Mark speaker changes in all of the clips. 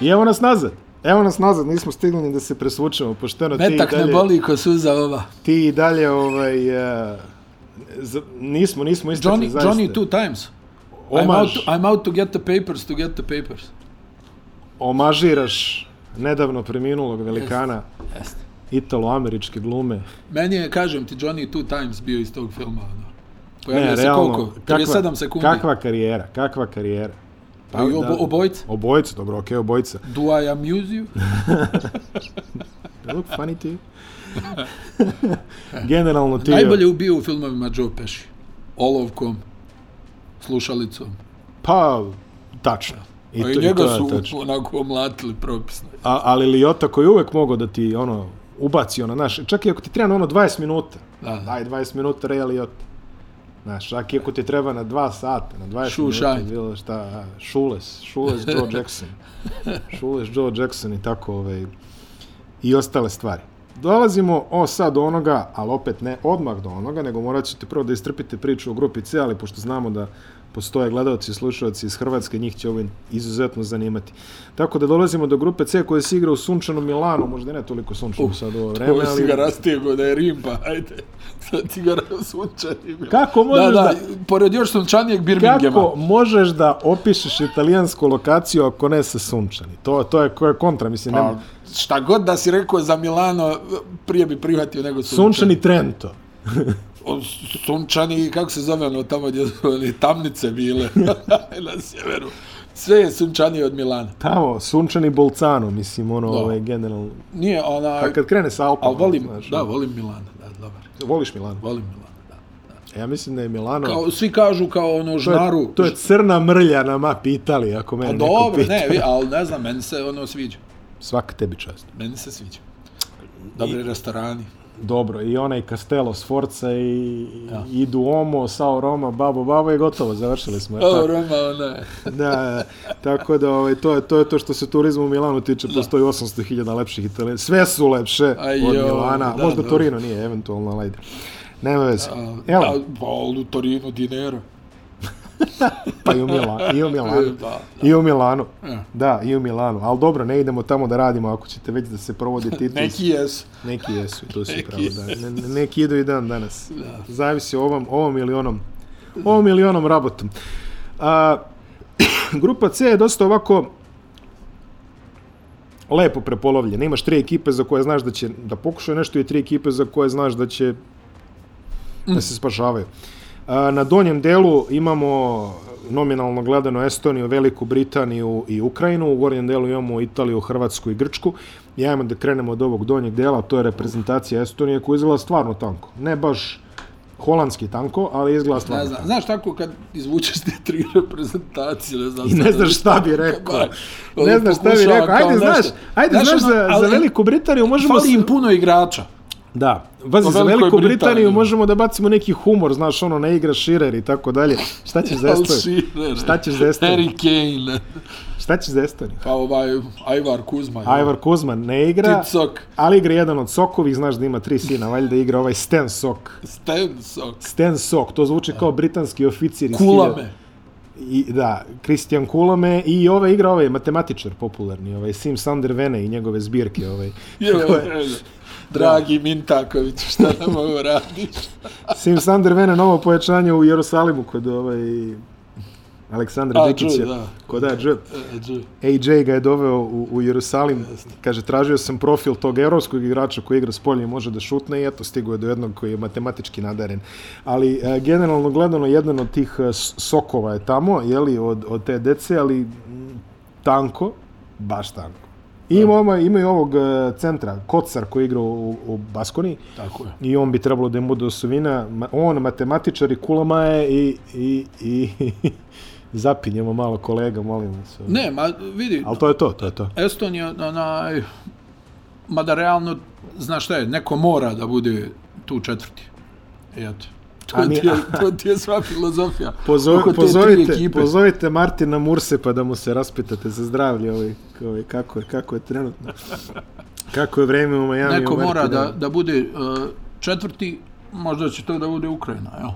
Speaker 1: I evo nas nazad. Evo nas nazad, nismo stigli ni da se presvučemo, pošteno
Speaker 2: Metak
Speaker 1: Pa ti i dalje,
Speaker 2: ne boli ko suza ova.
Speaker 1: ti i dalje ovaj, uh, z, nismo, nismo istekli,
Speaker 2: Johnny,
Speaker 1: zaista.
Speaker 2: Johnny two times. I'm out,
Speaker 1: Omaž,
Speaker 2: to, I'm out to get the papers, to get the papers.
Speaker 1: omažiraš nedavno preminulog velikana
Speaker 2: Jeste.
Speaker 1: italo-američke glume.
Speaker 2: Meni je, kažem ti, Johnny two times bio iz tog filma. Ono. Pojavio
Speaker 1: Ne,
Speaker 2: se
Speaker 1: realno,
Speaker 2: koliko?
Speaker 1: kakva,
Speaker 2: 37 sekundi.
Speaker 1: kakva karijera, kakva karijera.
Speaker 2: Pa, I obo, obojica.
Speaker 1: Obojica, dobro, okej, okay, obojica.
Speaker 2: Do I amuse you?
Speaker 1: I look funny to you? Generalno ti...
Speaker 2: Najbolje ubio u filmovima Joe Pesci. Olovkom, slušalicom.
Speaker 1: Pa, tačno. I,
Speaker 2: I,
Speaker 1: to,
Speaker 2: I
Speaker 1: i to
Speaker 2: njega
Speaker 1: je
Speaker 2: su
Speaker 1: tačno.
Speaker 2: onako omlatili propisno.
Speaker 1: A, ali Lijota koji je uvek mogao da ti, ono, ubaci ono, znaš, čak i ako ti treba na ono 20 minuta,
Speaker 2: Da, da.
Speaker 1: daj 20 minuta Ray Lijota. Znaš, čak i ako ti treba na 2 sata, na 20
Speaker 2: Shoe
Speaker 1: minuta,
Speaker 2: shine.
Speaker 1: bilo šta, a, šules, šules Joe Jackson. šules Joe Jackson i tako, ovaj, i ostale stvari. Dolazimo, o, sad do onoga, ali opet ne odmah do onoga, nego morat ćete prvo da istrpite priču o grupi C, ali pošto znamo da postoje gledalci i slušalci iz Hrvatske, njih će ovo izuzetno zanimati. Tako da dolazimo do grupe C koja se igra u sunčanom Milanu, možda ne toliko sunčano sad u ovo vreme,
Speaker 2: Ovo si
Speaker 1: ali...
Speaker 2: ga rastijego da je Rim, pa ajde. Sad ti ga sunčani. bio.
Speaker 1: Kako
Speaker 2: Da,
Speaker 1: možeš
Speaker 2: da,
Speaker 1: da,
Speaker 2: pored još sunčanijeg Birminghama.
Speaker 1: Kako možeš da opišeš italijansku lokaciju ako ne sa sunčani? To, to je, ko je kontra, mislim,
Speaker 2: Pa,
Speaker 1: nema.
Speaker 2: šta god da si rekao za Milano, prije bi prihvatio nego sunčani.
Speaker 1: Sunčani Trento.
Speaker 2: O, sunčani, kako se zove ono tamo gdje su one tamnice bile na sjeveru. Sve je sunčanije od Milana.
Speaker 1: Tamo, sunčani Bolcano, mislim, ono,
Speaker 2: Da.
Speaker 1: ovaj, generalno.
Speaker 2: Nije onaj...
Speaker 1: A kad krene sa Alpama,
Speaker 2: Ali volim,
Speaker 1: znaš,
Speaker 2: da,
Speaker 1: ono,
Speaker 2: volim Milana, da, dobar.
Speaker 1: voliš Milano.
Speaker 2: Volim Milana, da.
Speaker 1: Ja mislim da je Milano...
Speaker 2: Kao, svi kažu kao ono
Speaker 1: to, je,
Speaker 2: žnaru.
Speaker 1: to je crna mrlja na mapi Italije, ako mene
Speaker 2: Pa
Speaker 1: neko
Speaker 2: dobro,
Speaker 1: pita.
Speaker 2: ne, vi, ali ne znam, meni se ono sviđa.
Speaker 1: Svaka tebi čast.
Speaker 2: Meni se sviđa. Dobri restorani.
Speaker 1: Dobro, i onaj Castello Sforza i,
Speaker 2: Da.
Speaker 1: i Duomo, Sao Roma, Babo, Babo je gotovo, završili smo. je li
Speaker 2: O,
Speaker 1: tako?
Speaker 2: Roma, ona je.
Speaker 1: da, tako da ovaj, to, je, to je to što se turizmu u Milanu tiče, postoji 800.000 lepših Italija. Sve su lepše
Speaker 2: Aj,
Speaker 1: od
Speaker 2: joj,
Speaker 1: Milana,
Speaker 2: da,
Speaker 1: možda
Speaker 2: da.
Speaker 1: Torino nije, eventualno, ali ajde. Nema veze.
Speaker 2: A,
Speaker 1: Evo,
Speaker 2: a, Pa, ali u Torinu dinero.
Speaker 1: pa i u, Mila, i u Milanu.
Speaker 2: Da,
Speaker 1: I u Milanu.
Speaker 2: Ja.
Speaker 1: Da, i u Milanu. Ali dobro, ne idemo tamo da radimo ako ćete već da se provodi titul.
Speaker 2: Neki jesu.
Speaker 1: Neki jesu, to si
Speaker 2: Neki
Speaker 1: pravo, da. Ne, ne- neki idu i dan danas.
Speaker 2: Da.
Speaker 1: Zavisi o ovom, ovom ili onom, ovom ili onom rabotom. A, grupa C je dosta ovako lepo prepolovljena. Imaš tri ekipe za koje znaš da će da pokušaju nešto i tri ekipe za koje znaš da će
Speaker 2: Mm.
Speaker 1: da se spašavaju. A, na donjem delu imamo nominalno gledano Estoniju, Veliku Britaniju i Ukrajinu, u gornjem delu imamo Italiju, Hrvatsku i Grčku. Ja imam da krenemo od ovog donjeg dela, to je reprezentacija Estonije koja izgleda stvarno tanko. Ne baš holandski tanko, ali izgleda stvarno
Speaker 2: Ne
Speaker 1: tanko.
Speaker 2: znam, znaš tako kad izvučeš te tri reprezentacije, ne znam.
Speaker 1: I ne
Speaker 2: sad
Speaker 1: znaš šta bi rekao. Ne znaš šta bi
Speaker 2: ono,
Speaker 1: rekao.
Speaker 2: Pokušava kao
Speaker 1: Ajde,
Speaker 2: nešto.
Speaker 1: znaš, ajde,
Speaker 2: Znaš,
Speaker 1: znaš,
Speaker 2: ono,
Speaker 1: za, za
Speaker 2: ali-
Speaker 1: Veliku Britaniju možemo...
Speaker 2: Fali
Speaker 1: s-
Speaker 2: im puno igrača.
Speaker 1: Da, vazi,
Speaker 2: O
Speaker 1: za
Speaker 2: Velikoj
Speaker 1: Veliku
Speaker 2: Britaniji.
Speaker 1: Britaniju možemo da bacimo neki humor, znaš, ono, ne igra Širer i tako dalje. Šta ćeš za
Speaker 2: Al
Speaker 1: Estoniju?
Speaker 2: Shearer,
Speaker 1: Šta ćeš za Estoniju?
Speaker 2: Harry Kane,
Speaker 1: Šta ćeš za Estoniju?
Speaker 2: pa ovaj Ajvar Kuzma.
Speaker 1: Ajvar Kuzman ne igra,
Speaker 2: Ticok,
Speaker 1: ali igra jedan od Sokovih, znaš da ima tri sina, valjda igra ovaj Sten Sok.
Speaker 2: Stensok,
Speaker 1: Sten Sok, to zvuči kao britanski oficir. iz hiljadu-
Speaker 2: Kulame.
Speaker 1: I, da, Christian Kulame i ove igra ovaj matematičar popularni, ovaj Sim Sander Vene i njegove zbirke. Ovaj.
Speaker 2: Jel,
Speaker 1: Tako je.
Speaker 2: jel. Dragi Mintaković, šta nam ovo radiš?
Speaker 1: Sim Sander Vene, novo pojačanje u Jerusalimu kod ovaj Aleksandra
Speaker 2: A,
Speaker 1: Dikića.
Speaker 2: Dž, da.
Speaker 1: Kod AJ.
Speaker 2: E, Dž.
Speaker 1: AJ ga je doveo u, u Jerusalim. Kaže, tražio sam profil tog evropskog igrača koji igra s polja i može da šutne i eto, stigo je do jednog koji je matematički nadaren. Ali, e, generalno gledano, jedan od tih e, s- sokova je tamo, jeli, od, od te dece, ali m, tanko, baš tanko. I ima, ima i ovog e, centra, Kocar koji igra u, u Baskoni
Speaker 2: Tako je.
Speaker 1: i on bi trebalo da im bude osovina. Ma- On, matematičar i kulama je i, i, i zapinjemo malo kolega, molim vas.
Speaker 2: Ne, ma vidi,
Speaker 1: Ali to je to, to je to.
Speaker 2: Estonija, onaj, mada realno, znaš šta je, neko mora da bude tu četvrti. I Eto. To,
Speaker 1: A mi-
Speaker 2: ti je, to ti je sva filozofija.
Speaker 1: Pozo,
Speaker 2: Oko te tri
Speaker 1: pozovite,
Speaker 2: ekipe.
Speaker 1: pozovite Martina Murse pa da mu se raspitate za zdravlje ovaj, ovaj, kako, je, kako je trenutno. Kako je vreme u Miami.
Speaker 2: Neko
Speaker 1: u Martinu.
Speaker 2: mora da, da bude uh, četvrti, možda će to da bude Ukrajina, jel?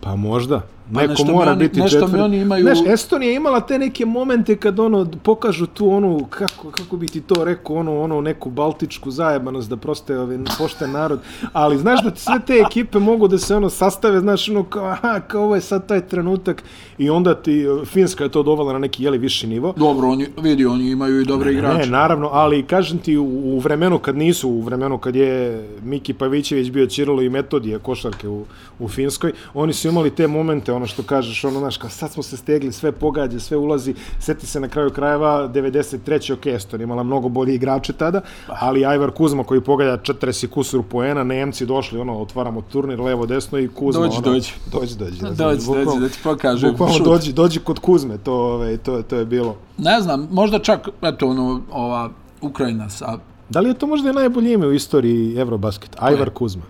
Speaker 1: Pa možda.
Speaker 2: Pa
Speaker 1: Neko
Speaker 2: nešto mi
Speaker 1: mora
Speaker 2: oni-
Speaker 1: biti
Speaker 2: nešto mi
Speaker 1: četvrti.
Speaker 2: oni imaju-
Speaker 1: Znaš, Estonija je imala te neke momente kad ono pokažu tu onu, kako, kako bi ti to rekao, ono, ono neku baltičku zajebanost da proste ovaj pošten narod. Ali znaš da sve te ekipe mogu da se ono sastave, znaš, ono kao, aha, kao ovo je sad taj trenutak i onda ti eh, Finska je to dovela na neki jeli viši nivo.
Speaker 2: Dobro, oni, vidi, oni imaju i dobre
Speaker 1: Ne,
Speaker 2: igrače.
Speaker 1: naravno, ali kažem ti u, u vremenu kad nisu, u vremenu kad je Miki Pavićević bio Čirilo i Metodije košarke u, u Finskoj, oni su imali te momente, ono što kažeš, ono, znaš, kao sad smo se stegli, sve pogađa, sve ulazi, seti se na kraju krajeva 93. ok, Estonija imala mnogo bolji igrače tada, ali Ajvar Kuzma koji pogađa 40 i kusur poena, Nemci došli, ono, otvaramo turnir levo, desno i Kuzma,
Speaker 2: Dođi,
Speaker 1: ono,
Speaker 2: dođi.
Speaker 1: dođi, dođi, da,
Speaker 2: Dođi, dođi, da ti pokažem.
Speaker 1: Bukvalno
Speaker 2: šut.
Speaker 1: dođi, dođi kod Kuzme, to, ovaj, to, to je bilo.
Speaker 2: Ne znam, možda čak, eto, ono, ova, Ukrajina sa,
Speaker 1: Da li je to možda i najbolje ime u istoriji Eurobasket? Ajvar Kuzma.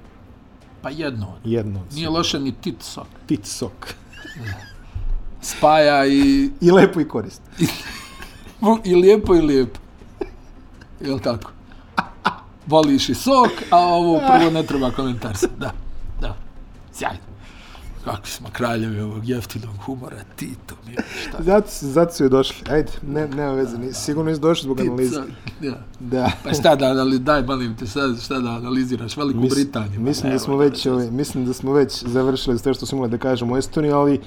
Speaker 2: pa jedno. od-
Speaker 1: Jedno. od
Speaker 2: Nije loše ni Tit Sok.
Speaker 1: Tit sok.
Speaker 2: Spaja i,
Speaker 1: I lepo i korist.
Speaker 2: i lijepo i lijepo. Jel tako? Voliš i sok, a ovo prvo ne treba komentar sad. Da, da. Sjajno. Kakvi smo kraljevi ovog jeftinog humora, Tito, mi šta.
Speaker 1: Zato, su- zato su joj došli. Ajde, ne, nema veze. ni- Sigurno nisu došli zbog analize.
Speaker 2: Tit Sok, Ja.
Speaker 1: Da.
Speaker 2: Pa šta da analiziraš, daj molim te sad, šta da analiziraš, Veliku
Speaker 1: Mis-
Speaker 2: Britaniju. pa
Speaker 1: Mislim da,
Speaker 2: evo,
Speaker 1: smo već, ovaj, mislim da smo već završili sve što smo imali da kažemo u Estoniji, ali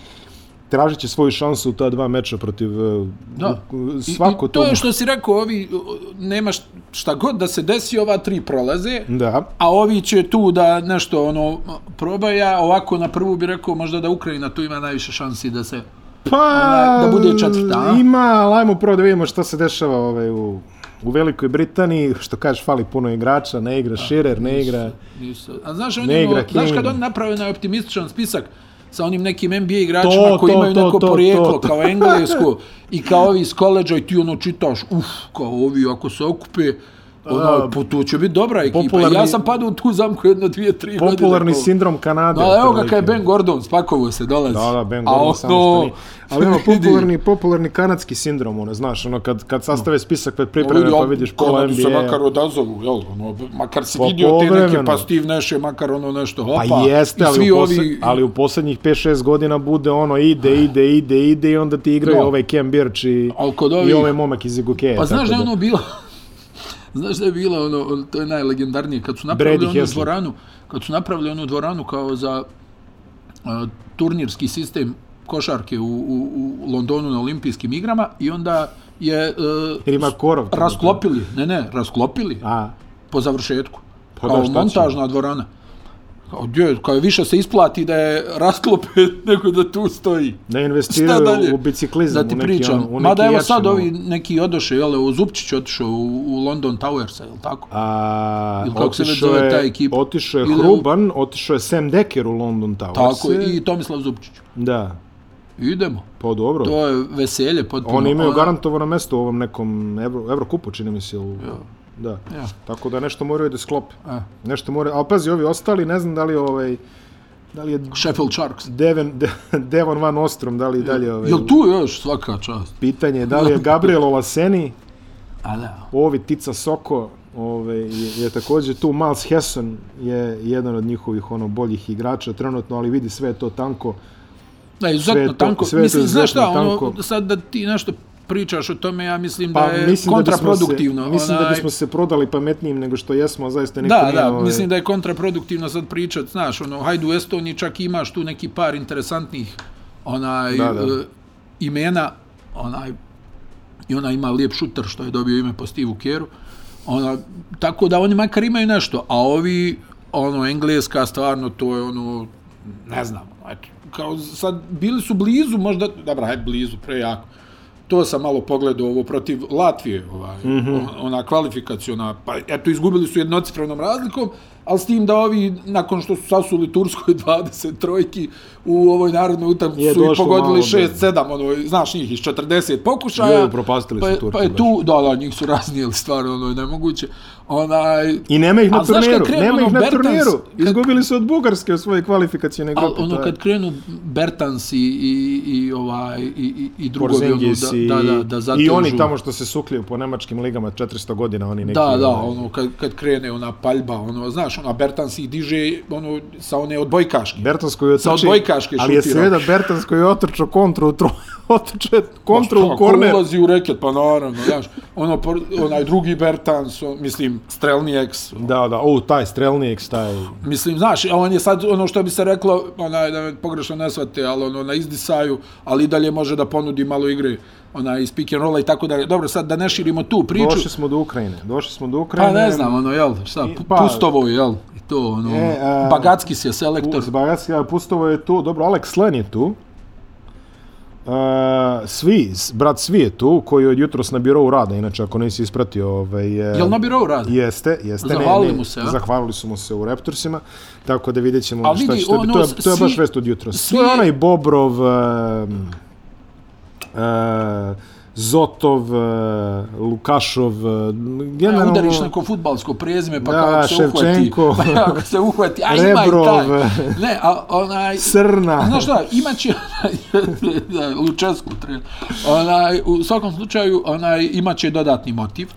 Speaker 1: tražit će svoju šansu u ta dva meča protiv eh,
Speaker 2: Da.
Speaker 1: u-
Speaker 2: I-
Speaker 1: svako
Speaker 2: I, to
Speaker 1: to.
Speaker 2: je što si rekao, ovi, o, nema št- šta god da se desi, ova tri prolaze,
Speaker 1: Da.
Speaker 2: a ovi će tu da nešto ono probaja, ovako na prvu bi rekao možda da Ukrajina tu ima najviše šansi da se...
Speaker 1: Pa,
Speaker 2: Ona- da bude četvrta, a?
Speaker 1: Ima, ali ajmo prvo da vidimo šta se dešava ovaj, u, u Velikoj Britaniji. Što kažeš, fali puno igrača, ne igra Širer, ne igra...
Speaker 2: Nisu, a znaš, on
Speaker 1: Ne
Speaker 2: je ono,
Speaker 1: igra
Speaker 2: znaš
Speaker 1: Kane.
Speaker 2: kad oni naprave onaj optimističan spisak sa onim nekim NBA igračima
Speaker 1: To,
Speaker 2: koji
Speaker 1: to,
Speaker 2: imaju
Speaker 1: to,
Speaker 2: neko
Speaker 1: to,
Speaker 2: porijeklo
Speaker 1: to, to.
Speaker 2: kao englesko i kao ovi iz koleđa i ti ono čitaš, uf, kao ovi ako se okupe, ono,
Speaker 1: A,
Speaker 2: po, to će biti dobra ekipa.
Speaker 1: popularni-
Speaker 2: ja sam padao u tu zamku jedno, dvije, tri godine.
Speaker 1: Popularni
Speaker 2: kao-
Speaker 1: sindrom Kanade.
Speaker 2: Da, evo ga
Speaker 1: otprilike.
Speaker 2: kad je Ben Gordon, spakovo se dolazi.
Speaker 1: Da, da, Ben
Speaker 2: A ono-
Speaker 1: Gordon samo što nije. Ali ono,
Speaker 2: vidi,
Speaker 1: popularni, popularni kanadski sindrom, ono, znaš, ono, kad, kad sastave spisak pred
Speaker 2: vidi,
Speaker 1: pripreme, pa
Speaker 2: on-
Speaker 1: vidiš pola
Speaker 2: Kanadu se makar
Speaker 1: NBA.
Speaker 2: odazovu, jel? Ono, makar si
Speaker 1: Pa
Speaker 2: vidio te neke,
Speaker 1: povremeno.
Speaker 2: pa Steve Nash je makar ono nešto, hopa.
Speaker 1: Pa jeste,
Speaker 2: i
Speaker 1: ali
Speaker 2: svi
Speaker 1: u, posled,
Speaker 2: ovi,
Speaker 1: ali u posljednjih 5-6 godina bude ono, ide, ide, ide, ide i onda ti igraju
Speaker 2: Da.
Speaker 1: ovaj Ken Birch i,
Speaker 2: Al kod
Speaker 1: i
Speaker 2: ovih-
Speaker 1: ovaj momak iz Igukeja.
Speaker 2: Pa znaš da je
Speaker 1: tako
Speaker 2: ono bilo... Znaš da je bilo ono, ono, to je najlegendarnije, kad su napravili
Speaker 1: Brady
Speaker 2: onu
Speaker 1: Haslett.
Speaker 2: dvoranu, kad su napravili onu dvoranu kao za a, turnirski sistem košarke u, u, u Londonu na olimpijskim igrama i onda je
Speaker 1: Jer ima
Speaker 2: uh,
Speaker 1: korov.
Speaker 2: rasklopili, ne ne, rasklopili
Speaker 1: A,
Speaker 2: po završetku.
Speaker 1: Pa
Speaker 2: Pa
Speaker 1: da,
Speaker 2: kao
Speaker 1: šta će?
Speaker 2: montažna dvorana. Kao, gdje, kao više se isplati da je rasklope nego da tu stoji.
Speaker 1: da
Speaker 2: Šta dalje?
Speaker 1: investiraju u biciklizam,
Speaker 2: Da ti
Speaker 1: u neki,
Speaker 2: pričam.
Speaker 1: ono, u neki
Speaker 2: Mada evo
Speaker 1: jači
Speaker 2: sad
Speaker 1: moment.
Speaker 2: ovi neki odoše, jel, o Zupčić otišao u, u London Towersa, jel tako?
Speaker 1: A,
Speaker 2: Ili kako se već
Speaker 1: otišao
Speaker 2: zove ta
Speaker 1: je,
Speaker 2: ekipa?
Speaker 1: otišao je
Speaker 2: Ili u-
Speaker 1: Hruban, otišao je Sam Decker u London Towers.
Speaker 2: tako, i Tomislav Zupčić.
Speaker 1: Da,
Speaker 2: Idemo.
Speaker 1: pa dobro.
Speaker 2: To je veselje potpuno.
Speaker 1: Oni imaju
Speaker 2: Ona-
Speaker 1: garantovano mesto u ovom nekom Evro, Evrokupu, čini mi se. Ili...
Speaker 2: Ja.
Speaker 1: Da.
Speaker 2: Ja.
Speaker 1: Tako da nešto moraju da sklope.
Speaker 2: E,
Speaker 1: Nešto moraju, ali pazi, ovi ostali, ne znam da li je ovaj, da li je
Speaker 2: Sheffield Sharks.
Speaker 1: Devon, De, Devon Van Ostrom, da li, da li je ovaj,
Speaker 2: Jel tu još svaka čast?
Speaker 1: pitanje, da li je Gabriel Olaseni,
Speaker 2: A da.
Speaker 1: ovi Tica Soko, ovaj, je, je također tu, Miles Hesson je jedan od njihovih ono boljih igrača trenutno, ali vidi sve je to tanko.
Speaker 2: Da,
Speaker 1: Sve je
Speaker 2: izuzetno
Speaker 1: to-
Speaker 2: tanko.
Speaker 1: sve je to
Speaker 2: Mislim, znaš šta,
Speaker 1: izuzetno tanko.
Speaker 2: ono, sad da ti nešto pričaš o tome, ja mislim
Speaker 1: Pa
Speaker 2: da
Speaker 1: mislim,
Speaker 2: je
Speaker 1: da bismo, se,
Speaker 2: E, kontraproduktivno.
Speaker 1: mislim da
Speaker 2: onaj-
Speaker 1: bismo se prodali pametnijim nego što jesmo, a zaista niko
Speaker 2: Da,
Speaker 1: nije...
Speaker 2: da,
Speaker 1: ovaj,
Speaker 2: mislim da je kontraproduktivno sad pričat, znaš, ono, hajde u Estoniji čak imaš tu neki par interesantnih onaj,
Speaker 1: Da, da.
Speaker 2: e, imena, onaj, i ona ima lijep šuter što je dobio ime po Steve Keru, ona, tako da oni makar imaju nešto, a ovi, ono, engleska stvarno, to je ono, ne znam, eto, kao sad, bili su blizu, možda, dobra, aj blizu, prejako, to sam malo pogledao ovo protiv Latvije, ovaj, mm
Speaker 1: Mhm.
Speaker 2: -hmm. ona kvalifikaciona, pa eto izgubili su jednocifrenom razlikom, ali s tim da ovi, nakon što su sasuli Turskoj 23 u ovoj narodnoj utakmici
Speaker 1: Je
Speaker 2: su i
Speaker 1: došlo malo
Speaker 2: pogodili
Speaker 1: do-
Speaker 2: 6-7, ono, znaš njih iz 40 pokušaja.
Speaker 1: Joj, upropastili su
Speaker 2: pa, je-
Speaker 1: Turke
Speaker 2: Pa je
Speaker 1: baš.
Speaker 2: tu, da, da, njih su raznijeli stvar, ono, nemoguće. Onaj,
Speaker 1: I nema ih na
Speaker 2: A znaš kad
Speaker 1: turniru,
Speaker 2: krenu
Speaker 1: nema
Speaker 2: ono
Speaker 1: ih na
Speaker 2: Bertans,
Speaker 1: turniru.
Speaker 2: kad-
Speaker 1: Izgubili su od Bugarske u svojoj kvalifikacijnoj
Speaker 2: ali
Speaker 1: grupi. to
Speaker 2: ono
Speaker 1: je-
Speaker 2: kad krenu Bertans i, i, i ovaj, i, i, i drugo,
Speaker 1: Porzingis i,
Speaker 2: da, da, da, da
Speaker 1: i
Speaker 2: zatežu.
Speaker 1: oni tamo što se sukljuju po nemačkim ligama 400 godina, oni neki...
Speaker 2: Da, da,
Speaker 1: ovaj,
Speaker 2: ono, kad, kad krene ona paljba, ono, znaš, znaš, ona Bertans ih diže ono, sa one odbojkaške.
Speaker 1: Bertans koji otrči,
Speaker 2: Sa odbojkaške
Speaker 1: ali je
Speaker 2: šutirao.
Speaker 1: sveda Bertans koji je otrčao kontru u tro, otrčao je kontru
Speaker 2: Ako
Speaker 1: u korner.
Speaker 2: Pa ulazi u reket, pa naravno, znaš, ono, por- onaj drugi Bertans, on, mislim, strelni eks,
Speaker 1: Da, da, o, taj strelnik, taj...
Speaker 2: Mislim, znaš, a on je sad ono što bi se reklo, onaj, da me pogrešno ne shvate, ali ono, na izdisaju, ali i dalje može da ponudi malo igre, onaj, iz pick and rolla i tako dalje. Dobro, sad da ne širimo tu
Speaker 1: Došli
Speaker 2: priču,
Speaker 1: smo do Ukrajine, došli smo do Ukrajine.
Speaker 2: pa ne znam, ono, jel, šta,
Speaker 1: I- pa-
Speaker 2: pa, pustovo je, jel, i to, ono,
Speaker 1: E, a-
Speaker 2: Bagatskis je selektor,
Speaker 1: Zbagaski, a Pustovo je tu, dobro, Alex Len je tu. Uh, svi, s- brat Svi je tu, koji je od jutros na birovu rada, inače, ako nisi ispratio... Ovaj,
Speaker 2: jel na birovu radi?
Speaker 1: Jeste, jeste.
Speaker 2: Zahvalili mu se, a?
Speaker 1: Zahvalili su mu se u Raptorsima, tako da vidjet ćemo
Speaker 2: Ali
Speaker 1: šta
Speaker 2: vidi,
Speaker 1: će to biti. To je,
Speaker 2: ono,
Speaker 1: to je baš
Speaker 2: svi-
Speaker 1: vest od jutra. Svi...
Speaker 2: svi-
Speaker 1: To je onaj Bobrov, um, uh, Zotov, uh, Lukašov, uh,
Speaker 2: Ja,
Speaker 1: generalno...
Speaker 2: E, udariš neko futbalsko prezime, pa
Speaker 1: Da,
Speaker 2: kao ako se
Speaker 1: Ševčenko.
Speaker 2: uhvati, pa ako se uhvati, a ima i taj.
Speaker 1: Rebrov.
Speaker 2: Ne, a onaj,
Speaker 1: Srna.
Speaker 2: Znaš šta, imaće da, Lučesku trener. Onaj, u svakom slučaju onaj imaće dodatni motiv.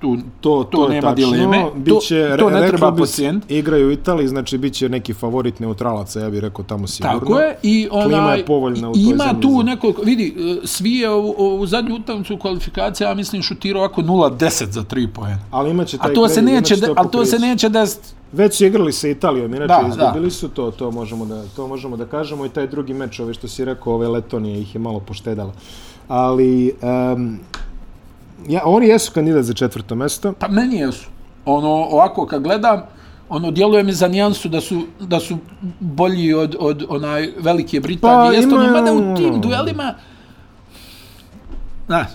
Speaker 2: Tu
Speaker 1: To, to, je
Speaker 2: to nema
Speaker 1: tačno.
Speaker 2: dileme. To-
Speaker 1: Biće,
Speaker 2: to ne
Speaker 1: reklo
Speaker 2: treba
Speaker 1: bi se,
Speaker 2: podcijeniti.
Speaker 1: Igraju u Italiji, znači biće neki favorit neutralaca, ja bih rekao tamo sigurno.
Speaker 2: Tako je i onaj
Speaker 1: Klima je povoljna u toj
Speaker 2: ima
Speaker 1: zemlji.
Speaker 2: tu nekoliko vidi e, svi je u, u zadnju utakmicu kvalifikacija ja mislim šutirao ovako 0-10 za 3 poena.
Speaker 1: Ali imaće taj
Speaker 2: A to se
Speaker 1: kredit,
Speaker 2: neće
Speaker 1: imaće
Speaker 2: de, al to se
Speaker 1: pokriće.
Speaker 2: neće desiti.
Speaker 1: Već su igrali sa Italijom, inače da,
Speaker 2: Da,
Speaker 1: izgubili su to, to možemo, da, to možemo da kažemo i taj drugi meč, ove što si rekao, ove Letonije ih je malo poštedala. Ali, um, ja, oni jesu kandidat za četvrto mesto.
Speaker 2: Pa meni jesu. Ono ovako kad gledam ono djeluje mi za nijansu da su da su bolji od od onaj Velike Britanije.
Speaker 1: Pa,
Speaker 2: Pa, Jeste ono
Speaker 1: imaju
Speaker 2: mada u
Speaker 1: ono-
Speaker 2: tim duelima znaš,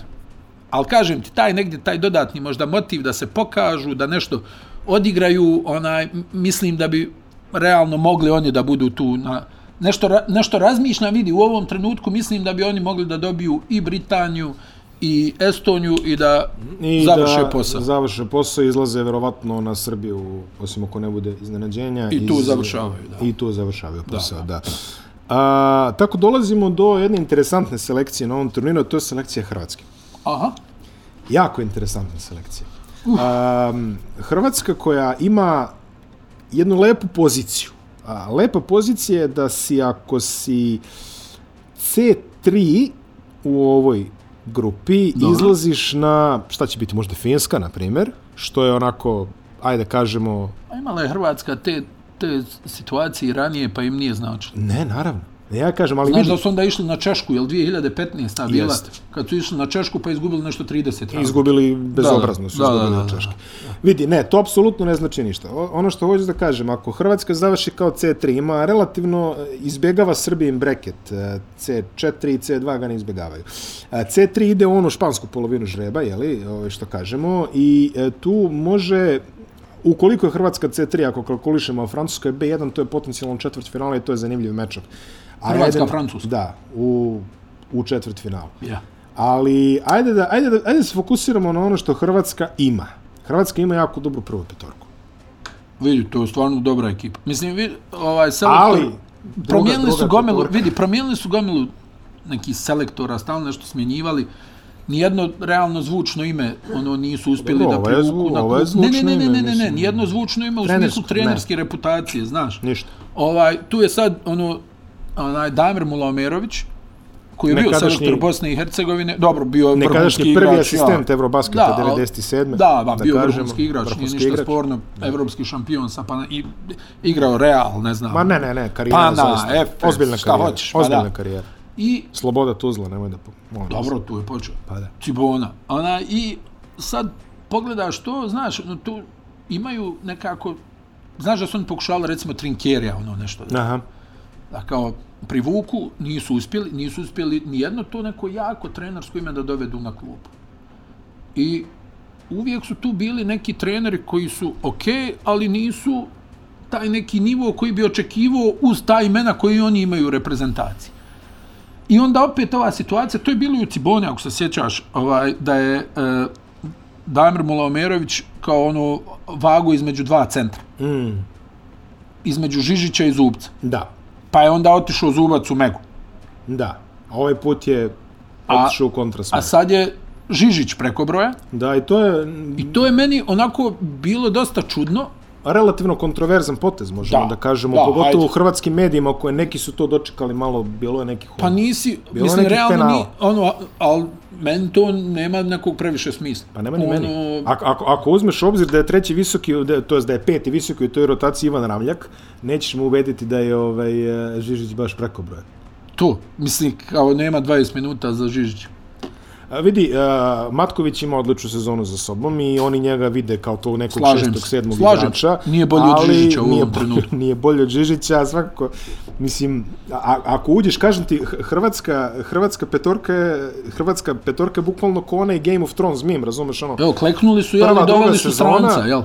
Speaker 2: ali kažem ti taj negdje taj dodatni možda motiv da se pokažu, da nešto odigraju, onaj m- mislim da bi realno mogli oni da budu tu na nešto ra- nešto razmišljam vidi u ovom trenutku mislim da bi oni mogli da dobiju i Britaniju i Estoniju i da
Speaker 1: I
Speaker 2: završe
Speaker 1: da,
Speaker 2: posao.
Speaker 1: Završe posao, izlaze verovatno na Srbiju, osim ako ne bude iznenađenja.
Speaker 2: I tu završavaju, da.
Speaker 1: I tu završavaju posao, da. da. A, tako dolazimo do jedne interesantne selekcije na ovom turniru, a to je selekcija Hrvatske.
Speaker 2: Aha.
Speaker 1: Jako interesantna selekcija. Um, Hrvatska koja ima jednu lepu poziciju. A, lepa pozicija je da si ako si C3 u ovoj grupi
Speaker 2: Dobro.
Speaker 1: izlaziš na, šta će biti, možda Finska, na primjer, što je onako, ajde kažemo,
Speaker 2: A imala je Hrvatska te, te situacije ranije, pa im nije značilo.
Speaker 1: ne, naravno. Ne, ja kažem, ali
Speaker 2: Znaš
Speaker 1: vidi,
Speaker 2: da su onda išli na Češku, jel 2015. bila,
Speaker 1: Jeste.
Speaker 2: kad su išli na Češku pa izgubili nešto 30 rana.
Speaker 1: izgubili bezobrazno su
Speaker 2: Da, da,
Speaker 1: izgubili
Speaker 2: da,
Speaker 1: od
Speaker 2: da,
Speaker 1: Češke. Vidi, ne, to apsolutno ne znači ništa. O, ono što hoću da kažem, ako Hrvatska završi kao C3, ima relativno e, izbjegava Srbijim breket. e, C4 i C2 ga ne izbjegavaju. E, C3 ide u onu špansku polovinu žreba, jeli, ovaj, što kažemo, i e, tu može Ukoliko je Hrvatska C3, ako kalkulišemo, a Francuska je B1, to je potencijalno četvrtfinale i to je zanimljiv mečak. Ali
Speaker 2: Hrvatska,
Speaker 1: ajde-
Speaker 2: Francuska.
Speaker 1: Da, u, u četvrtfinalu.
Speaker 2: Ja.
Speaker 1: Ali ajde da, ajde da, ajde da se fokusiramo na ono što Hrvatska ima. Hrvatska ima jako dobru prvu petorku.
Speaker 2: Vidi, to je stvarno dobra ekipa. Mislim, vidi, ovaj selektor...
Speaker 1: Ali, druga-
Speaker 2: promijenili
Speaker 1: druga
Speaker 2: su gomilu,
Speaker 1: petorka.
Speaker 2: vidi, promijenili su gomilu nekih selektora, stalno nešto smjenjivali. Nijedno realno zvučno ime ono nisu uspjeli
Speaker 1: Dobro,
Speaker 2: da
Speaker 1: ovo je
Speaker 2: privuku
Speaker 1: zvu-
Speaker 2: na
Speaker 1: ovo je
Speaker 2: klub. Ne, ne,
Speaker 1: zvučno
Speaker 2: ne,
Speaker 1: ime,
Speaker 2: ne, ne, ne, ne,
Speaker 1: mislim.
Speaker 2: nijedno zvučno ime u
Speaker 1: Trenersko,
Speaker 2: smislu
Speaker 1: ne.
Speaker 2: trenerske reputacije, znaš.
Speaker 1: Ništa.
Speaker 2: Ovaj, tu je sad ono, onaj Damir Mulaomerović, koji je bio
Speaker 1: Nekadašnji-
Speaker 2: selektor Bosne i Hercegovine, dobro, bio je vrhunski
Speaker 1: Nekadašnji
Speaker 2: igrač.
Speaker 1: prvi
Speaker 2: ja.
Speaker 1: asistent Eurobasketa
Speaker 2: Da, al-
Speaker 1: 97.
Speaker 2: Da, ba, bio
Speaker 1: kažemo,
Speaker 2: vrhunski igrač, nije
Speaker 1: vrhunski
Speaker 2: ništa
Speaker 1: igrač.
Speaker 2: sporno, evropski šampion sa Pana, i, igrao Real, ne znam.
Speaker 1: Ma ne, ne, ne, karijera
Speaker 2: Pana,
Speaker 1: zaista.
Speaker 2: Efes,
Speaker 1: Ozbiljna
Speaker 2: šta
Speaker 1: karijera.
Speaker 2: hoćeš, pa
Speaker 1: Ozbiljna
Speaker 2: da.
Speaker 1: karijera.
Speaker 2: I
Speaker 1: Sloboda Tuzla, nemoj da... po- molim vas.
Speaker 2: Dobro, tu je počeo.
Speaker 1: Pa da.
Speaker 2: Cibona. Ona, I sad pogledaš to, znaš, no, tu imaju nekako... Znaš da su oni pokušavali, recimo, Trinkerija, ono nešto, da,
Speaker 1: Aha.
Speaker 2: da kao privuku, nisu uspjeli, nisu uspjeli nijedno to neko jako trenersko ime da dovedu na klub. I uvijek su tu bili neki treneri koji su ok, ali nisu taj neki nivo koji bi očekivao uz ta imena koji oni imaju u reprezentaciji. I onda opet ova situacija, to je bilo i u Cibone, ako se sjećaš, ovaj, da je e, Damir Mulaomerović kao ono vagu između dva centra.
Speaker 1: Mm,
Speaker 2: Između Žižića i Zubca.
Speaker 1: da,
Speaker 2: Pa je onda otišao Zubac u Megu.
Speaker 1: da. A ovaj put je
Speaker 2: A-
Speaker 1: otišao u
Speaker 2: A
Speaker 1: kontrasmer.
Speaker 2: sad je Žižić preko broja.
Speaker 1: Da, i to je...
Speaker 2: I to je meni onako bilo dosta čudno,
Speaker 1: relativno kontroverzan potez, možemo da,
Speaker 2: Da,
Speaker 1: da kažemo,
Speaker 2: da,
Speaker 1: pogotovo
Speaker 2: ajde.
Speaker 1: u hrvatskim medijima koje neki su to dočekali malo, bilo je nekih...
Speaker 2: Pa nisi,
Speaker 1: Bilo je
Speaker 2: mislim,
Speaker 1: nekih
Speaker 2: realno,
Speaker 1: penala.
Speaker 2: ni, ono, ali meni to nema nekog previše smisla.
Speaker 1: Pa nema ni meni.
Speaker 2: Ono,
Speaker 1: Ako, ako, ako uzmeš u obzir da je treći visoki, da, to jest da je peti visoki u toj rotaciji Ivan Ramljak, nećeš mu ubediti da je ovaj, eh, Žižić baš preko broja.
Speaker 2: to, mislim, kao nema 20 minuta za Žižića.
Speaker 1: A vidi, uh, Matković ima odličnu sezonu za sobom i oni njega vide kao tog nekog
Speaker 2: Slažem
Speaker 1: šestog,
Speaker 2: se.
Speaker 1: sedmog
Speaker 2: Slažem se.
Speaker 1: igrača.
Speaker 2: Nije bolji od
Speaker 1: ali
Speaker 2: Žižića u
Speaker 1: nije
Speaker 2: ovom
Speaker 1: bolji-
Speaker 2: trenutku.
Speaker 1: Nije bolji od Žižića, svakako. Mislim, a, a- ako uđeš, kažem ti, H- Hrvatska, Hrvatska petorka je, Hrvatska petorka je bukvalno ko onaj Game of Thrones meme, razumeš ono?
Speaker 2: Evo, kleknuli su, jel,
Speaker 1: Prva,
Speaker 2: i
Speaker 1: druga
Speaker 2: doveli su
Speaker 1: sezona.
Speaker 2: stranca, jel?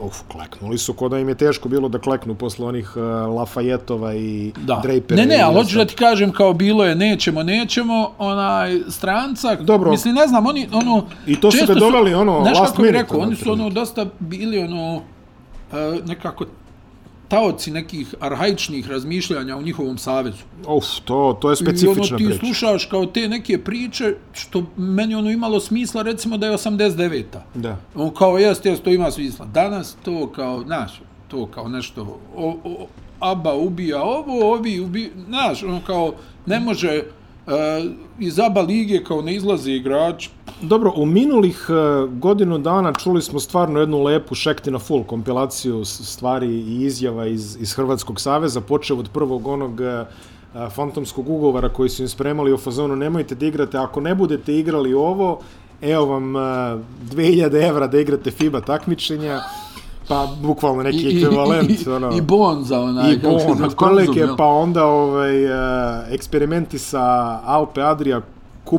Speaker 1: Uf, kleknuli su, ko da im je teško bilo da kleknu posle onih uh, Lafayetova i
Speaker 2: Da.
Speaker 1: Drapera.
Speaker 2: ne, ne,
Speaker 1: i
Speaker 2: ali hoću
Speaker 1: ostalo.
Speaker 2: da ti kažem, kao bilo je, nećemo, nećemo, onaj, stranca,
Speaker 1: Dobro.
Speaker 2: mislim, ne znam, oni, ono...
Speaker 1: I to su
Speaker 2: često
Speaker 1: ga doveli, ono,
Speaker 2: Znaš
Speaker 1: last
Speaker 2: kako bih
Speaker 1: minute, znači.
Speaker 2: rekao, oni su,
Speaker 1: otprilike.
Speaker 2: ono, dosta bili, ono, e, nekako taoci nekih arhaičnih razmišljanja u njihovom savezu.
Speaker 1: Uf, to, to je
Speaker 2: I ono,
Speaker 1: specifična
Speaker 2: ti
Speaker 1: priča.
Speaker 2: slušaš kao te neke priče, što meni ono imalo smisla, recimo da je 89-a.
Speaker 1: Da.
Speaker 2: On kao, jeste, jeste, to ima smisla. Danas to kao, znaš, to kao nešto, o, o, aba ubija ovo, ovi ubija, znaš, on kao, ne može, e, iz aba lige kao ne izlaze igrač,
Speaker 1: Dobro, u minulih e, godinu dana čuli smo stvarno jednu lepu Šektina Full kompilaciju s- stvari i izjava iz, iz Hrvatskog saveza, počeo od prvog onog e, fantomskog ugovora koji su im spremali u fazonu nemojte da igrate, ako ne budete igrali ovo, evo vam e, 2000 evra da igrate FIBA takmičenja, pa bukvalno neki ekvivalent.
Speaker 2: i,
Speaker 1: ono.
Speaker 2: i bonza onaj,
Speaker 1: I
Speaker 2: kako se
Speaker 1: Bon,
Speaker 2: zove, Konzum,
Speaker 1: otprilike,
Speaker 2: jel?
Speaker 1: pa onda ovaj, e, eksperimenti sa Alpe Adria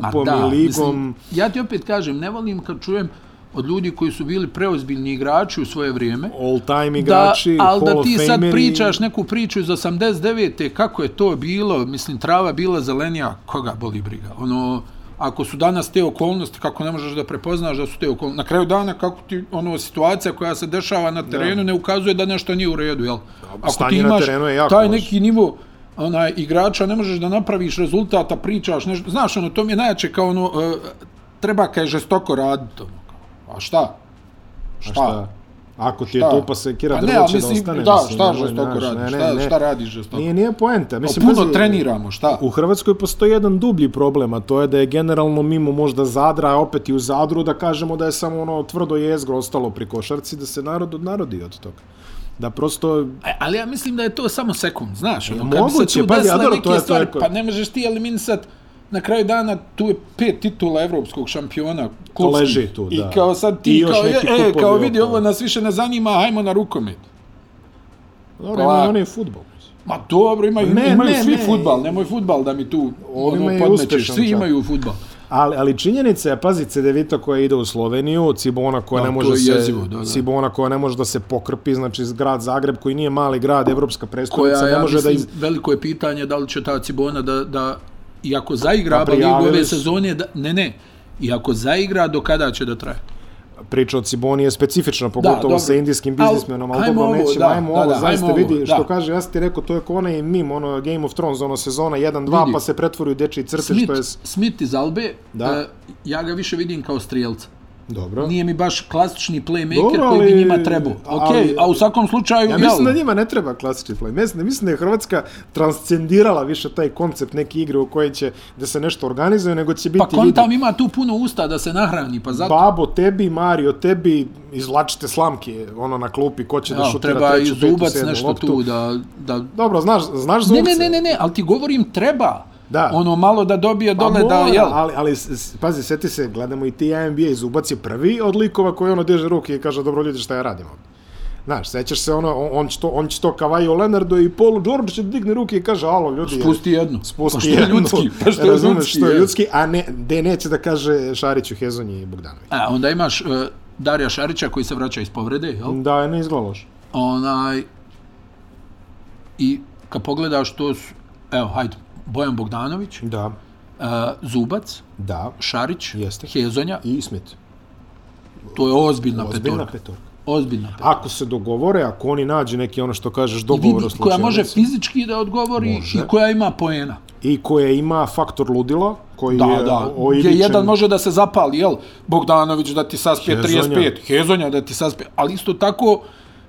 Speaker 2: Ma
Speaker 1: kupom
Speaker 2: da,
Speaker 1: i ligom.
Speaker 2: Mislim, ja ti opet kažem, ne volim kad čujem od ljudi koji su bili preozbiljni igrači u svoje vrijeme,
Speaker 1: all time igrači,
Speaker 2: da, ali
Speaker 1: Hall
Speaker 2: da
Speaker 1: of
Speaker 2: ti sad
Speaker 1: Fameri.
Speaker 2: pričaš neku priču iz 89. kako je to bilo, mislim, trava bila zelenija, koga boli briga. Ono, ako su danas te okolnosti, kako ne možeš da prepoznaš da su te okolnosti, na kraju dana kako ti, ono, situacija koja se dešava na terenu ne ukazuje da nešto nije u redu, jel? Ako ti
Speaker 1: stanje na
Speaker 2: imaš
Speaker 1: terenu je jako
Speaker 2: taj
Speaker 1: loše.
Speaker 2: neki nivo onaj igrača ne možeš da napraviš rezultata, pričaš nešto. Znaš, ono, to mi je najjače kao ono, e, treba kaj žestoko raditi. Ono, kao, a šta? Šta?
Speaker 1: Šta? pa, Ako ti je
Speaker 2: Pa, Šta?
Speaker 1: tupa sekira,
Speaker 2: Pa ne,
Speaker 1: drvo
Speaker 2: ali
Speaker 1: će da
Speaker 2: mislim,
Speaker 1: ostane.
Speaker 2: da,
Speaker 1: mislim,
Speaker 2: šta
Speaker 1: nemoj,
Speaker 2: žestoko
Speaker 1: znaš,
Speaker 2: radiš, šta- šta radiš žestoko? Pa
Speaker 1: Nije, nije poenta. Mislim,
Speaker 2: Puno
Speaker 1: pazi,
Speaker 2: treniramo, šta?
Speaker 1: U Hrvatskoj postoji jedan dublji problem, a to je da je generalno mimo možda Zadra, a opet i u Zadru, da kažemo da je samo ono tvrdo jezgro ostalo pri košarci, da se narod odnarodi od toga. Da prosto
Speaker 2: E, ali ja mislim da je to samo sekund, znaš, ono, kad bi
Speaker 1: moguće,
Speaker 2: se tu
Speaker 1: pa, ja,
Speaker 2: desile
Speaker 1: dobro,
Speaker 2: neke
Speaker 1: to je- to je
Speaker 2: stvari,
Speaker 1: ko-
Speaker 2: pa ne možeš ti eliminisat, na kraju dana tu je pet titula evropskog šampiona klubskih.
Speaker 1: leži tu,
Speaker 2: I
Speaker 1: da.
Speaker 2: kao sad
Speaker 1: I
Speaker 2: ti,
Speaker 1: još
Speaker 2: kao,
Speaker 1: neki
Speaker 2: e, e,
Speaker 1: kupovi
Speaker 2: kao vidi,
Speaker 1: okolo.
Speaker 2: ovo nas više ne zanima, hajmo na rukomet.
Speaker 1: dobro,
Speaker 2: Pa-
Speaker 1: ima oni futbol.
Speaker 2: Ma dobro, imaju,
Speaker 1: Ne,
Speaker 2: imaju
Speaker 1: ne,
Speaker 2: svi
Speaker 1: ne.
Speaker 2: futbal, nemoj futbal da mi tu
Speaker 1: Ovi
Speaker 2: ono,
Speaker 1: imaju
Speaker 2: podmećeš,
Speaker 1: uspješan
Speaker 2: svi
Speaker 1: čak.
Speaker 2: imaju futbal.
Speaker 1: Ali, ali činjenica je, pazi, Cedevita koja ide u Sloveniju, Cibona koja,
Speaker 2: Da,
Speaker 1: ne
Speaker 2: to
Speaker 1: može
Speaker 2: je
Speaker 1: se,
Speaker 2: jezivo, da, da.
Speaker 1: Cibona koja ne može da se pokrpi, znači grad Zagreb koji nije mali grad, evropska prestolnica,
Speaker 2: koja
Speaker 1: ne
Speaker 2: ja
Speaker 1: može
Speaker 2: mislim,
Speaker 1: da iz...
Speaker 2: veliko je pitanje da li će ta Cibona da, da iako zaigra
Speaker 1: Pa
Speaker 2: pa ligu ove
Speaker 1: prijavili su.
Speaker 2: sezone, da, ne, ne, iako zaigra, do kada će da traje?
Speaker 1: Priča o Ciboni je specifična, pogotovo
Speaker 2: dobro.
Speaker 1: sa indijskim biznismenom, ali
Speaker 2: Al- ajmo
Speaker 1: dobro,
Speaker 2: ovo,
Speaker 1: nećemo,
Speaker 2: da,
Speaker 1: ajmo
Speaker 2: da,
Speaker 1: ovo,
Speaker 2: da,
Speaker 1: zaista
Speaker 2: ajmo
Speaker 1: vidi,
Speaker 2: ovo,
Speaker 1: što
Speaker 2: da.
Speaker 1: kaže, ja sam ti rekao, to je kao onaj mim, ono Game of Thrones, ono sezona 1-2,
Speaker 2: Vidi.
Speaker 1: pa se pretvori u dečji crte,
Speaker 2: Smith,
Speaker 1: što je... s-
Speaker 2: Smith iz Albe,
Speaker 1: Da.
Speaker 2: e, ja ga više vidim kao strijelca.
Speaker 1: Dobro.
Speaker 2: Nije mi baš klasični playmaker
Speaker 1: Dobro,
Speaker 2: koji
Speaker 1: ali-
Speaker 2: bi njima trebao. Ok,
Speaker 1: ali-
Speaker 2: a u svakom slučaju,
Speaker 1: Ja
Speaker 2: jel,
Speaker 1: mislim da njima ne treba klasični play. Mislim, mislim da je Hrvatska transcendirala više taj koncept neke igre u kojoj će da se nešto organizuje, nego će biti
Speaker 2: pa
Speaker 1: vidi-
Speaker 2: kontam ima tu puno usta da se nahrani, pa zato
Speaker 1: Babo, tebi, Mario, tebi izvlačite slamke, ono na klupi, ko će da
Speaker 2: jel,
Speaker 1: šutira
Speaker 2: treba
Speaker 1: treću, petu,
Speaker 2: izubac
Speaker 1: sedmu
Speaker 2: nešto
Speaker 1: loptu.
Speaker 2: tu da, da
Speaker 1: Dobro, znaš, znaš
Speaker 2: Ne,
Speaker 1: zubce.
Speaker 2: ne, ne, ne, ne, ali ti govorim treba.
Speaker 1: Da.
Speaker 2: Ono malo da dobije
Speaker 1: Pa
Speaker 2: dole da,
Speaker 1: mora,
Speaker 2: jel?
Speaker 1: ali, ali s- s- pazi, seti se, gledamo i ti NBA, Zubac je prvi od likova koji ono diže ruke i kaže, dobro ljudi, šta ja radim ovdje? Znaš, sećaš se ono, on, on će to, on će to Kavaju Leonardo i Paul George će digne ruke i kaže, alo ljudi, je-
Speaker 2: Spusti jednu.
Speaker 1: spusti
Speaker 2: pa što je
Speaker 1: jednu.
Speaker 2: ljudski? Pa što je
Speaker 1: Razumeš,
Speaker 2: ljudski?
Speaker 1: što je
Speaker 2: jel?
Speaker 1: ljudski, a ne, de neće da kaže Šariću, Hezonji i Bogdanović.
Speaker 2: A, onda imaš uh, Darija Šarića koji se vraća iz povrede, jel?
Speaker 1: Da, ne izgleda loš.
Speaker 2: Onaj, I kad pogledaš to su, evo, hajde, Bojan Bogdanović, uh,
Speaker 1: Da,
Speaker 2: Zubac,
Speaker 1: da.
Speaker 2: Šarić,
Speaker 1: Jeste.
Speaker 2: Hezonja,
Speaker 1: I Smith.
Speaker 2: to je ozbiljna,
Speaker 1: Ozbiljna
Speaker 2: petorka.
Speaker 1: petorka.
Speaker 2: Ozbiljna petorka.
Speaker 1: Ako se dogovore, ako oni nađu neki ono što kažeš
Speaker 2: I vidi,
Speaker 1: dogovor o
Speaker 2: koja može
Speaker 1: slučajevcu
Speaker 2: fizički da odgovori
Speaker 1: Može.
Speaker 2: i koja ima poena.
Speaker 1: i koje ima faktor ludila, koji
Speaker 2: Da,
Speaker 1: je
Speaker 2: da,
Speaker 1: oivičen,
Speaker 2: gdje jedan može da se zapali, jel? Bogdanović da ti saspije
Speaker 1: Hezonja.
Speaker 2: 35, Hezonja da ti saspije, ali isto tako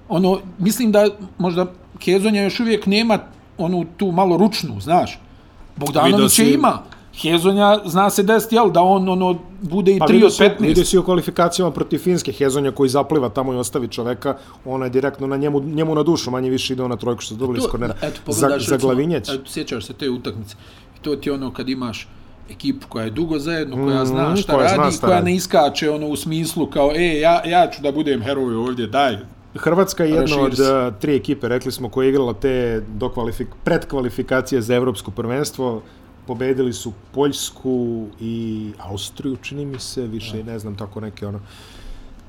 Speaker 2: ono, mislim da možda Hezonja još uvijek nema onu tu malo ručnu, znaš.
Speaker 3: Vidio
Speaker 2: Bogdanović
Speaker 3: si-
Speaker 2: je ima. Hezonja zna se desiti, jel, da on ono bude i 3
Speaker 1: Pa vidio
Speaker 2: od
Speaker 1: si, vidio
Speaker 2: 15.
Speaker 1: si u kvalifikacijama protiv Finske Hezonja koji zapliva tamo i ostavi čoveka, ona je direktno na njemu, njemu na dušu, manje više ide ona trojku što su dobili iz
Speaker 2: To-
Speaker 1: kornera.
Speaker 2: Eto,
Speaker 1: Za,
Speaker 2: pogledaš,
Speaker 1: za
Speaker 2: recimo,
Speaker 1: glavinjeć.
Speaker 2: Eto, sjećaš se te utakmice. I to ti je ono kad imaš ekipu koja je dugo zajedno, koja zna
Speaker 1: Mhm,
Speaker 2: šta
Speaker 1: koja
Speaker 2: radi,
Speaker 1: zna
Speaker 2: i
Speaker 1: šta
Speaker 2: koja
Speaker 1: radi.
Speaker 2: ne iskače ono u smislu kao, e, ja, ja ću da budem heroj ovdje, daj.
Speaker 1: Hrvatska je jedna
Speaker 2: Raširi
Speaker 1: od
Speaker 2: se.
Speaker 1: uh, tri ekipe, rekli smo, koja je igrala te dokvalifik, predkvalifikacije za evropsko prvenstvo. Pobedili su Poljsku i Austriju, čini mi se, više ne znam tako neke ono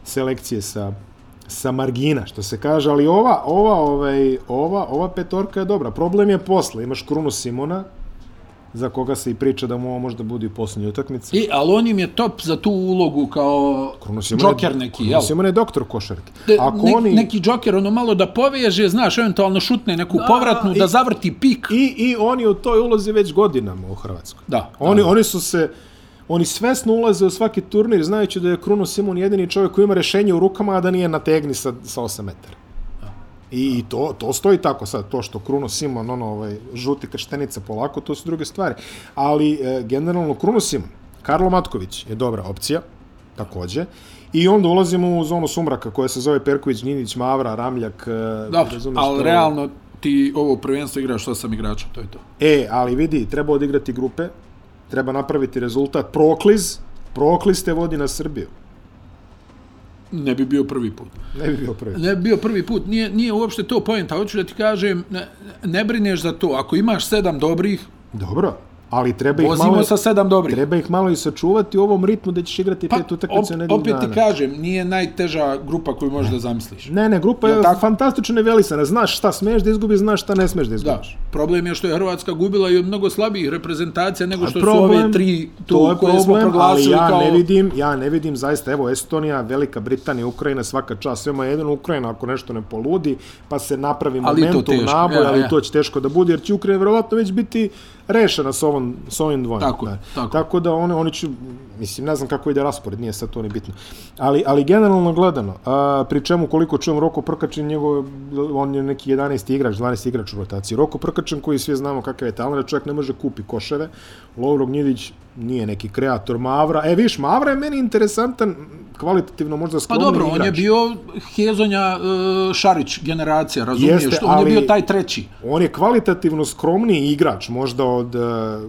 Speaker 1: selekcije sa sa margina, što se kaže, ali ova, ova, ovaj, ova, ova petorka je dobra. Problem je posle, imaš Krunu Simona, za koga se i priča da mu ovo možda bude i posljednja utakmica.
Speaker 2: I, ali E, on im je top za tu ulogu kao
Speaker 1: Kruno Simon je-
Speaker 2: džoker neki,
Speaker 1: Kruno
Speaker 2: jel?
Speaker 1: Simon je doktor košarke.
Speaker 2: Da,
Speaker 1: Ako
Speaker 2: ne,
Speaker 1: oni...
Speaker 2: Neki džoker ono malo da poveže, znaš, eventualno šutne neku povratnu,
Speaker 1: i-
Speaker 2: da zavrti pik.
Speaker 1: I, I oni u toj ulozi već godinama u Hrvatskoj.
Speaker 2: Da,
Speaker 1: Oni, oni su se, oni svesno ulaze u svaki turnir znajući da je Kruno Simon jedini čovjek koji ima rešenje u rukama, a da nije nategni sa, sa 8 metara. I, i to, to stoji tako sad, to što Kruno Simon, ono, ovaj, žuti krštenica polako, to su druge stvari. Ali, e, generalno, Kruno Simon, Karlo Matković je dobra opcija, takođe, I onda ulazimo u zonu sumraka koja se zove Perković, Ninić, Mavra, Ramljak. e,
Speaker 2: Dobro,
Speaker 1: razumeš, to
Speaker 2: ali
Speaker 1: je-
Speaker 2: realno ti ovo prvenstvo igraš sa sam igrača, to je to.
Speaker 1: E, ali vidi, treba odigrati grupe, treba napraviti rezultat. Prokliz, prokliz te vodi na Srbiju.
Speaker 2: Ne bi bio prvi put.
Speaker 1: Ne bi bio prvi.
Speaker 2: Ne bi bio prvi put, nije, nije uopšte to pojenta, hoću da ti kažem, ne, ne brineš za to, ako imaš sedam dobrih,
Speaker 1: Dobro, ali treba ih
Speaker 2: vozimo
Speaker 1: malo...
Speaker 2: sa sedam dobrih.
Speaker 1: Treba ih malo i sačuvati u ovom ritmu da ćeš igrati pa, pet utakmica u
Speaker 2: op-
Speaker 1: nedelju
Speaker 2: opet
Speaker 1: dana.
Speaker 2: ti kažem, nije najteža grupa koju možeš da zamisliš.
Speaker 1: Ne, ne, grupa
Speaker 2: Jel
Speaker 1: je
Speaker 2: tako?
Speaker 1: fantastično nevelisana. Znaš šta smeš da izgubiš, znaš šta ne smeš da
Speaker 2: Da,
Speaker 1: izgubiš.
Speaker 2: problem je što je Hrvatska gubila i od mnogo slabijih reprezentacija nego
Speaker 1: A
Speaker 2: što problem, su ove tri tu
Speaker 1: to je
Speaker 2: koje smo
Speaker 1: problem, ali
Speaker 2: proglasili
Speaker 1: ja
Speaker 2: kao...
Speaker 1: ne vidim, ja ne vidim zaista, evo Estonija, Velika Britanija, Ukrajina, svaka čast, svema jedino Ukrajina ako nešto ne poludi, pa se napravi
Speaker 2: Ali i to
Speaker 1: momentum
Speaker 2: teško,
Speaker 1: naboj,
Speaker 2: ja,
Speaker 1: ali
Speaker 2: ja.
Speaker 1: to će teško da bude, jer će Ukrajina vjerovatno već biti rešena s, ovom, s ovim dvojem.
Speaker 2: Tako,
Speaker 1: da.
Speaker 2: tako.
Speaker 1: tako da oni, oni će, mislim, ne znam kako ide raspored, nije sad to ni bitno. Ali, ali generalno gledano, a, pri čemu koliko čujem Roko Prkačin, njegov, on je neki 11. igrač, 12. igrač u rotaciji. Roko Prkačin koji svi znamo kakav je talent, čovjek ne može kupi koševe. Lovro Gnjidić nije neki kreator Mavra. E, viš, Mavra je meni interesantan, kvalitativno možda
Speaker 2: Pa
Speaker 1: skromni
Speaker 2: dobro,
Speaker 1: igrač.
Speaker 2: on je bio Hezonja e, Šarić generacija, razumiješ?
Speaker 1: Jeste,
Speaker 2: Jeste, on
Speaker 1: ali-
Speaker 2: je bio taj treći.
Speaker 1: On je kvalitativno skromniji igrač, možda od uh,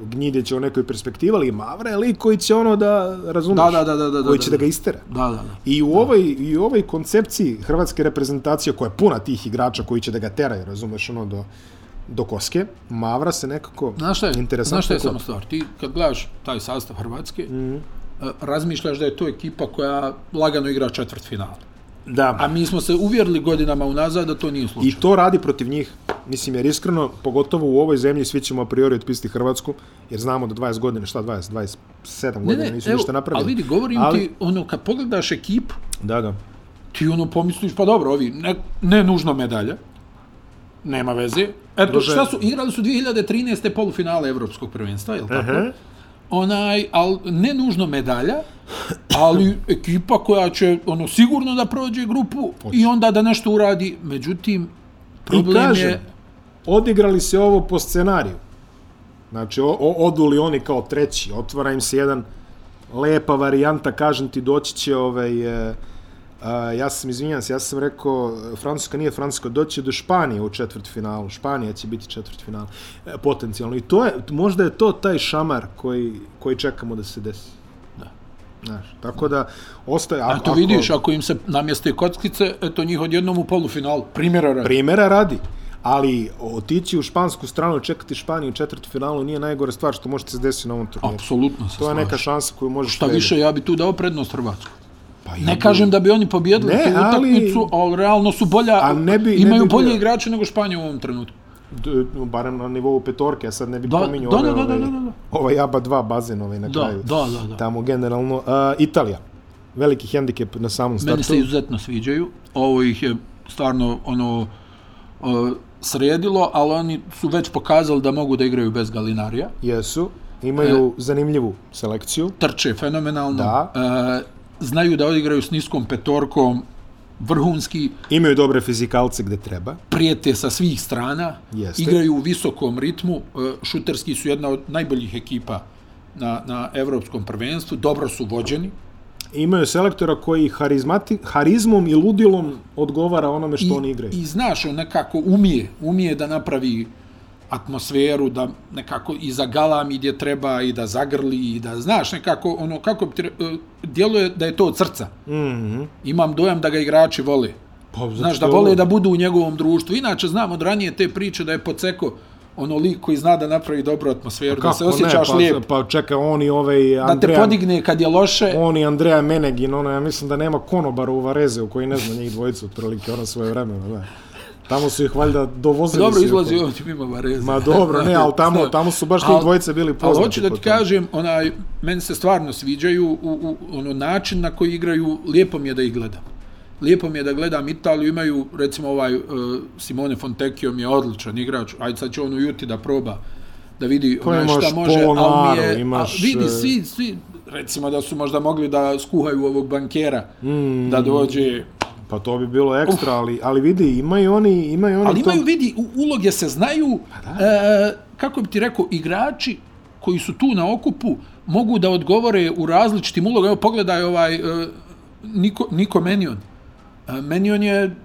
Speaker 1: Gnjidića u nekoj perspektivi, ali Mavra je lik koji će ono da, razumeš,
Speaker 2: Da, da, da, da, da,
Speaker 1: koji
Speaker 2: da,
Speaker 1: će da,
Speaker 2: da.
Speaker 1: ga istera.
Speaker 2: Da, da, da.
Speaker 1: I u ovoj, i u ovoj koncepciji hrvatske reprezentacije koja je puna tih igrača koji će da ga teraju, razumeš, ono do, do koske, Mavra se nekako
Speaker 2: Znaš šta je, znaš šta je
Speaker 1: klapa.
Speaker 2: samo stvar? Ti kad gledaš taj sastav Hrvatske, mm -hmm. razmišljaš da je to ekipa koja lagano igra četvrt finala.
Speaker 1: Da.
Speaker 2: A mi smo se uvjerili godinama unazad da to nije slučaj.
Speaker 1: I to radi protiv njih. Mislim, jer iskreno, pogotovo u ovoj zemlji, svi ćemo a priori otpisati Hrvatsku, jer znamo da 20 godina, šta 20, 27 godina nisu ništa napravili.
Speaker 2: Ali vidi, govorim
Speaker 1: Ali-
Speaker 2: ali... ti, ono, kad pogledaš ekipu,
Speaker 1: Da, da.
Speaker 2: ti ono pomisliš, pa dobro, ovi, ne, ne nužno medalja, nema veze. Eto,
Speaker 1: Druže-
Speaker 2: šta su, igrali su 2013. polufinale Evropskog prvenstva, je li tako?
Speaker 1: Aha.
Speaker 2: Onaj, al, ne nužno medalja, ali ekipa koja će ono sigurno da prođe grupu i onda da nešto uradi. Međutim,
Speaker 1: I
Speaker 2: problem
Speaker 1: kažem,
Speaker 2: je...
Speaker 1: odigrali se ovo po scenariju. Znači, o, o, oduli oni kao treći, otvara im se jedan lepa varijanta, kažem ti, doći će ovaj... E, a, ja sam, izvinjam se, ja sam rekao e, Francuska nije Francuska, doći će do Španije u četvrt finalu. Španija će biti četvrt final, e, potencijalno. I to je, možda je to taj šamar koji, koji čekamo da se desi. Da. Znaš, tako da ostaje...
Speaker 2: A to vidiš, ako im se namjeste kockice, eto njih odjednom u polufinalu. Primjera radi.
Speaker 1: primjera radi. Ali otići u špansku stranu, čekati Španiju u četvrtfinalu nije najgore stvar što možete se desiti na ovom turniru.
Speaker 2: Apsolutno se
Speaker 1: To je neka
Speaker 2: slažem.
Speaker 1: šansa koju možeš
Speaker 2: Šta više, ja bi tu dao prednost Hrvatskoj.
Speaker 1: pa
Speaker 2: Ne kažem da bi oni pobjedili
Speaker 1: Ne,
Speaker 2: tu
Speaker 1: ali-
Speaker 2: utakmicu, ali realno su bolja,
Speaker 1: A ne bi- ne
Speaker 2: imaju
Speaker 1: bi
Speaker 2: bolje
Speaker 1: bio-
Speaker 2: igrače nego Španija u ovom trenutku.
Speaker 1: da... barem na nivou petorke, ja sad ne bih
Speaker 2: Da,
Speaker 1: pominjao
Speaker 2: da,
Speaker 1: ove,
Speaker 2: da, da,
Speaker 1: ove-
Speaker 2: da, da, da.
Speaker 1: ovaj ABA 2 bazen ovaj na
Speaker 2: Da,
Speaker 1: kraju.
Speaker 2: da, da, da.
Speaker 1: Tamo generalno. Uh, Italija. Veliki hendikep na samom
Speaker 2: Meni
Speaker 1: startu.
Speaker 2: se izuzetno sviđaju. Ovo ih je stvarno ono uh, sredilo, ali oni su već pokazali da mogu da igraju bez Galinarija.
Speaker 1: Jesu.
Speaker 2: E.
Speaker 1: Imaju zanimljivu selekciju.
Speaker 2: Trče fenomenalno.
Speaker 1: Da.
Speaker 2: Uh, znaju da odigraju s niskom petorkom vrhunski,
Speaker 1: Imaju dobre fizikalce gde treba.
Speaker 2: prijete sa svih strana,
Speaker 1: Jeste.
Speaker 2: igraju u visokom ritmu, e, šuterski su jedna od najboljih ekipa na, na evropskom prvenstvu, dobro su vođeni
Speaker 1: Imaju selektora koji harizmati, harizmom i ludilom odgovara onome što oni igraju.
Speaker 2: i znaš, on nekako umije, umije da napravi atmosferu, da nekako i zagalami gdje treba i da zagrli i da, znaš, nekako, ono, kako bi ti, re- e, djeluje da je to od srca.
Speaker 1: Mm -hmm.
Speaker 2: Imam dojam da ga igrači vole.
Speaker 1: pa, zato
Speaker 2: Znaš,
Speaker 1: što
Speaker 2: da
Speaker 1: je ovo-
Speaker 2: vole da budu u njegovom društvu. Inače, znam od ranije te priče da je Poceko ono lik koji zna da napravi dobru atmosferu, da se osjećaš
Speaker 1: ne, pa,
Speaker 2: lijepo.
Speaker 1: Pa čeka, on i ovaj
Speaker 2: Da te
Speaker 1: Andreja,
Speaker 2: podigne kad je loše,
Speaker 1: on i Andreja Menegin, ono, ja mislim da nema konobara u Varezeu koji ne zna njih dvojicu, otprilike, ono svoje vremena, da. Tamo su ih valjda dovozili.
Speaker 2: dobro
Speaker 1: su ih
Speaker 2: izlazi
Speaker 1: oko-
Speaker 2: on ti mimo Vareza.
Speaker 1: Ma dobro, ne, ali tamo,
Speaker 2: Znam.
Speaker 1: tamo su baš ti
Speaker 2: Al-
Speaker 1: dvojice bili poznati.
Speaker 2: Ali hoću da ti
Speaker 1: po tome.
Speaker 2: kažem, onaj, meni se stvarno sviđaju u, u, ono, način na koji igraju, lijepo mi je da ih gledam. Lijepo mi je da gledam Italiju, imaju recimo ovaj uh, Simone Fontecchio mi je odličan igrač, ajde sad će on u Juti da proba da vidi
Speaker 1: Pa
Speaker 2: onaj,
Speaker 1: imaš
Speaker 2: šta može, ali
Speaker 1: Polonaro,
Speaker 2: mi je,
Speaker 1: imaš,
Speaker 2: a, vidi
Speaker 1: e,
Speaker 2: svi, svi, recimo da su možda mogli da skuhaju ovog bankera, mm, da dođe,
Speaker 1: Pa to bi bilo ekstra, ali, ali vidi, imaju oni, imaju oni
Speaker 2: ali
Speaker 1: to...
Speaker 2: imaju, vidi, u- uloge se znaju,
Speaker 1: Pa
Speaker 2: e, kako bi ti rekao, igrači koji su tu na okupu mogu da odgovore u različitim ulogama. Evo, pogledaj ovaj e, Niko, Niko Menion. E, Menion je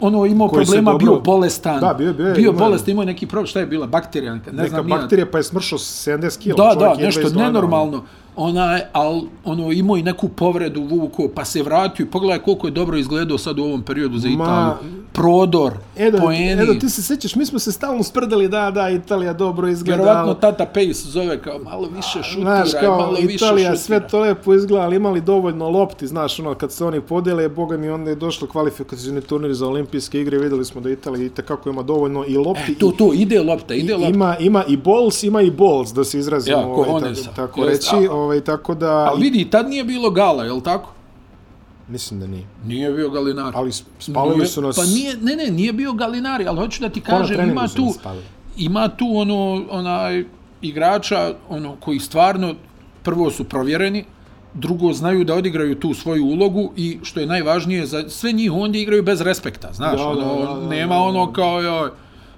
Speaker 2: ono imao
Speaker 1: Koji se
Speaker 2: problema,
Speaker 1: dobro-
Speaker 2: bio bolestan.
Speaker 1: Da, bio- bio je-
Speaker 2: bio
Speaker 1: imao je-
Speaker 2: bolestan, imao je neki problem, šta je bila, bakterija, neka, ne
Speaker 1: neka
Speaker 2: znam, ja.
Speaker 1: bakterija, pa je smršao 70 kila.
Speaker 2: Da,
Speaker 1: čovjek
Speaker 2: da,
Speaker 1: jedva
Speaker 2: nešto
Speaker 1: izgledao.
Speaker 2: nenormalno. Ona, al, ono, imao i neku povredu vuko, pa se vratio i pogledaj koliko je dobro izgledao sad u ovom periodu za
Speaker 1: Ma-
Speaker 2: Italiju. Prodor,
Speaker 1: Edo,
Speaker 2: poeni.
Speaker 1: Edo, e ti se sećaš, mi smo se stalno sprdali, da, da, Italija dobro izgleda.
Speaker 2: Vjerovatno
Speaker 1: ali-
Speaker 2: tata Pace zove kao malo više šutiraj,
Speaker 1: Znaš, kao
Speaker 2: malo više
Speaker 1: Italija
Speaker 2: šutiraj.
Speaker 1: sve to lepo izgleda, ali imali dovoljno lopti, znaš, ono, kad se oni podele, boga mi onda je došlo kvalifikacijni turnir za olimpijske igre, videli smo da Italija itekako ima dovoljno i lopti,
Speaker 2: E, To, to, ide lopta, ide
Speaker 1: i,
Speaker 2: lopta.
Speaker 1: ima, ima i balls, ima i balls, da se izrazimo,
Speaker 2: Ja, ko
Speaker 1: ovaj,
Speaker 2: Honesa.
Speaker 1: tako, tako
Speaker 2: Jest,
Speaker 1: reći,
Speaker 2: a-
Speaker 1: ovaj, tako da,
Speaker 2: Ali vidi, tad nije bilo gala, jel tako?
Speaker 1: mislim da nije,
Speaker 2: Nije bio Galinari.
Speaker 1: ali s- spalili
Speaker 2: Nije-
Speaker 1: su nas,
Speaker 2: Pa nije, ne, ne, nije bio Galinari, ali hoću da ti
Speaker 1: ko na
Speaker 2: kažem,
Speaker 1: treningu
Speaker 2: ima
Speaker 1: su
Speaker 2: tu,
Speaker 1: nas spalili.
Speaker 2: ima tu ono, onaj, igrača ono, koji stvarno prvo su provjereni, drugo znaju da odigraju tu svoju ulogu i što je najvažnije za sve njih ondje igraju bez respekta, znaš,
Speaker 1: Da,
Speaker 2: da,
Speaker 1: da,
Speaker 2: ono,
Speaker 1: da, da, da.
Speaker 2: nema ono kao joj,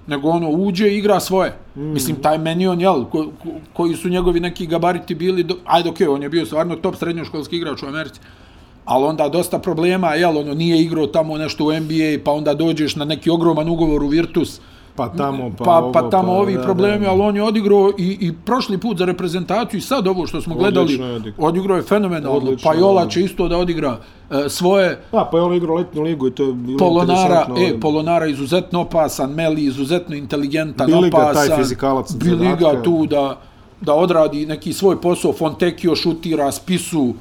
Speaker 2: nego ono uđe i igra svoje. Mm. Mislim taj Menion jel ko, ko, koji su njegovi neki gabariti bili do, ajde okej, on je bio stvarno top srednjoškolski igrač u Americi. Ali onda dosta problema, jel, ono, nije igrao tamo nešto u NBA, pa onda dođeš na neki ogroman ugovor u Virtus,
Speaker 1: pa tamo, pa,
Speaker 2: pa, pa,
Speaker 1: ovo,
Speaker 2: pa tamo pa, ovi
Speaker 1: da, da,
Speaker 2: problemi, ali on je odigrao i, i prošli put za reprezentaciju i sad ovo što smo gledali,
Speaker 1: Odlično je odigrao.
Speaker 2: odigrao je fenomenalno.
Speaker 1: Odlično
Speaker 2: Odlično,
Speaker 1: je
Speaker 2: pa Jola
Speaker 1: odigrao.
Speaker 2: će isto da odigra e, svoje
Speaker 1: Da, pa je on igrao letnu ligu i to je bilo
Speaker 2: Polonara,
Speaker 1: interesantno, ovaj,
Speaker 2: e,
Speaker 1: ali-
Speaker 2: Polonara izuzetno opasan, Meli izuzetno inteligentan,
Speaker 1: Bili ga taj
Speaker 2: opasan.
Speaker 1: fizikalac od
Speaker 2: Bili
Speaker 1: zadatka.
Speaker 2: ga tu da, da odradi neki svoj posao, Fontekio šutira, spisu,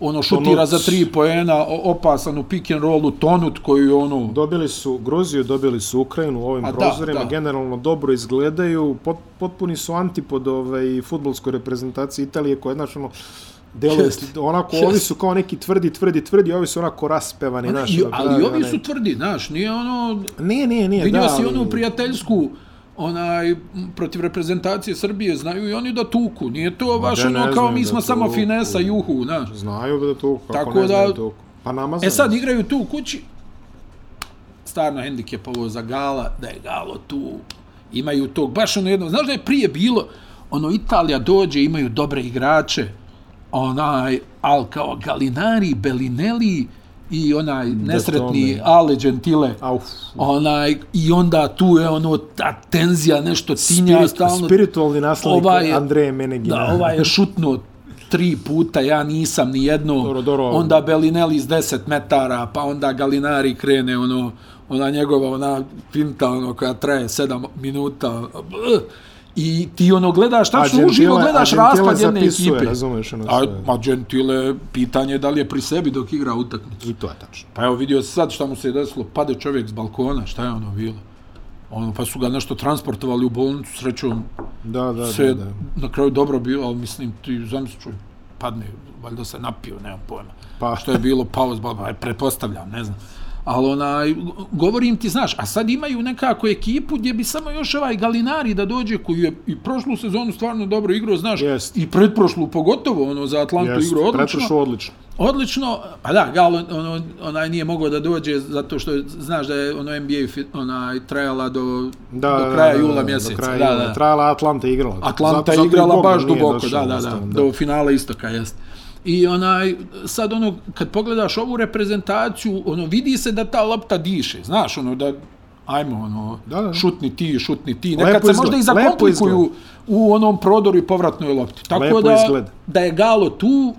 Speaker 2: ono šutira
Speaker 1: Tonut.
Speaker 2: za tri poena, o- opasan u pick and rollu, Tonut koji je ono...
Speaker 1: Dobili su Gruziju, dobili su Ukrajinu u ovim
Speaker 2: A da,
Speaker 1: prozorima,
Speaker 2: da.
Speaker 1: generalno dobro izgledaju, pot, potpuni su antipod ovaj, futbolskoj reprezentaciji Italije koja je, znaš, ono, deluje,
Speaker 2: Jest.
Speaker 1: onako,
Speaker 2: Jest.
Speaker 1: ovi su kao neki tvrdi, tvrdi, tvrdi, a ovi su onako raspevani, znaš.
Speaker 2: I,
Speaker 1: ono,
Speaker 2: ali i
Speaker 1: pravi
Speaker 2: ovi
Speaker 1: onaj-
Speaker 2: su tvrdi, znaš, nije ono...
Speaker 1: Ne, ne, ne,
Speaker 2: Vidio
Speaker 1: da,
Speaker 2: si onu
Speaker 1: ali-
Speaker 2: prijateljsku onaj m, protiv reprezentacije Srbije znaju i oni da tuku. Nije to baš
Speaker 1: da, ne
Speaker 2: ono kao
Speaker 1: znaju
Speaker 2: mi
Speaker 1: da
Speaker 2: smo samo
Speaker 1: tuku.
Speaker 2: finesa juhu, znaš.
Speaker 1: Znaju da to, kako
Speaker 2: Tako
Speaker 1: ne
Speaker 2: da-
Speaker 1: znaju to. Pa nama
Speaker 2: E
Speaker 1: znaju.
Speaker 2: sad igraju tu u kući. Stvarno hendikep ovo za Gala, da je Galo tu. Imaju tog, baš ono jedno, znaš da je prije bilo, ono Italija dođe, imaju dobre igrače, onaj, al kao Galinari, Bellinelli i onaj nesretni
Speaker 1: tome.
Speaker 2: Ale Gentile.
Speaker 1: Auf.
Speaker 2: Onaj, I onda tu je ono, ta tenzija, nešto tinja
Speaker 1: Spirit,
Speaker 2: stalno.
Speaker 1: spiritualni naslednik
Speaker 2: Ovaj je-
Speaker 1: Andreje Menegina.
Speaker 2: Da, ovaj je šutnuo tri puta, ja nisam ni jedno.
Speaker 1: Dobro, dobro.
Speaker 2: Onda Bellinelli iz 10 metara, pa onda Galinari krene ono ona njegova ona finta ono koja traje 7 minuta. bl, I ti ono gledaš,
Speaker 1: A
Speaker 2: šta su
Speaker 1: Gentile-
Speaker 2: uživo, gledaš
Speaker 1: a Gentile
Speaker 2: raspad jedne
Speaker 1: zapisuje,
Speaker 2: ekipe.
Speaker 1: razumeš, ono
Speaker 2: a,
Speaker 1: sve.
Speaker 2: ma Gentile, pitanje je da li je pri sebi dok igra utakmicu.
Speaker 1: I to je tačno.
Speaker 2: Pa evo vidio se sad šta mu se je desilo, pade čovjek s balkona, šta je ono bilo? Ono, pa su ga nešto transportovali u bolnicu, srećom
Speaker 1: Da, da,
Speaker 2: sve
Speaker 1: da, da.
Speaker 2: na kraju dobro bilo, ali mislim ti zamisli čovjek padne, valjda se napio, nemam pojma.
Speaker 1: Pa.
Speaker 2: Pa. Što je bilo pauz, ba, ba, pretpostavljam, ne znam. ali onaj, govorim ti, znaš, a sad imaju nekako ekipu gdje bi samo još ovaj Galinari da dođe koji je i prošlu sezonu stvarno dobro igrao, znaš,
Speaker 1: Jest.
Speaker 2: i pretprošlu pogotovo, ono, za Atlantu
Speaker 1: Jest,
Speaker 2: igrao odlično.
Speaker 1: pretršao odlično.
Speaker 2: Odlično, pa da, Gal on, on, onaj nije mogao da dođe zato što je- znaš da je ono NBA fit, onaj trajala do,
Speaker 1: Da,
Speaker 2: do kraja
Speaker 1: da, da,
Speaker 2: jula
Speaker 1: da,
Speaker 2: mjeseca.
Speaker 1: Do kraja
Speaker 2: da,
Speaker 1: jula.
Speaker 2: da.
Speaker 1: Trajala Atlanta je igrala.
Speaker 2: Atlanta
Speaker 1: zato
Speaker 2: je
Speaker 1: i
Speaker 2: igrala
Speaker 1: Bogdan
Speaker 2: baš
Speaker 1: nije
Speaker 2: duboko,
Speaker 1: došao
Speaker 2: da, da, da,
Speaker 1: jednostavno,
Speaker 2: do finala istoka, jest. I onaj, sad ono, kad pogledaš ovu reprezentaciju, ono, vidi se da ta lopta diše, znaš, ono, da, ajmo, ono,
Speaker 1: Da, da.
Speaker 2: šutni ti, šutni ti,
Speaker 1: Lepo
Speaker 2: nekad se
Speaker 1: izgleda,
Speaker 2: možda i
Speaker 1: lepo
Speaker 2: zakomplikuju
Speaker 1: izgleda.
Speaker 2: u onom prodoru i povratnoj lopti. Tako
Speaker 1: Lepo
Speaker 2: da,
Speaker 1: izgleda.
Speaker 2: da je Galo tu,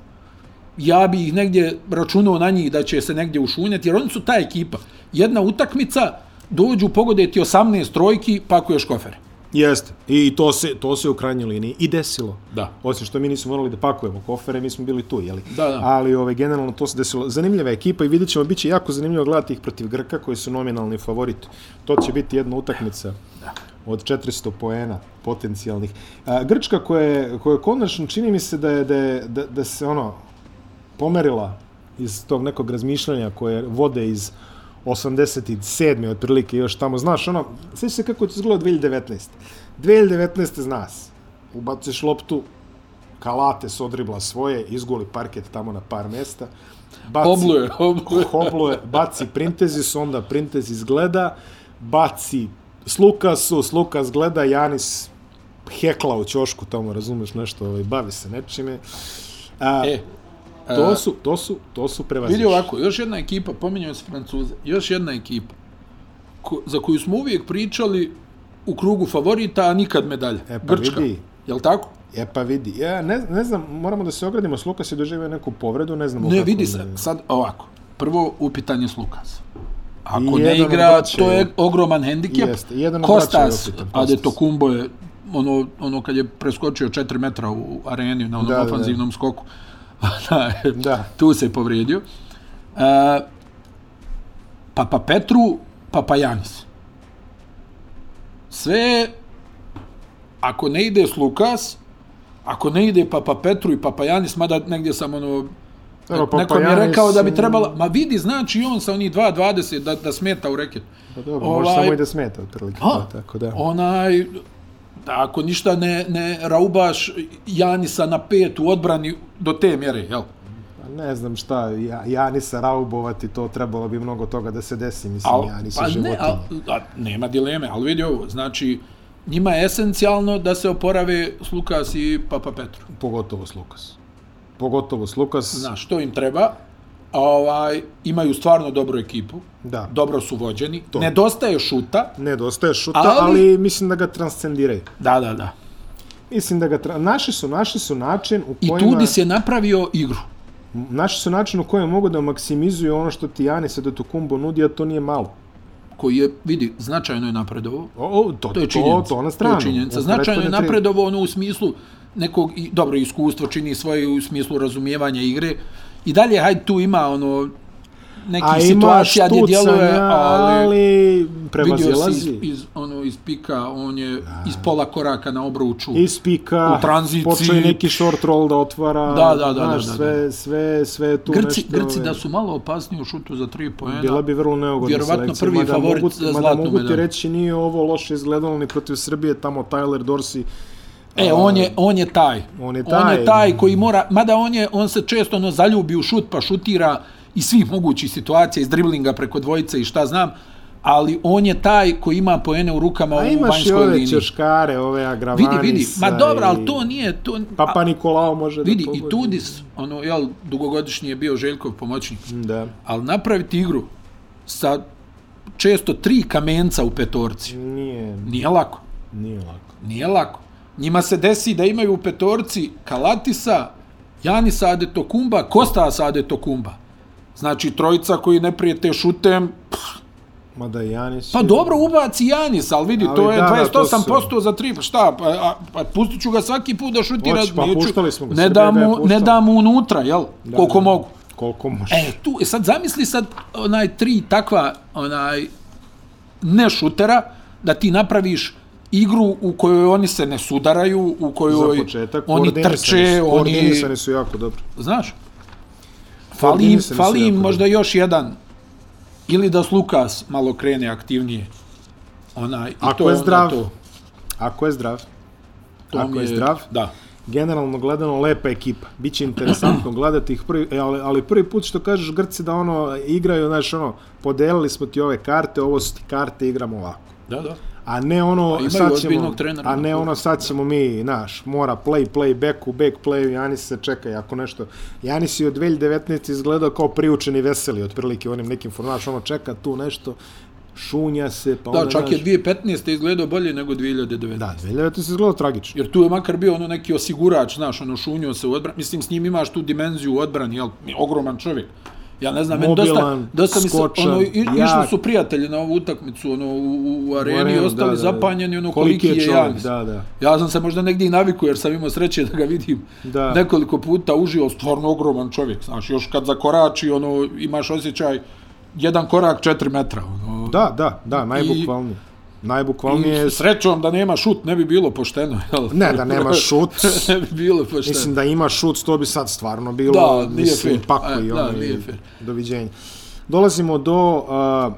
Speaker 2: ja bi ih negdje računao na njih da će se negdje ušunjati, jer oni su ta ekipa. Jedna utakmica, dođu, pogode ti 18 trojki, pa pakuješ kofere.
Speaker 1: Jeste. I to se, to se u krajnjoj liniji i desilo.
Speaker 2: Da.
Speaker 1: Osim što mi nismo morali da pakujemo kofere, mi smo bili tu, jeli?
Speaker 2: Da, da.
Speaker 1: Ali ove, generalno to se desilo. Zanimljiva ekipa i vidjet ćemo, bit će jako zanimljivo gledati ih protiv Grka koji su nominalni favorit. To će biti jedna utakmica od 400 poena potencijalnih. A, Grčka koja je, koja je konačno, čini mi se da, je, da, je, da, da se ono pomerila iz tog nekog razmišljanja koje vode iz 87. otprilike još tamo. Znaš, ono, sveći se kako će izgledati 2019. 2019. znaš, ubaciš loptu, Kalate se odribla svoje, izguli parket tamo na par mesta. Baci,
Speaker 2: Obluje, obluje.
Speaker 1: Hobluje, baci Printezis, onda Printezis gleda, baci Slukasu, Slukas gleda, Janis hekla u ćošku tamo, razumeš nešto, ovaj, bavi se nečime. A,
Speaker 2: E,
Speaker 1: To su, to su, to su prevazišli.
Speaker 2: Vidi ovako, još jedna ekipa, pominjao se Francuze, još jedna ekipa ko, za koju smo uvijek pričali u krugu favorita, a nikad medalja.
Speaker 1: E, pa
Speaker 2: Grčka.
Speaker 1: vidi.
Speaker 2: Jel tako?
Speaker 1: E pa vidi, ja ne, ne znam, moramo da se ogradimo, s Lukas je doživio neku povredu, ne znam.
Speaker 2: Ne,
Speaker 1: kako-
Speaker 2: vidi sad, sad ovako. Prvo, upitan je Slukas. Ako
Speaker 1: I
Speaker 2: ne
Speaker 1: jedan od
Speaker 2: igra,
Speaker 1: braće
Speaker 2: to
Speaker 1: je-
Speaker 2: je ogroman hendikep.
Speaker 1: Jeste, jedan od braće
Speaker 2: Kostas,
Speaker 1: je upitan, Kostas.
Speaker 2: Adetokumbo je, ono, ono kad je preskočio 4 metra u areni na onom
Speaker 1: Da, da, da.
Speaker 2: ofanzivnom skoku, da,
Speaker 1: Da.
Speaker 2: tu se je povrijedio. E, Papa Petru, Papa Janis. Sve, ako ne ide s Lukas, ako ne ide Papa Petru i Papa Janis, mada negdje sam ono,
Speaker 1: Evo,
Speaker 2: Neko mi je
Speaker 1: Papajanis,
Speaker 2: rekao da bi
Speaker 1: mm,
Speaker 2: trebala, ma vidi, znači i on sa onih 2.20 da, da smeta u reket.
Speaker 1: Pa dobro, može samo i da smeta, otprilike.
Speaker 2: Ovaj- A,
Speaker 1: to, tako da.
Speaker 2: Onaj, da ako ništa ne, ne raubaš Janisa na pet u odbrani do te mjere, jel?
Speaker 1: Pa Ne znam šta, ja, Janisa raubovati, to trebalo bi mnogo toga da se desi, mislim,
Speaker 2: Al,
Speaker 1: Janis je
Speaker 2: pa ne,
Speaker 1: životinja.
Speaker 2: a, a, nema dileme, ali vidi ovo, znači, njima je esencijalno da se oporave Slukas i Papa Petru.
Speaker 1: Pogotovo s Lukas. Pogotovo s Lukas,
Speaker 2: Znaš, što im treba, a ovaj, imaju stvarno dobru ekipu,
Speaker 1: da.
Speaker 2: dobro su vođeni, to. nedostaje šuta,
Speaker 1: Nedostaje šuta, ali...
Speaker 2: Ali-
Speaker 1: mislim da ga transcendiraju.
Speaker 2: da, da, da.
Speaker 1: Mislim da ga tra... naši su naši su način u
Speaker 2: I
Speaker 1: kojima
Speaker 2: Tudis je napravio igru.
Speaker 1: naši su način u kojem mogu da maksimizuju ono što ti Janis Adetokumbo nudi, a to nije malo.
Speaker 2: koji je, vidi, značajno je napredovo.
Speaker 1: O, o, to,
Speaker 2: To je činjenica.
Speaker 1: To, to na stranu.
Speaker 2: To je činjenica.
Speaker 1: U
Speaker 2: Značajno je
Speaker 1: prethodne tri-
Speaker 2: napredovo ono u smislu nekog, i, dobro, iskustvo čini svoje u smislu razumijevanja igre. I dalje, hajde, tu ima ono nekih
Speaker 1: A ima
Speaker 2: situacija
Speaker 1: štucanja,
Speaker 2: gdje djeluje, ali
Speaker 1: ali
Speaker 2: vidio si
Speaker 1: prevazilazi.
Speaker 2: iz, iz, ono, iz pika, on je iz pola koraka na obruču.
Speaker 1: iz pika,
Speaker 2: U tranziciji.
Speaker 1: počeo je neki short roll da otvara,
Speaker 2: Da, da, da,
Speaker 1: znaš,
Speaker 2: da, da,
Speaker 1: sve, sve, sve je tu
Speaker 2: Grci,
Speaker 1: nešto.
Speaker 2: Grci
Speaker 1: ovaj,
Speaker 2: da su malo opasniji u šutu za tri poena.
Speaker 1: Bila bi vrlo neugodna
Speaker 2: Vjerovatno
Speaker 1: selekcija,
Speaker 2: prvi
Speaker 1: mada
Speaker 2: favorit
Speaker 1: mogu,
Speaker 2: za
Speaker 1: mada
Speaker 2: zlatnu
Speaker 1: mogu ti
Speaker 2: medalju.
Speaker 1: reći nije ovo loše izgledalo ni protiv Srbije, tamo Tyler Dorsey,
Speaker 2: E, on je, on je taj.
Speaker 1: On je
Speaker 2: On
Speaker 1: taj.
Speaker 2: je taj koji mora, mada on, je, on se često ono zaljubi u šut pa šutira iz svih mogućih situacija, iz driblinga preko dvojice i šta znam, ali on je taj koji ima poene u rukama
Speaker 1: a
Speaker 2: u
Speaker 1: imaš i
Speaker 2: vanjskoj
Speaker 1: ove
Speaker 2: liniji.
Speaker 1: Ćoškare, ove Agravanisa.
Speaker 2: Vidi, vidi, ma dobro, ali to
Speaker 1: i Pa,
Speaker 2: nije... To,
Speaker 1: Papa
Speaker 2: a,
Speaker 1: Nikolao može
Speaker 2: vidi,
Speaker 1: da
Speaker 2: i
Speaker 1: pogodi.
Speaker 2: Tudis, ono, jel, dugogodišnji je bio Željkov pomoćnik,
Speaker 1: Da.
Speaker 2: ali napraviti igru sa često tri kamenca u petorci,
Speaker 1: Nije,
Speaker 2: nije lako.
Speaker 1: nije lako.
Speaker 2: Nije lako. Njima se desi da imaju u petorci Kalatisa, Janisa Adetokumba, Kostasa Adetokumba. Znači, trojica koji ne prijete šutem, pff,
Speaker 1: Mada Janis...
Speaker 2: pa
Speaker 1: je-
Speaker 2: dobro ubaci Janis, ali vidi,
Speaker 1: Ali
Speaker 2: to je
Speaker 1: da, da, to
Speaker 2: 28% za tri, pa šta, pa, a, pa pustit ću ga svaki put da šutira.
Speaker 1: Hoće, pa
Speaker 2: neću-
Speaker 1: puštali smo ga,
Speaker 2: ne
Speaker 1: Srbija
Speaker 2: da,
Speaker 1: ga je
Speaker 2: mu, ne
Speaker 1: puštala.
Speaker 2: da mu unutra, jel? Koliko
Speaker 1: da.
Speaker 2: mogu.
Speaker 1: Koliko može.
Speaker 2: E, tu, e sad zamisli sad onaj tri takva, onaj, ne šutera, da ti napraviš igru u kojoj oni se ne sudaraju, u kojoj
Speaker 1: za početak,
Speaker 2: oni
Speaker 1: koordinisani
Speaker 2: trče,
Speaker 1: su,
Speaker 2: oni,
Speaker 1: Koordinisani su jako dobro.
Speaker 2: znaš, fali im,
Speaker 1: Koordinisani su
Speaker 2: fali im
Speaker 1: jako
Speaker 2: možda
Speaker 1: dobro.
Speaker 2: još jedan Ili da s Lukas malo krene aktivnije. Onaj, i
Speaker 1: Ako
Speaker 2: to
Speaker 1: je
Speaker 2: onda
Speaker 1: zdrav.
Speaker 2: To,
Speaker 1: Ako je zdrav.
Speaker 2: to
Speaker 1: Ako
Speaker 2: mi
Speaker 1: je zdrav.
Speaker 2: Da.
Speaker 1: Generalno gledano, lepa ekipa. Biće interesantno gledati ih prvi, e, ali, ali prvi put što kažeš Grci da ono igraju, znaš, ono, podelili smo ti ove karte, ovo su ti karte, igramo ovako.
Speaker 2: Da, da.
Speaker 1: A ne ono,
Speaker 2: imaju
Speaker 1: sad ćemo,
Speaker 2: ozbiljnog trenera
Speaker 1: a
Speaker 2: na
Speaker 1: ne
Speaker 2: klubu.
Speaker 1: ono, sad ćemo mi, znaš, mora play, play, back u back play, Janis se čekaj, ako nešto. Janis je od 2019. izgledao kao priučeni veseli, otprilike u onim nekim formaš, ono čeka tu nešto, šunja se, pa
Speaker 2: Da,
Speaker 1: onda,
Speaker 2: čak
Speaker 1: znaš,
Speaker 2: je 2015. izgledao bolje nego 2019.
Speaker 1: Da, 2019. izgledao tragično.
Speaker 2: Znači, Jer tu je makar bio ono neki osigurač, znaš, ono šunio se u odbrani. Mislim, s njim imaš tu dimenziju u odbrani, jel, ogroman čovjek. Ja ne znam, meni
Speaker 1: Mobilan,
Speaker 2: dosta mi se,
Speaker 1: skočan,
Speaker 2: ono, i, išli
Speaker 1: jak.
Speaker 2: su prijatelji na ovu utakmicu, ono, u, u areni,
Speaker 1: Moreno,
Speaker 2: i ostali
Speaker 1: da, da, da.
Speaker 2: zapanjeni, ono, koliki, je,
Speaker 1: čovjek,
Speaker 2: Janis.
Speaker 1: Da, da.
Speaker 2: Ja sam se možda negdje i naviku, jer sam imao sreće da ga vidim
Speaker 1: Da.
Speaker 2: nekoliko puta uživo, stvarno ogroman čovjek, znaš, još kad zakorači, ono, imaš osjećaj, jedan korak, četiri metra, ono,
Speaker 1: Da, da, da, najbukvalnije. Najbukvalnije je...
Speaker 2: I srećom da nema šut, ne bi bilo pošteno, jel?
Speaker 1: Ne, da nema šut.
Speaker 2: ne bi bilo pošteno.
Speaker 1: Mislim da ima šut, to bi sad stvarno bilo,
Speaker 2: Da, nije
Speaker 1: mislim,
Speaker 2: fair.
Speaker 1: paku
Speaker 2: E,
Speaker 1: i
Speaker 2: da,
Speaker 1: ono,
Speaker 2: nije
Speaker 1: i
Speaker 2: fair.
Speaker 1: doviđenja. Dolazimo do uh,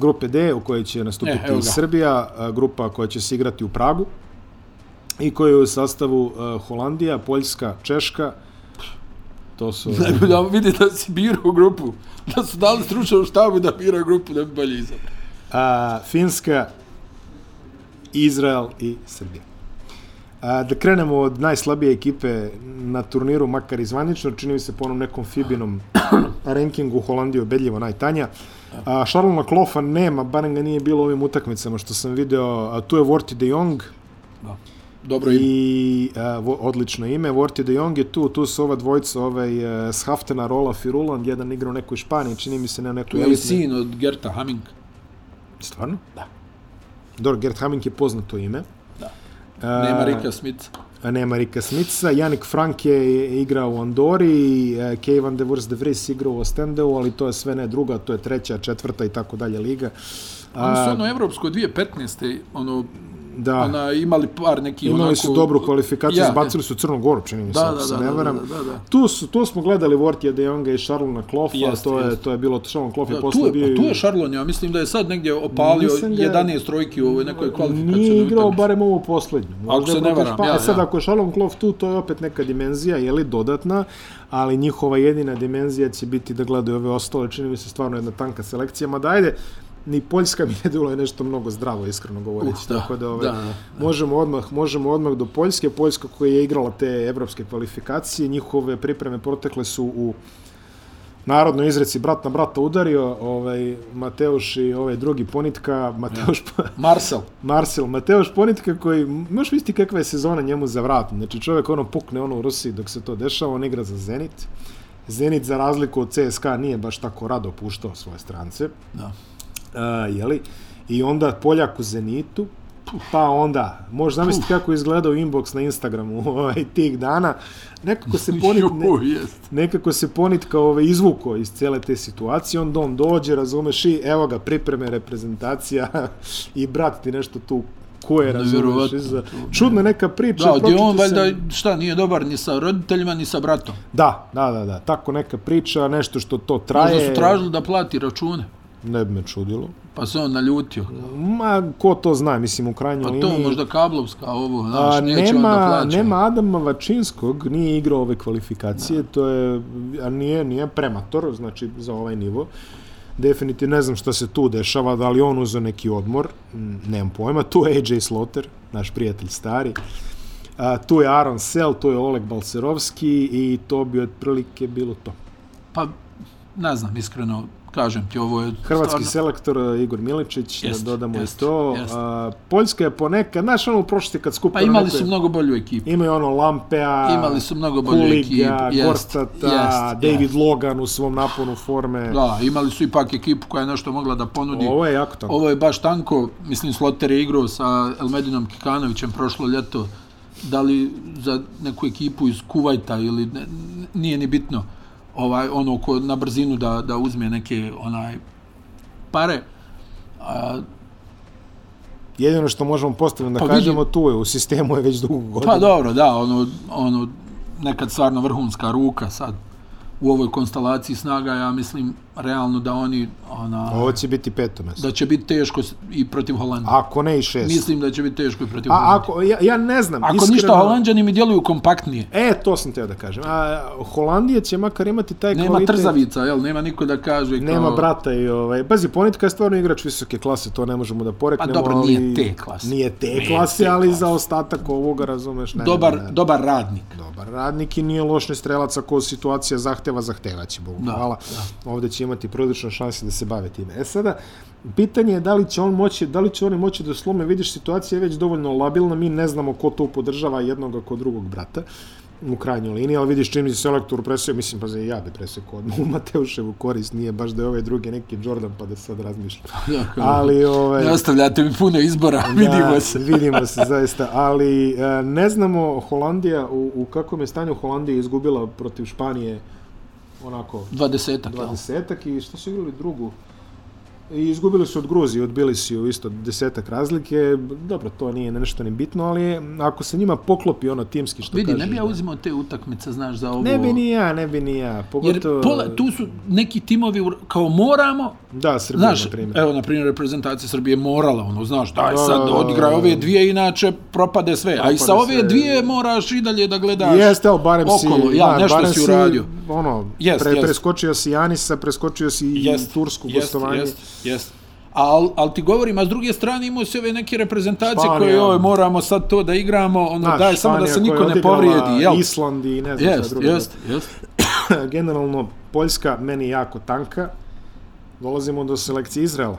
Speaker 1: grupe D u kojoj će nastupiti
Speaker 2: E, evo
Speaker 1: e,
Speaker 2: ga.
Speaker 1: Srbija, uh, grupa koja će se igrati u Pragu i koju je u sastavu uh, Holandija, Poljska, Češka, to su...
Speaker 2: da vidi da si birao grupu. Da su dali stručnom štabu da bira grupu, da bi bolje izabrao.
Speaker 1: a, Finska, Izrael i Srbija. A, da krenemo od najslabije ekipe na turniru, makar i zvanično, čini mi se po onom nekom Fibinom rankingu Holandija je ubedljivo najtanja. A, Šarlona Klofa nema, barem ga nije bilo u ovim utakmicama što sam video. A, tu je Vorti de Jong
Speaker 2: Da. Dobro ime.
Speaker 1: i a, vo, odlično ime. Vorti de Jong je tu, tu su ova dvojica, ovaj, e, Shaftena, Rola, Firulan, jedan igra u nekoj Španiji, čini mi se ne u
Speaker 2: Tu
Speaker 1: nekoj
Speaker 2: je i
Speaker 1: elitnoj-
Speaker 2: sin od Gerta Haming.
Speaker 1: Stvarno?
Speaker 2: Da.
Speaker 1: Dobro, Gert Hamink je poznato ime.
Speaker 2: Da.
Speaker 1: A,
Speaker 2: Nema Rika Smitha.
Speaker 1: a Nema Rika Smica. Janik Frank je je igrao u Andori, e, Kej van de Vurs de Vries igrao u Ostendeu, ali to je sve ne druga, to je treća, četvrta i tako dalje liga.
Speaker 2: Oni su ono evropsko 2015. Ono,
Speaker 1: Da,
Speaker 2: ona, imali par neki
Speaker 1: Pa. imali
Speaker 2: onako...
Speaker 1: su dobru kvalifikaciju,
Speaker 2: Ja,
Speaker 1: ja,
Speaker 2: ja.
Speaker 1: zbacili su Crnu Goru, čini mi se,
Speaker 2: Da,
Speaker 1: ako
Speaker 2: da,
Speaker 1: se
Speaker 2: da,
Speaker 1: ne
Speaker 2: da,
Speaker 1: varam.
Speaker 2: da, da, da.
Speaker 1: Tu, su, tu smo gledali Vortija de Jonga i Šarlona Klofa,
Speaker 2: Jeste,
Speaker 1: to, je,
Speaker 2: jeste.
Speaker 1: to je bilo, Šarlon Klof je
Speaker 2: Da,
Speaker 1: posle
Speaker 2: tu
Speaker 1: bio...
Speaker 2: je,
Speaker 1: i-
Speaker 2: pa tu je Šarlon, ja mislim da je sad negdje opalio
Speaker 1: Mislim da je-
Speaker 2: 11 trojki u ovoj nekoj kvalifikacijnoj
Speaker 1: Nije igrao
Speaker 2: utakmici.
Speaker 1: barem ovo poslednju.
Speaker 2: se
Speaker 1: je
Speaker 2: ne
Speaker 1: protiv
Speaker 2: varam,
Speaker 1: Špa-
Speaker 2: ja,
Speaker 1: E sad,
Speaker 2: ja.
Speaker 1: ako je Šalom Klov tu, to je opet neka dimenzija, je li dodatna, ali njihova jedina dimenzija će biti da gledaju ove ostale, čini mi se stvarno jedna tanka selekcija, mada ajde, ni Poljska mi ne delo je nešto mnogo zdravo, iskreno govoreći.
Speaker 2: Uh, da,
Speaker 1: Tako da, ovaj,
Speaker 2: da, da.
Speaker 1: možemo odmah, možemo odmah do Poljske. Poljska koja je igrala te evropske kvalifikacije, njihove pripreme protekle su u narodno izreci brat na brata udario, ovaj Mateuš i ovaj drugi ponitka, Mateuš ja.
Speaker 2: Marcel.
Speaker 1: Marcel, Mateoš Ponitka koji, možeš misliti kakva je sezona njemu za vrat. Znači čovjek ono pukne ono u Rusiji dok se to dešava, on igra za Zenit. Zenit za razliku od CSKA nije baš tako rado puštao svoje strance.
Speaker 2: Da.
Speaker 1: Uh, jeli? I onda Poljak u Zenitu, pa onda, možeš zamisliti kako je izgledao inbox na Instagramu ovaj, tih dana. Nekako se Ponit, ne,
Speaker 2: Juhu, jest.
Speaker 1: nekako se ponitka ove izvuko iz cele te situacije, onda on dođe, razumeš i evo ga pripreme reprezentacija i brat ti nešto tu koje razumeš.
Speaker 2: Nevjerovatno.
Speaker 1: Iza... Čudna neka priča.
Speaker 2: Da, gdje on
Speaker 1: pročitao sam-
Speaker 2: valjda, šta, nije dobar ni sa roditeljima, ni sa bratom.
Speaker 1: Da, da, da, da, tako neka priča, nešto što to traje.
Speaker 2: Možda su tražili da plati račune,
Speaker 1: Ne bi me čudilo.
Speaker 2: pa se on naljutio.
Speaker 1: Ma, ko to zna, mislim, u krajnjoj
Speaker 2: Pa
Speaker 1: liniji.
Speaker 2: to možda kablovska ovo, znaš,
Speaker 1: A,
Speaker 2: neće on da
Speaker 1: Pa nema,
Speaker 2: plaća.
Speaker 1: nema Adama Vačinskog, nije igrao ove kvalifikacije, to je, a nije, nije premator, znači za ovaj nivo. Definitivno ne znam šta se tu dešava, da li on uzeo neki odmor, mm, nemam pojma. Tu je AJ Sloter, naš prijatelj stari. A, tu je Aaron Sell, tu je Oleg Balcerovski i to bi otprilike bilo to.
Speaker 2: Pa, ne znam, iskreno, kažem ti, ovo je
Speaker 1: Hrvatski
Speaker 2: stvarno...
Speaker 1: selektor e, Igor Miličić,
Speaker 2: Jeste,
Speaker 1: da dodamo
Speaker 2: jeste,
Speaker 1: i to.
Speaker 2: jeste.
Speaker 1: A, Poljska je ponekad, znaš ono u prošlosti kad
Speaker 2: Pa
Speaker 1: skupila
Speaker 2: imali
Speaker 1: neke-
Speaker 2: su mnogo bolju ekipu.
Speaker 1: Imaju ono Lampea,
Speaker 2: Imali su mnogo bolju
Speaker 1: Kuliga,
Speaker 2: ekipu, jest,
Speaker 1: Gortata,
Speaker 2: jest,
Speaker 1: David
Speaker 2: jest.
Speaker 1: Logan u svom naponu forme.
Speaker 2: Da, imali su ipak ekipu koja je nešto mogla da ponudi.
Speaker 1: Ovo je jako tanko.
Speaker 2: Ovo je baš tanko, mislim Sloter je igrao sa Elmedinom Kikanovićem prošlo ljeto, da li za neku ekipu iz Kuvajta ili ne, nije ni bitno, ovaj, ono ko na brzinu da, da uzme neke onaj pare, a,
Speaker 1: Jedino što možemo postavljeno da
Speaker 2: Pa
Speaker 1: pa,
Speaker 2: vidi-
Speaker 1: kažemo, tu je, u sistemu je već dugo godina.
Speaker 2: Pa dobro, da, ono, ono, nekad stvarno vrhunska ruka sad u ovoj konstelaciji snaga, ja mislim, realno da oni ona,
Speaker 1: Ovo će biti peto mesto.
Speaker 2: da će biti teško s- i protiv Holandije.
Speaker 1: Ako ne i šest.
Speaker 2: Mislim da će biti teško i protiv
Speaker 1: A
Speaker 2: Holandije.
Speaker 1: ako, ja, ja ne znam,
Speaker 2: Ako
Speaker 1: iskreno...
Speaker 2: ništa, Holandjani mi djeluju kompaktnije.
Speaker 1: E, to sam teo da kažem. A, Holandija će makar imati taj
Speaker 2: Nema
Speaker 1: kvalitet...
Speaker 2: trzavica, jel? Nema niko da kaže kao...
Speaker 1: Nema brata i ovaj... Pazi, Ponitka je stvarno igrač visoke klase, to ne možemo da poreknemo,
Speaker 2: Pa dobro,
Speaker 1: ali...
Speaker 2: nije te klase.
Speaker 1: Nije te klase, ali za ostatak ovoga, razumeš, ne,
Speaker 2: Dobar,
Speaker 1: ne, ne.
Speaker 2: dobar radnik.
Speaker 1: Dobar radnik i nije loš ni strelac ako situacija zahteva, zahtevaće, Bogu
Speaker 2: Da,
Speaker 1: hvala. Ovde će imati prilično šanse da se bave time. E sada, pitanje je da li će on moći, da li će oni moći da slome, vidiš, situacija je već dovoljno labilna, mi ne znamo ko to podržava jednog ako drugog brata u krajnjoj liniji, ali vidiš čim je selektor presio, mislim, pa za ja bi presekao odmah u Mateuševu korist, nije baš da je ovaj drugi neki Jordan, pa da sad razmišljam.
Speaker 2: Dakle,
Speaker 1: Ali, ovaj...
Speaker 2: Ne ostavljate mi puno izbora, vidimo se.
Speaker 1: vidimo se zaista, ali e, ne znamo Holandija u, u kakvom je stanju Holandija izgubila protiv Španije onako
Speaker 2: Dvadesetak, jel?
Speaker 1: dvadesetak i što su igrali drugu? I izgubili su od Gruzije, od Bilisiju isto desetak razlike. Dobro, to nije nešto ni bitno, ali je, ako se njima poklopi ono timski što
Speaker 2: Vidi,
Speaker 1: kažeš.
Speaker 2: ne bi ja
Speaker 1: da-
Speaker 2: uzimao te utakmice, znaš, za ovo...
Speaker 1: Ne bi ni ja, ne bi ni ja.
Speaker 2: Jer
Speaker 1: Pogotovo...
Speaker 2: pola, tu su neki timovi u- kao moramo,
Speaker 1: Da, Srbija,
Speaker 2: znaš,
Speaker 1: na primjer.
Speaker 2: evo na primjer reprezentacija Srbije morala, ono, znaš, daj
Speaker 1: Da,
Speaker 2: sad
Speaker 1: da, da,
Speaker 2: odigraj
Speaker 1: da.
Speaker 2: ove dvije, inače propade sve. A i sa
Speaker 1: Propade
Speaker 2: ove
Speaker 1: sve.
Speaker 2: dvije moraš i dalje da gledaš.
Speaker 1: Jeste, ali barem si...
Speaker 2: okolo, ja,
Speaker 1: da,
Speaker 2: nešto
Speaker 1: barem
Speaker 2: si uradio.
Speaker 1: Ono,
Speaker 2: Jest,
Speaker 1: pre,
Speaker 2: jest.
Speaker 1: preskočio si Janisa, preskočio si i Tursku gostovanje.
Speaker 2: Jest, jest. Al, al ti govorim, a s druge strane imao se ove neke reprezentacije
Speaker 1: Španija.
Speaker 2: koje joj, moramo sad to da igramo, ono,
Speaker 1: Znaš,
Speaker 2: daj samo da
Speaker 1: Španija
Speaker 2: se
Speaker 1: koja
Speaker 2: niko
Speaker 1: je
Speaker 2: ne
Speaker 1: odigrala
Speaker 2: povrijedi, jel?
Speaker 1: Island i ne znam šta
Speaker 2: Jest,
Speaker 1: drugo.
Speaker 2: jest, jest.
Speaker 1: Generalno, Poljska meni jako tanka. Dolazimo do selekcije Izraela,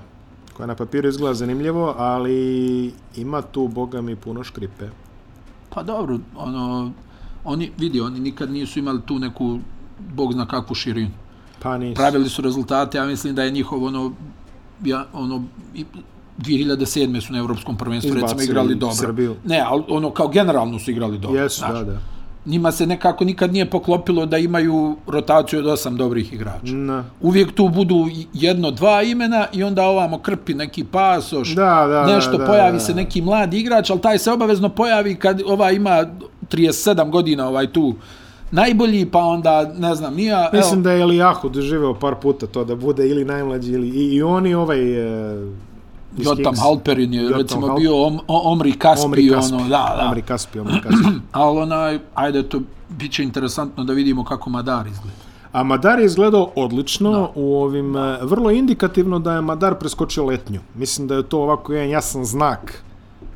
Speaker 1: koja na papiru izgleda zanimljivo, ali ima tu, boga mi, puno škripe.
Speaker 2: Pa dobro, ono, oni, vidi, oni nikad nisu imali tu neku, bog zna kakvu širinu.
Speaker 1: Pa nisu.
Speaker 2: Pravili su rezultate, ja mislim da je njihov, ono, ja, ono, i- 2007. su na Evropskom prvenstvu, recimo,
Speaker 1: Izbacili
Speaker 2: igrali dobro.
Speaker 1: Srbiju.
Speaker 2: Ne, ali ono, kao generalno su igrali dobro.
Speaker 1: Jesu,
Speaker 2: znaš.
Speaker 1: da, da.
Speaker 2: Njima se nekako nikad nije poklopilo da imaju rotaciju od osam dobrih igrača.
Speaker 1: Na.
Speaker 2: Uvijek tu budu jedno, dva imena i onda ovamo krpi neki pasoš,
Speaker 1: Da, da,
Speaker 2: nešto
Speaker 1: da, da,
Speaker 2: pojavi
Speaker 1: da.
Speaker 2: se neki mladi igrač, ali taj se obavezno pojavi kad ova ima 37 godina ovaj tu najbolji, pa onda ne znam, nija,
Speaker 1: Mislim
Speaker 2: evo,
Speaker 1: da je Elijahu doživeo par puta to da bude ili najmlađi ili i, i on i ovaj e, iz
Speaker 2: Jotam
Speaker 1: Kings.
Speaker 2: Halperin je
Speaker 1: Jotam
Speaker 2: recimo
Speaker 1: Halper-
Speaker 2: bio om, o- Omri Kaspi,
Speaker 1: Omri Kaspi.
Speaker 2: ono, da, da.
Speaker 1: Omri Kaspi, Omri Kaspi.
Speaker 2: Ali onaj, ajde, to bit će interesantno da vidimo kako Madar izgleda.
Speaker 1: A Madar je izgledao odlično u ovim, e, vrlo indikativno da je Madar preskočio letnju. Mislim da je to ovako jedan jasan znak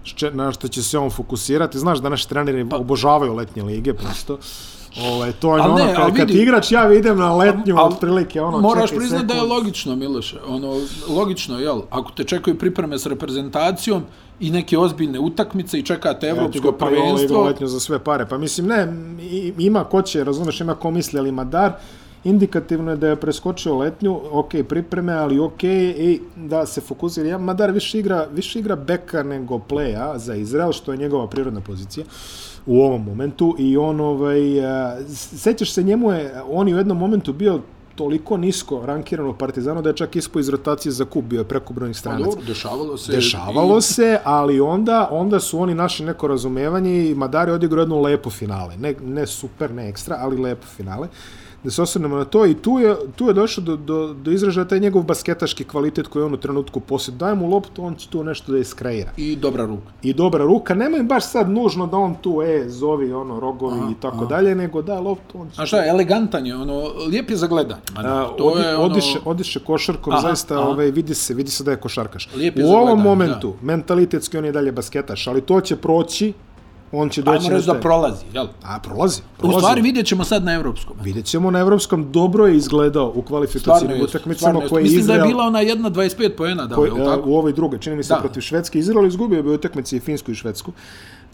Speaker 1: šče- na što će se on fokusirati. Znaš da naši treneri
Speaker 2: Pa-
Speaker 1: obožavaju letnje lige, prosto. Ovaj, to je
Speaker 2: Al
Speaker 1: ono,
Speaker 2: ne, al
Speaker 1: kad, kad
Speaker 2: vidi-
Speaker 1: igrač ja idem na letnju,
Speaker 2: al-
Speaker 1: otprilike ono,
Speaker 2: Moraš
Speaker 1: čekaj
Speaker 2: priznat da je
Speaker 1: sekund.
Speaker 2: logično, Miloše. Ono, logično, jel? Ako te čekaju pripreme s reprezentacijom i neke ozbiljne utakmice i čekate Znači, evropsko
Speaker 1: Pa i ovo igra
Speaker 2: prvenstvo,
Speaker 1: letnju za sve pare. Pa mislim, ne, i- ima ko će, razumeš, ima ko misli, ali Madar, indikativno je da je preskočio letnju, ok, pripreme, ali ok, i da se fokusira. Ja, Madar više igra, više igra beka nego playa za Izrael, što je njegova prirodna pozicija u ovom momentu i on ovaj a, s- sećaš se njemu je on je u jednom momentu bio toliko nisko rankiran u Partizanu da je čak ispao iz rotacije za kup bio je prekobrojnih
Speaker 2: Pa
Speaker 1: stranaca.
Speaker 2: dobro, dešavalo se.
Speaker 1: Dešavalo
Speaker 2: i-
Speaker 1: se, ali onda, onda su oni našli neko razumevanje i Madar je odigrao jedno lepo finale. Ne, ne super, ne ekstra, ali lepo finale. Da se osvrnemo na to i tu je, tu je došlo do, do, do izražaja taj njegov basketaški kvalitet koji on u trenutku posjed. Daj mu loptu, on će tu nešto da iskreira.
Speaker 2: I dobra ruka.
Speaker 1: I dobra ruka, nemoj baš sad nužno da on tu, e, zovi ono, rogovi i tako dalje, nego da loptu, on će...
Speaker 2: A šta je, elegantan je, ono, lijep je za gledanje. Ma da, ono,
Speaker 1: A, odi, je odiše, odiše košarkom,
Speaker 2: Aha,
Speaker 1: aha, zaista
Speaker 2: aha.
Speaker 1: Ovaj, vidi se vidi se da je košarkaš.
Speaker 2: Lijep je
Speaker 1: u
Speaker 2: za
Speaker 1: ovom
Speaker 2: gledanje,
Speaker 1: momentu, da. mentalitetski on je dalje basketaš, ali to će proći, on će doći
Speaker 2: Ajmo reći da
Speaker 1: taj-
Speaker 2: prolazi, jel?
Speaker 1: A, prolazi,
Speaker 2: U
Speaker 1: prolazi.
Speaker 2: stvari vidjet ćemo sad na evropskom.
Speaker 1: Vidjet ćemo na evropskom, dobro je izgledao u
Speaker 2: Stvarno
Speaker 1: kvalifikacijnim
Speaker 2: je,
Speaker 1: utakmicama
Speaker 2: stvarno je.
Speaker 1: koje je
Speaker 2: Mislim da
Speaker 1: Izrael...
Speaker 2: je bila ona jedna 25 pojena, da,
Speaker 1: Ko,
Speaker 2: jel tako?
Speaker 1: a, u ovoj drugoj, čini mi se
Speaker 2: Da.
Speaker 1: da. protiv Švedske. Izrael izgubio bi utakmice i Finsku i Švedsku.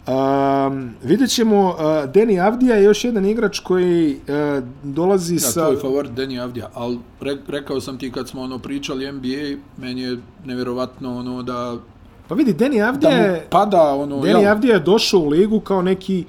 Speaker 1: Um, vidjet ćemo, uh, Deni Avdija je još jedan igrač koji uh, dolazi
Speaker 2: Ja,
Speaker 1: sa...
Speaker 2: tvoj favorit Deni Avdija, ali re, rekao sam ti kad smo ono pričali NBA, meni je nevjerovatno ono da,
Speaker 1: Pa vidi, Deni Avdija
Speaker 2: da mu
Speaker 1: je...
Speaker 2: pada ono,
Speaker 1: Deni
Speaker 2: jel?
Speaker 1: Avdija je došao u ligu kao neki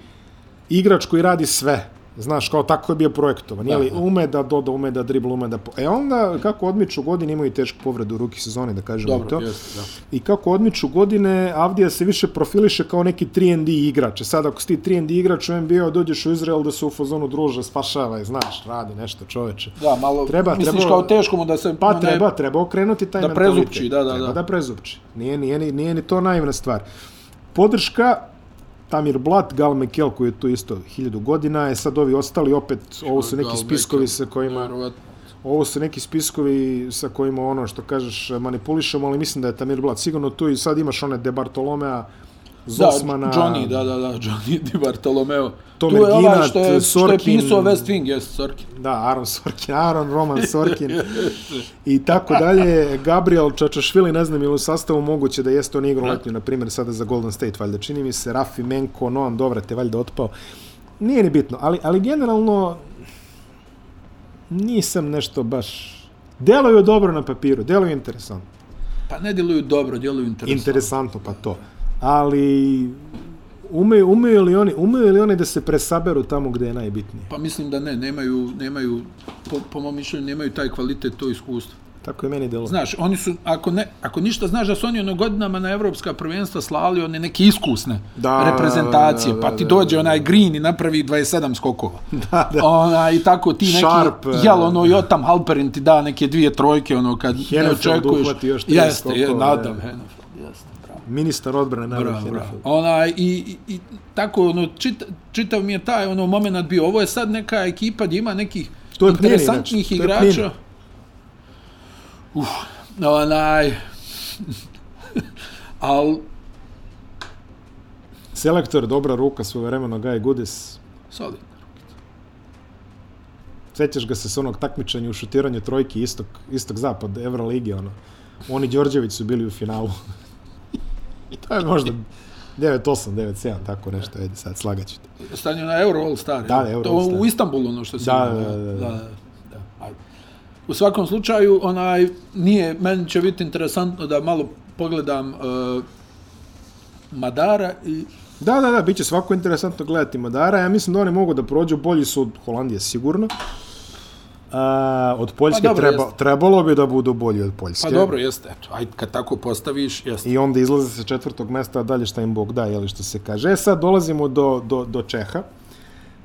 Speaker 1: igrač koji radi sve. Znaš, kao tako je bio projektovan. Jeli, ume da doda, ume da dribla, ume da... Po... E onda, kako odmiču godine, imaju tešku povredu u ruki sezoni, da kažemo
Speaker 2: Dobro,
Speaker 1: i to.
Speaker 2: jeste, da.
Speaker 1: I kako odmiču godine, Avdija se više profiliše kao neki 3&D igrač. E Sad, ako si ti 3&D igrač u NBA, dođeš u Izrael da se u fazonu druže, spašavaj, znaš, radi nešto čoveče.
Speaker 2: Da, malo,
Speaker 1: Treba,
Speaker 2: misliš
Speaker 1: treba-
Speaker 2: kao teško mu da se...
Speaker 1: Pa
Speaker 2: onaj-
Speaker 1: treba, treba okrenuti taj
Speaker 2: Da
Speaker 1: mentalitet.
Speaker 2: prezupči, da, da,
Speaker 1: treba
Speaker 2: da.
Speaker 1: da prezupči. Nije, nije, nije, nije ni to naivna stvar. Podrška, Tamir Blat, Gal Mekel koji je tu isto hiljadu godina, je sad ovi ostali opet, ovo su neki
Speaker 2: Gal
Speaker 1: spiskovi
Speaker 2: Mekel.
Speaker 1: sa kojima,
Speaker 2: Verovatno.
Speaker 1: ovo su neki spiskovi sa kojima ono što kažeš manipulišemo, ali mislim da je Tamir Blat sigurno tu i sad imaš one De Bartolomea, Zosmana,
Speaker 2: Da, Johnny, da, da, da, Johnny Di Bartolomeo.
Speaker 1: Tomer
Speaker 2: tu je ovaj
Speaker 1: Ginat,
Speaker 2: što je, što
Speaker 1: Sorkin.
Speaker 2: je pisao West Wing, jes, Sorkin.
Speaker 1: da, Aaron Sorkin, Aaron Roman Sorkin i tako dalje. Gabriel Čačašvili, ne znam je li u sastavu moguće da jeste on igro letnju, na primjer, sada za Golden State, valjda čini mi se, Rafi Menko, Noam Dovrat je valjda otpao. Nije ni bitno, ali, ali generalno nisam nešto baš... Deluju dobro na papiru, deluju interesantno.
Speaker 2: Pa ne djeluju dobro, djeluju interesantno.
Speaker 1: Interesantno pa to. Ali umeju, umeju, li oni, umeju li oni da se presaberu tamo gde je najbitnije?
Speaker 2: Pa mislim da ne, nemaju, nemaju po, po mom mišljenju, nemaju taj kvalitet, to iskustvo.
Speaker 1: Tako je meni delo.
Speaker 2: Znaš, oni su, ako, ne, ako ništa znaš da su oni ono godinama na evropska prvenstva slali one neke iskusne
Speaker 1: Da,
Speaker 2: reprezentacije,
Speaker 1: da, da,
Speaker 2: pa ti
Speaker 1: da,
Speaker 2: dođe onaj Green i napravi 27 skokova.
Speaker 1: Da, da.
Speaker 2: Ona, I tako ti neki,
Speaker 1: Sharp, eh,
Speaker 2: jel, ono, Jotam Halperin ti da neke dvije trojke, ono, kad ne
Speaker 1: Hennefeld
Speaker 2: očekuješ.
Speaker 1: uhvati još tri
Speaker 2: jeste, je,
Speaker 1: skokova,
Speaker 2: nadam,
Speaker 1: je.
Speaker 2: Hennefeld, jeste, bravo.
Speaker 1: Ministar odbrane Nadir
Speaker 2: Bravo, bravo.
Speaker 1: Hennefeld.
Speaker 2: Ona, i, i, i tako, ono, čita, čitav mi je taj ono moment bio. Ovo je sad neka ekipa gdje ima nekih
Speaker 1: To je Pnini,
Speaker 2: interesantnih
Speaker 1: znači, to je
Speaker 2: igrača. Uf, onaj... Al,
Speaker 1: Selektor, dobra ruka, svojevremeno Gaj Gudis.
Speaker 2: solidno.
Speaker 1: Sećaš ga se s onog takmičenja u šutiranju trojki istok, istok zapad Evroligi, ono. Oni Đorđević su bili u finalu. to je možda 9-8, 9-7, tako nešto, ajde sad, slagaću te.
Speaker 2: Stanje na Euro All Star.
Speaker 1: Da,
Speaker 2: jel?
Speaker 1: da, Euro
Speaker 2: to,
Speaker 1: All Star.
Speaker 2: U Istanbulu, ono što se...
Speaker 1: Da, da, da, da.
Speaker 2: Ajde. U svakom slučaju, onaj, nije, meni će biti interesantno da malo pogledam uh, Madara i
Speaker 1: Da, da, da, bit će svako interesantno gledati Madara. Ja mislim da oni mogu da prođu, bolji su od Holandije sigurno. A, od Poljske
Speaker 2: Pa dobro,
Speaker 1: treba,
Speaker 2: jeste.
Speaker 1: trebalo bi da budu bolji od Poljske.
Speaker 2: Pa dobro, jeste, eto, ajde, kad tako postaviš, jeste.
Speaker 1: I onda izlaze sa četvrtog mesta, a dalje šta im Bog da, jeli što se kaže. E sad dolazimo do, do, do Čeha.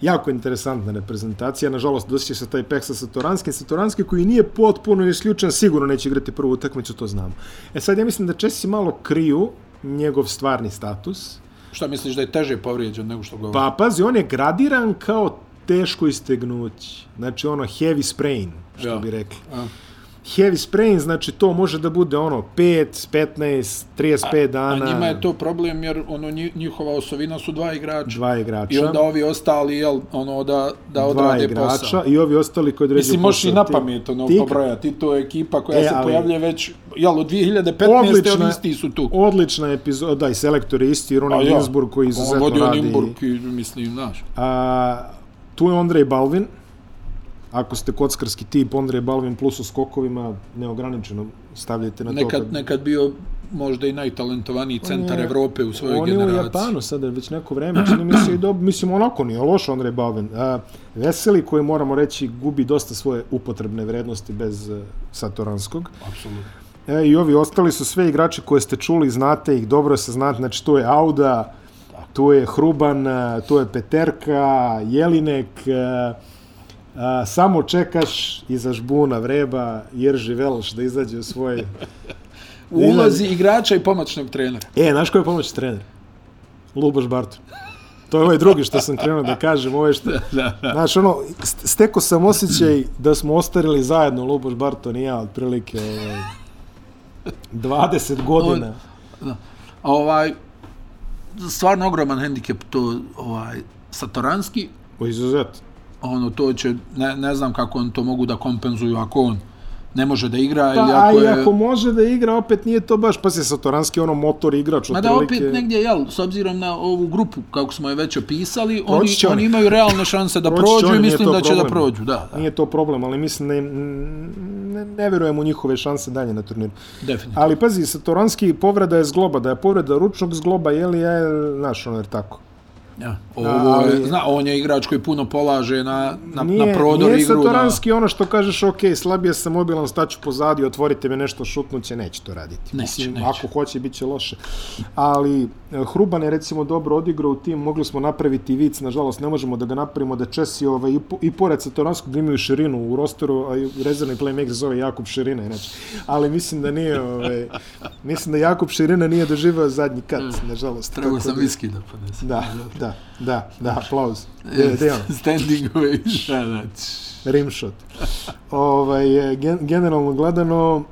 Speaker 1: Jako interesantna reprezentacija. Nažalost, dosjeća se taj peh sa Satoranski. Satoranski koji nije potpuno isključen, sigurno neće igrati prvu utakmicu, to znamo. E sad, ja mislim da Česi malo kriju njegov stvarni status.
Speaker 2: Šta misliš da je teže povrijeđen nego što govori?
Speaker 1: Pa, pazi, on je gradiran kao teško istegnući. Znači, ono, heavy sprain, što
Speaker 2: Ja.
Speaker 1: bi rekli.
Speaker 2: A,
Speaker 1: Heavy sprain, znači, to može da bude, ono, 5, 15, 35
Speaker 2: a
Speaker 1: dana.
Speaker 2: njima je to problem jer ono nji- njihova osovina su dva igrača.
Speaker 1: dva igrača.
Speaker 2: I onda ovi ostali, jel, ono, da, da
Speaker 1: dva
Speaker 2: odrade
Speaker 1: igrača
Speaker 2: posao.
Speaker 1: i ovi ostali koji određuju
Speaker 2: Mislim, možeš i
Speaker 1: posao.
Speaker 2: na
Speaker 1: Ti-
Speaker 2: pamet ono,
Speaker 1: ti-
Speaker 2: pobrojati. To je ekipa koja
Speaker 1: E,
Speaker 2: se
Speaker 1: ali-
Speaker 2: pojavljuje već, jel, od 2015.
Speaker 1: Odlična,
Speaker 2: oni isti su tu.
Speaker 1: odlična epizoda, da i selektor je isti, Rune
Speaker 2: A Pa ja,
Speaker 1: Ginsburg koji
Speaker 2: On
Speaker 1: izuzetno
Speaker 2: vodio
Speaker 1: radi.
Speaker 2: Nimburg i, mislim, znaš.
Speaker 1: A, tu je Ondrej Balvin, ako ste kockarski tip, Ondrej Balvin plus u skokovima, neograničeno stavljajte na to.
Speaker 2: Nekad,
Speaker 1: kad-
Speaker 2: nekad bio možda i najtalentovaniji centar
Speaker 1: je-
Speaker 2: Evrope u svojoj
Speaker 1: on je u
Speaker 2: generaciji.
Speaker 1: Japanu sada već neko vreme, čini mi se i dob... Mislim, onako nije loš Ondrej Balvin. A, veseli koji, moramo reći, gubi dosta svoje upotrebne vrednosti bez e, Satoranskog.
Speaker 2: Apsolutno.
Speaker 1: E, I ovi ostali su sve igrači koje ste čuli, znate ih, dobro se znate, znači tu je Auda, tu je Hruban, e, tu je Peterka, Jelinek, e, a, samo čekaš iza žbuna vreba Jerži Veloš da izađe u svoj...
Speaker 2: U ulozi igrača i pomoćnog trenera.
Speaker 1: E, znaš ko je pomoć trener? Luboš Barton. To je ovaj drugi što sam krenuo da kažem, ovaj što...
Speaker 2: Da, da.
Speaker 1: Znaš, ono, st- steko sam osjećaj da smo ostarili zajedno Luboš Barton i ja, otprilike, ovaj, 20 godina.
Speaker 2: On- A ovaj, stvarno ogroman hendikep to ovaj, Satoranski,
Speaker 1: O, izuzet.
Speaker 2: ono to će, ne, ne znam kako on to mogu da kompenzuju ako on ne može da igra
Speaker 1: Pa,
Speaker 2: ili
Speaker 1: a
Speaker 2: ako
Speaker 1: i
Speaker 2: je...
Speaker 1: ako može da igra, opet nije to baš, pa se Satoranski ono motor igrač,
Speaker 2: Ma da opet negdje, jel, s obzirom na ovu grupu, kako smo je već opisali, oni,
Speaker 1: Proći će
Speaker 2: oni
Speaker 1: oni.
Speaker 2: imaju realne šanse da
Speaker 1: Proći će
Speaker 2: prođu
Speaker 1: oni,
Speaker 2: i
Speaker 1: nije
Speaker 2: mislim
Speaker 1: to
Speaker 2: da će da
Speaker 1: problem.
Speaker 2: prođu, da, da,
Speaker 1: Nije to problem, ali mislim da im, ne, ne verujem u njihove šanse dalje na turniru.
Speaker 2: definitivno.
Speaker 1: Ali pazi, Satoranski povreda je zgloba, da je povreda ručnog zgloba, je li je, znaš, ono, jer tako.
Speaker 2: Ja, ovo, je, zna, on je igrač koji puno polaže na, na, na prodor
Speaker 1: nije
Speaker 2: igru.
Speaker 1: satoranski ono što kažeš, ok, slabije sam mobilan, staću pozadi, otvorite me nešto, šutnuće, neće to raditi.
Speaker 2: Neće,
Speaker 1: Mislim,
Speaker 2: neće.
Speaker 1: Ako hoće, bit će loše. Ali e, Hruban je recimo dobro odigrao u tim, mogli smo napraviti vic, nažalost ne možemo da ga napravimo, da Česi ovaj, i, po, i pored satoranskog imaju širinu u rosteru, a i rezervni playmaker zove Jakub Širina, inače. Ali mislim da nije, ovaj, mislim da Jakub Širina nije doživao zadnji kat, nažalost.
Speaker 2: Da,
Speaker 1: Tako
Speaker 2: Trebao Mm. sam pa
Speaker 1: da-
Speaker 2: viski da ponesem.
Speaker 1: Da, da, da, da, aplauz. E, gde je on?
Speaker 2: Standing ovation. znači.
Speaker 1: Rimshot. Ovaj, e, gen, generalno gledano,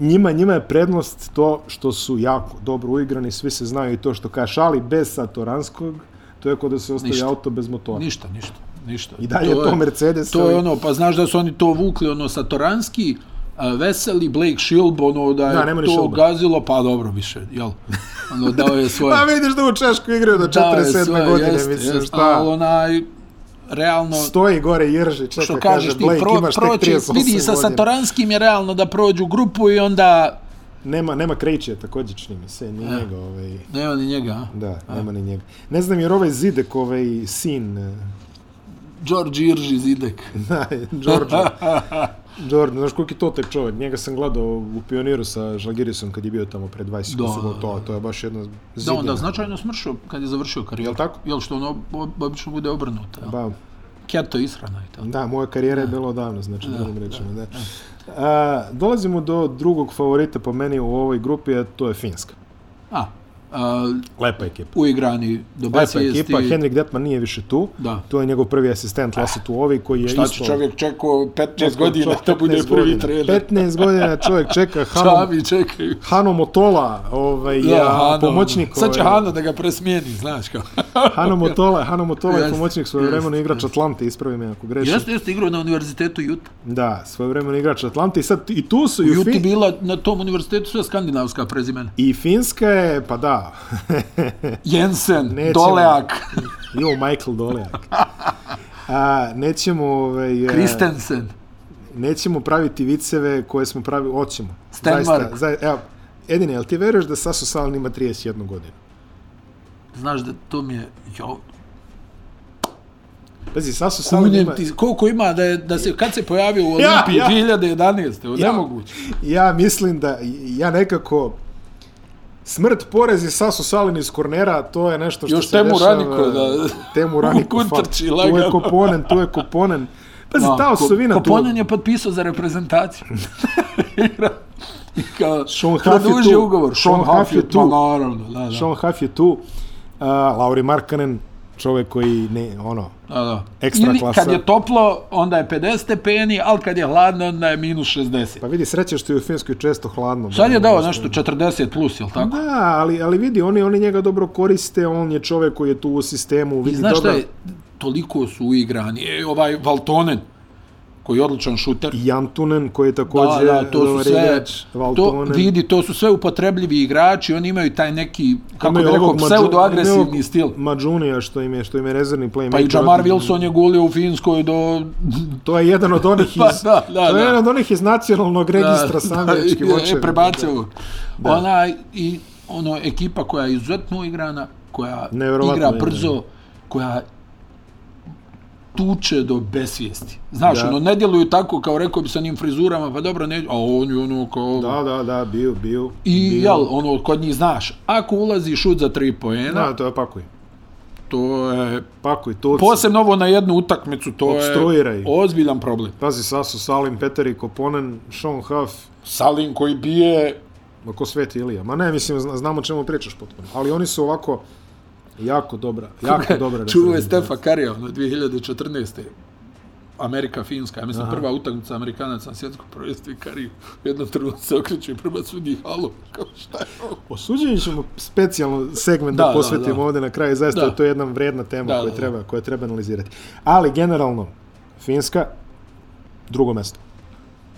Speaker 1: njima, njima je prednost to što su jako dobro uigrani, svi se znaju i to što kažeš, ali bez Satoranskog, to je kao da se ostavi
Speaker 2: Ništa.
Speaker 1: auto bez motora.
Speaker 2: Ništa, ništa, ništa.
Speaker 1: I dalje je to Mercedes.
Speaker 2: To je ono, pa znaš da su oni to vukli, ono, Satoranski, a, Veseli, Blake Shilb, ono, da je
Speaker 1: Da, nema ni
Speaker 2: to
Speaker 1: Shilba.
Speaker 2: gazilo, pa dobro, više, jel? Ono, dao je svoje...
Speaker 1: Pa vidiš da u Češku igraju do
Speaker 2: dao je
Speaker 1: 47.
Speaker 2: svoje,
Speaker 1: godine,
Speaker 2: jeste,
Speaker 1: mislim,
Speaker 2: jeste,
Speaker 1: šta?
Speaker 2: Ali ono- onaj, realno,
Speaker 1: Stoji gore Jerži, čeka,
Speaker 2: što
Speaker 1: kaže,
Speaker 2: kažeš ti,
Speaker 1: Blake,
Speaker 2: pro,
Speaker 1: imaš tek
Speaker 2: proći,
Speaker 1: 38
Speaker 2: vidi sa
Speaker 1: godina.
Speaker 2: Satoranskim je realno da prođu grupu i onda,
Speaker 1: Nema, nema Krejčija također, čini mi se, nije njega, ovaj,
Speaker 2: nema ni njega, E. a?
Speaker 1: da, nema ni njega. Ne znam, jer ovaj Zidek, ovaj sin, e,
Speaker 2: George Irži Zidek.
Speaker 1: Da, Đorđe. Đorđe, znaš koliki je to tek čovjek. Njega sam gledao u Pioniru sa Žalgirisom kad je bio tamo pre 20
Speaker 2: Da,
Speaker 1: godina.
Speaker 2: da,
Speaker 1: To, to je baš jedna
Speaker 2: Da,
Speaker 1: zidina.
Speaker 2: onda značajno smršao kad je završio karijeru.
Speaker 1: Jel tako?
Speaker 2: Jel što ono ob- obično bude obrnuto. jel?
Speaker 1: Ba,
Speaker 2: Keto ishrana i to.
Speaker 1: da, moja karijera je bila odavno, znači, drugim rečima. Da. A, dolazimo do drugog favorita po meni u ovoj grupi, a to je Finska.
Speaker 2: A, a
Speaker 1: Lepa ekipa.
Speaker 2: uigrani
Speaker 1: Lepa
Speaker 2: dobacisti.
Speaker 1: ekipa, Henrik Detman nije više tu.
Speaker 2: Da.
Speaker 1: To je njegov prvi asistent Lasse Tuovi koji je
Speaker 2: Šta
Speaker 1: isto...
Speaker 2: će čovjek čekao 15
Speaker 1: čovjek
Speaker 2: godina da
Speaker 1: 15
Speaker 2: bude prvi
Speaker 1: godina.
Speaker 2: trener?
Speaker 1: 15 godina čovjek čeka Hanom,
Speaker 2: Čavi čekaju.
Speaker 1: Hano Motola, ovaj, je
Speaker 2: Hano,
Speaker 1: pomoćnik...
Speaker 2: Sad će
Speaker 1: ovaj,
Speaker 2: Hano da ga presmijeni, znaš kao.
Speaker 1: Hano Motola, Hano Motola je
Speaker 2: Jeste,
Speaker 1: pomoćnik svojevremeno
Speaker 2: jeste,
Speaker 1: igrač Atlante, ispravi me ako grešim.
Speaker 2: jeste, jeste igrao na univerzitetu Juta.
Speaker 1: Da, svojevremeno igrač Atlante i sad i tu su
Speaker 2: U
Speaker 1: i, u
Speaker 2: Juti
Speaker 1: fin...
Speaker 2: bila na tom univerzitetu sve skandinavska prezimena.
Speaker 1: i Finska je, pa da,
Speaker 2: Jensen,
Speaker 1: Nećemo.
Speaker 2: Doleak,
Speaker 1: jo, Michael Dolejak. A, nećemo, ovaj, e,
Speaker 2: Kristensen.
Speaker 1: nećemo praviti viceve koje smo pravili, hoćemo.
Speaker 2: Stenmark.
Speaker 1: Zaista, za, evo, Edine, jel ti veruješ da Sasu Salan ima 31 godinu?
Speaker 2: Znaš da to mi je... Jo,
Speaker 1: Pazi, Sasu Salan
Speaker 2: Kunjem
Speaker 1: ima...
Speaker 2: ti, koliko ima da je, da se, kad se pojavio u
Speaker 1: Ja,
Speaker 2: Olimpiji
Speaker 1: ja.
Speaker 2: 2011.
Speaker 1: Ja.
Speaker 2: Nemoguće.
Speaker 1: Ja mislim da, ja nekako... Smrt porezi Sasu Salin iz kornera, to je nešto što
Speaker 2: Još
Speaker 1: se
Speaker 2: Temu
Speaker 1: dešava.
Speaker 2: Raniko da-
Speaker 1: Temu Raniko. fa-
Speaker 2: Utrči
Speaker 1: Tu je
Speaker 2: lagano.
Speaker 1: Koponen, tu je Koponen.
Speaker 2: Pa,
Speaker 1: Pazi, ta osovina tu.
Speaker 2: Koponen je potpisao za reprezentaciju. Igra. I kao,
Speaker 1: Sean Huff je
Speaker 2: produžio
Speaker 1: tu.
Speaker 2: ugovor.
Speaker 1: Sean
Speaker 2: Sean Huff je tu.
Speaker 1: pa
Speaker 2: naravno, da, da.
Speaker 1: Sean Huff je tu. Uh, Lauri Markkanen, čovjek koji ne, ono,
Speaker 2: da, da.
Speaker 1: Ekstra
Speaker 2: Ili
Speaker 1: klasa.
Speaker 2: kad je toplo, onda je 50 stepeni, ali kad je hladno, onda je minus 60.
Speaker 1: pa vidi, sreće što je u Finskoj često hladno.
Speaker 2: Sad je
Speaker 1: Ono,
Speaker 2: dao
Speaker 1: znaš,
Speaker 2: nešto 40 plus, jel tako?
Speaker 1: Da, ali, ali vidi, oni, oni njega dobro koriste, on je čovjek koji je tu u sistemu, vidi
Speaker 2: Znaš šta
Speaker 1: dobro.
Speaker 2: je, toliko su uigrani. E, ovaj Valtonen, koji je odličan šuter,
Speaker 1: I Jantunen koji je također
Speaker 2: Da, da, to
Speaker 1: dobar
Speaker 2: su sve,
Speaker 1: igrač,
Speaker 2: to,
Speaker 1: Valtonen.
Speaker 2: vidi, to su sve upotrebljivi igrači, oni imaju taj neki, kako bi
Speaker 1: Imaju
Speaker 2: rekao,
Speaker 1: ovog Mađu-
Speaker 2: pseudoagresivni
Speaker 1: imaju
Speaker 2: stil.
Speaker 1: Mađunija što im je, što im je rezervni playmaker.
Speaker 2: Pa i Jamar Wilson je gulio u Finskoj do...
Speaker 1: To je jedan od onih iz,
Speaker 2: Pa da, da,
Speaker 1: to je
Speaker 2: da.
Speaker 1: jedan od onih iz nacionalnog registra sa američkim
Speaker 2: da,
Speaker 1: očevima.
Speaker 2: je prebacio. Da. Ona i ono, ekipa koja je izuzetno igrana, koja
Speaker 1: Nevjerovatno
Speaker 2: igra
Speaker 1: igrana.
Speaker 2: brzo, koja tuče do besvijesti. Znaš,
Speaker 1: Da.
Speaker 2: ono, ne djeluju tako, kao rekao bi sa njim frizurama, pa dobro, ne, a on je ono kao...
Speaker 1: Da, da, da, bio, bio.
Speaker 2: I
Speaker 1: bio.
Speaker 2: jel, ono, kod njih znaš, ako ulazi šut za tri poena,
Speaker 1: Da, to je pakuj.
Speaker 2: to je...
Speaker 1: Pakuj, to
Speaker 2: Posebno ovo na jednu utakmicu, to
Speaker 1: Obstruiraj.
Speaker 2: je ozbiljan problem.
Speaker 1: Pazi, Sasu, Salim, Peteri, Koponen, Sean Huff,
Speaker 2: Salin koji bije...
Speaker 1: ma ko Sveti Ilija. Ma ne, mislim, zna- znamo o čemu pričaš potpuno. Ali oni su ovako jako dobra, jako dobra.
Speaker 2: Čuo je
Speaker 1: reprezentacija.
Speaker 2: Stefa Karija, ono, 2014. Amerika, Finska, ja mislim, prva utakmica Amerikanaca na svjetskom prvenstvu i Kariju. U jednom trenutku se okreću i prema sudi halo. Kao šta je ovo?
Speaker 1: Osuđeni ćemo specijalno segment da,
Speaker 2: Da,
Speaker 1: da
Speaker 2: da,
Speaker 1: posvetimo
Speaker 2: da.
Speaker 1: ovdje na kraju, zaista
Speaker 2: Da.
Speaker 1: je to jedna vredna tema
Speaker 2: Da,
Speaker 1: koju,
Speaker 2: da, da.
Speaker 1: treba, koju treba analizirati. Ali generalno, Finska, drugo mesto.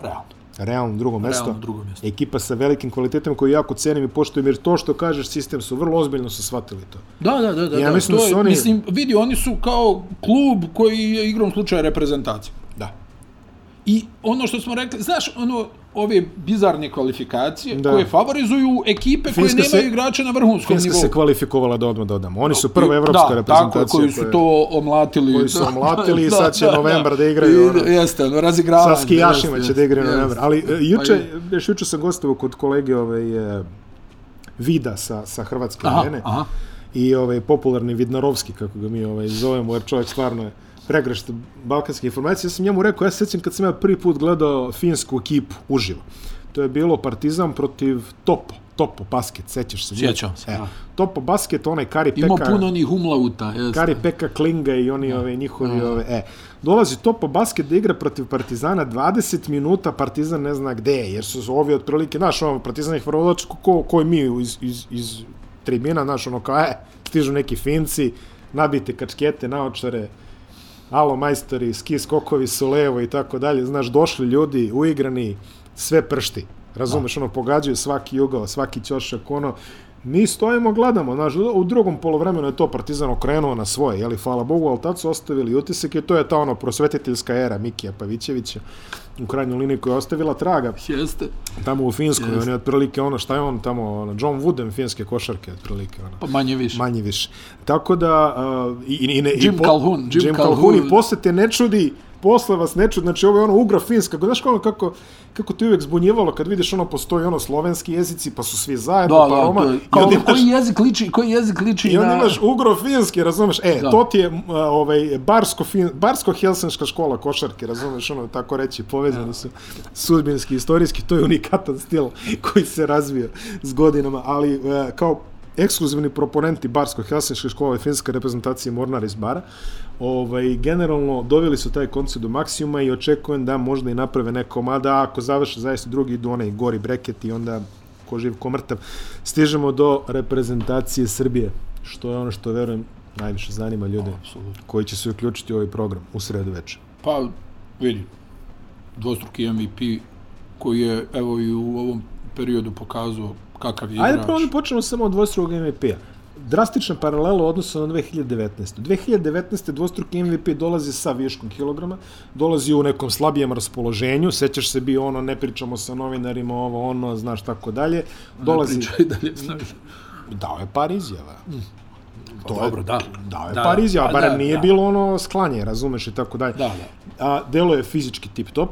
Speaker 2: Realno.
Speaker 1: Realno drugo mesto.
Speaker 2: drugo mjesto.
Speaker 1: Ekipa sa velikim kvalitetom koju jako cenim i poštujem, jer to što kažeš sistem su vrlo ozbiljno su shvatili to.
Speaker 2: Da, da, da, da.
Speaker 1: Ja
Speaker 2: da,
Speaker 1: mislim
Speaker 2: to
Speaker 1: da su
Speaker 2: je-
Speaker 1: oni-
Speaker 2: Mislim, vidi, oni su kao klub koji je igrom slučaja reprezentacija.
Speaker 1: Da.
Speaker 2: I ono što smo rekli, znaš, ono, ove bizarne kvalifikacije
Speaker 1: Da.
Speaker 2: da. koje favorizuju ekipe
Speaker 1: Finska
Speaker 2: koje
Speaker 1: se-
Speaker 2: nemaju igrače na vrhunskom
Speaker 1: Finska
Speaker 2: nivou.
Speaker 1: se kvalifikovala da odmah dodamo. Oni su prva evropska
Speaker 2: da,
Speaker 1: reprezentacija.
Speaker 2: Tako, koji su
Speaker 1: koja-
Speaker 2: to omlatili.
Speaker 1: koji su omlatili i sad će novembar da igraju,
Speaker 2: I,
Speaker 1: ono.
Speaker 2: Jeste, ono, razigravanje.
Speaker 1: Sa skijašima
Speaker 2: jeste,
Speaker 1: će da igraju
Speaker 2: jeste,
Speaker 1: novembar. Ali e,
Speaker 2: jeste.
Speaker 1: juče,
Speaker 2: Pa
Speaker 1: još juče sam gostovao kod kolege ovaj, e, Vida sa, sa hrvatske
Speaker 2: Aha,
Speaker 1: arene.
Speaker 2: aha.
Speaker 1: i ovaj popularni Vidnarovski kako ga mi ovaj zovemo jer čovjek stvarno je pregrešt balkanske informacije. Ja sam njemu rekao, ja se sjećam kad sam ja prvi put gledao finsku ekipu uživo. To je bilo Partizan protiv Topo, Topo basket, sećaš se?
Speaker 2: Sjećam se,
Speaker 1: E,
Speaker 2: da.
Speaker 1: Topo basket, onaj Kari Pekar.
Speaker 2: Ima puno onih umlauta, jeste.
Speaker 1: Kari Peka Klinga i oni ove njihovi ove e dolazi to po basket da igra protiv Partizana 20 minuta Partizan ne zna gde je jer su su ovi otprilike naš ono Partizan ih vrlovač ko koji mi iz iz iz tribina naš ono kao e stižu neki Finci nabite kačkete naočare alo majstori ski skokovi su levo i tako dalje znaš došli ljudi uigrani sve pršti razumeš ono pogađaju svaki ugao svaki ćošak ono mi stojimo, gledamo, znaš, u drugom polovremenu je to Partizan okrenuo na svoje, jeli, hvala Bogu, ali tad su ostavili utisak i to je ta ono prosvetiteljska era Mikija Pavićevića u krajnjoj liniji koja je ostavila traga
Speaker 2: Jeste.
Speaker 1: tamo u Finskoj,
Speaker 2: Jeste.
Speaker 1: on je otprilike ono, šta je on tamo, ono, John Wooden finske košarke, otprilike, ono
Speaker 2: Pa manje više.
Speaker 1: manje više. Tako da uh, i, i, i ne,
Speaker 2: Jim
Speaker 1: i po-
Speaker 2: Calhoun, Jim
Speaker 1: Jim Calhoun i
Speaker 2: Calhoun.
Speaker 1: posle te ne čudi, posle vas ne čudi, znači ovo je ono ugra finska, znaš kako, kako, kako ti uvek zbunjevalo kad vidiš ono postoji ono slovenski jezici pa su svi zajedno,
Speaker 2: Da,
Speaker 1: pa
Speaker 2: da,
Speaker 1: Roma,
Speaker 2: to je,
Speaker 1: i
Speaker 2: kao,
Speaker 1: onda
Speaker 2: ono,
Speaker 1: imaš,
Speaker 2: koji jezik liči, koji jezik liči
Speaker 1: Znači, i onda
Speaker 2: na...
Speaker 1: imaš ugro-finski, razumeš, e,
Speaker 2: Da.
Speaker 1: to ti je m, a, ovaj, barsko, fin, barsko helsenška škola košarke, razumeš, ono, tako reći, povezani su sudbinski, istorijski, to je unikatan stil koji se razvio s godinama, ali e, kao ekskluzivni proponenti barsko helsinške škole i finske reprezentacije Mornar iz Bara, ovaj, generalno doveli su taj koncept do maksimuma i očekujem da možda i naprave neko, mada ako završe zaista drugi, idu onaj gori breket i onda ko živ, ko mrtav. Stižemo do reprezentacije Srbije, što je ono što verujem najviše zanima ljude
Speaker 2: Apsolutno.
Speaker 1: koji će se uključiti u ovaj program u sredu večer.
Speaker 2: Pa, vidi, dvostruki MVP koji je, evo, i u ovom periodu pokazao kakav je igrač.
Speaker 1: Ajde pa prvo da počnemo samo od dvostrukog MVP-a. Drastična paralela u odnosu na 2019. 2019. dvostruki MVP dolazi sa viškom kilograma, dolazi u nekom slabijem raspoloženju, sećaš se bio ono, ne pričamo sa novinarima, ovo, ono, znaš, tako dalje. Dolazi,
Speaker 2: Pričaj dalje, znaš.
Speaker 1: dao je par izjava. To je-
Speaker 2: Pa Dobro, da.
Speaker 1: Dao je
Speaker 2: Da,
Speaker 1: par
Speaker 2: da.
Speaker 1: izjava,
Speaker 2: Pa
Speaker 1: barem
Speaker 2: da,
Speaker 1: nije
Speaker 2: da.
Speaker 1: bilo ono sklanje, razumeš i tako dalje.
Speaker 2: Da, da.
Speaker 1: A, delo je fizički tip-top.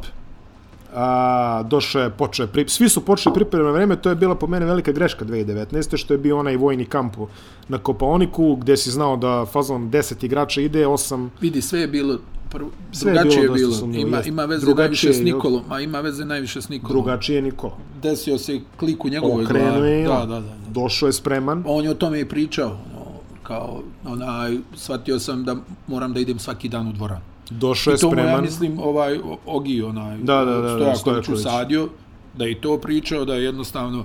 Speaker 1: A, došao je, počeo je, pri... svi su počeli pripremno vreme, to je bila po mene velika greška 2019. što je bio onaj vojni kamp u- na Kopaoniku, gde si znao da fazon 10 igrača ide, 8
Speaker 2: Vidi, sve je bilo prvo,
Speaker 1: Sve je
Speaker 2: drugačije je
Speaker 1: bilo dosta
Speaker 2: bilo.
Speaker 1: sumnjivo,
Speaker 2: ima,
Speaker 1: jeste.
Speaker 2: ima veze
Speaker 1: Drugačije
Speaker 2: najviše s
Speaker 1: je, jel?
Speaker 2: Nikolom, a ima veze najviše s Nikolom.
Speaker 1: drugačije Nikola.
Speaker 2: Desio se klik u njegovoj
Speaker 1: Okrenuo
Speaker 2: glavi.
Speaker 1: je,
Speaker 2: Da, da, da, da.
Speaker 1: došao je spreman,
Speaker 2: On je o tome i pričao. Ono, kao, onaj, shvatio sam da moram da idem svaki dan u dvoran.
Speaker 1: došao je
Speaker 2: To mu, ja
Speaker 1: spreman.
Speaker 2: mislim, ovaj o- Ogi, onaj,
Speaker 1: Da, da, da, da,
Speaker 2: Stojaković
Speaker 1: Stojaković.
Speaker 2: usadio, da je i to pričao, da je jednostavno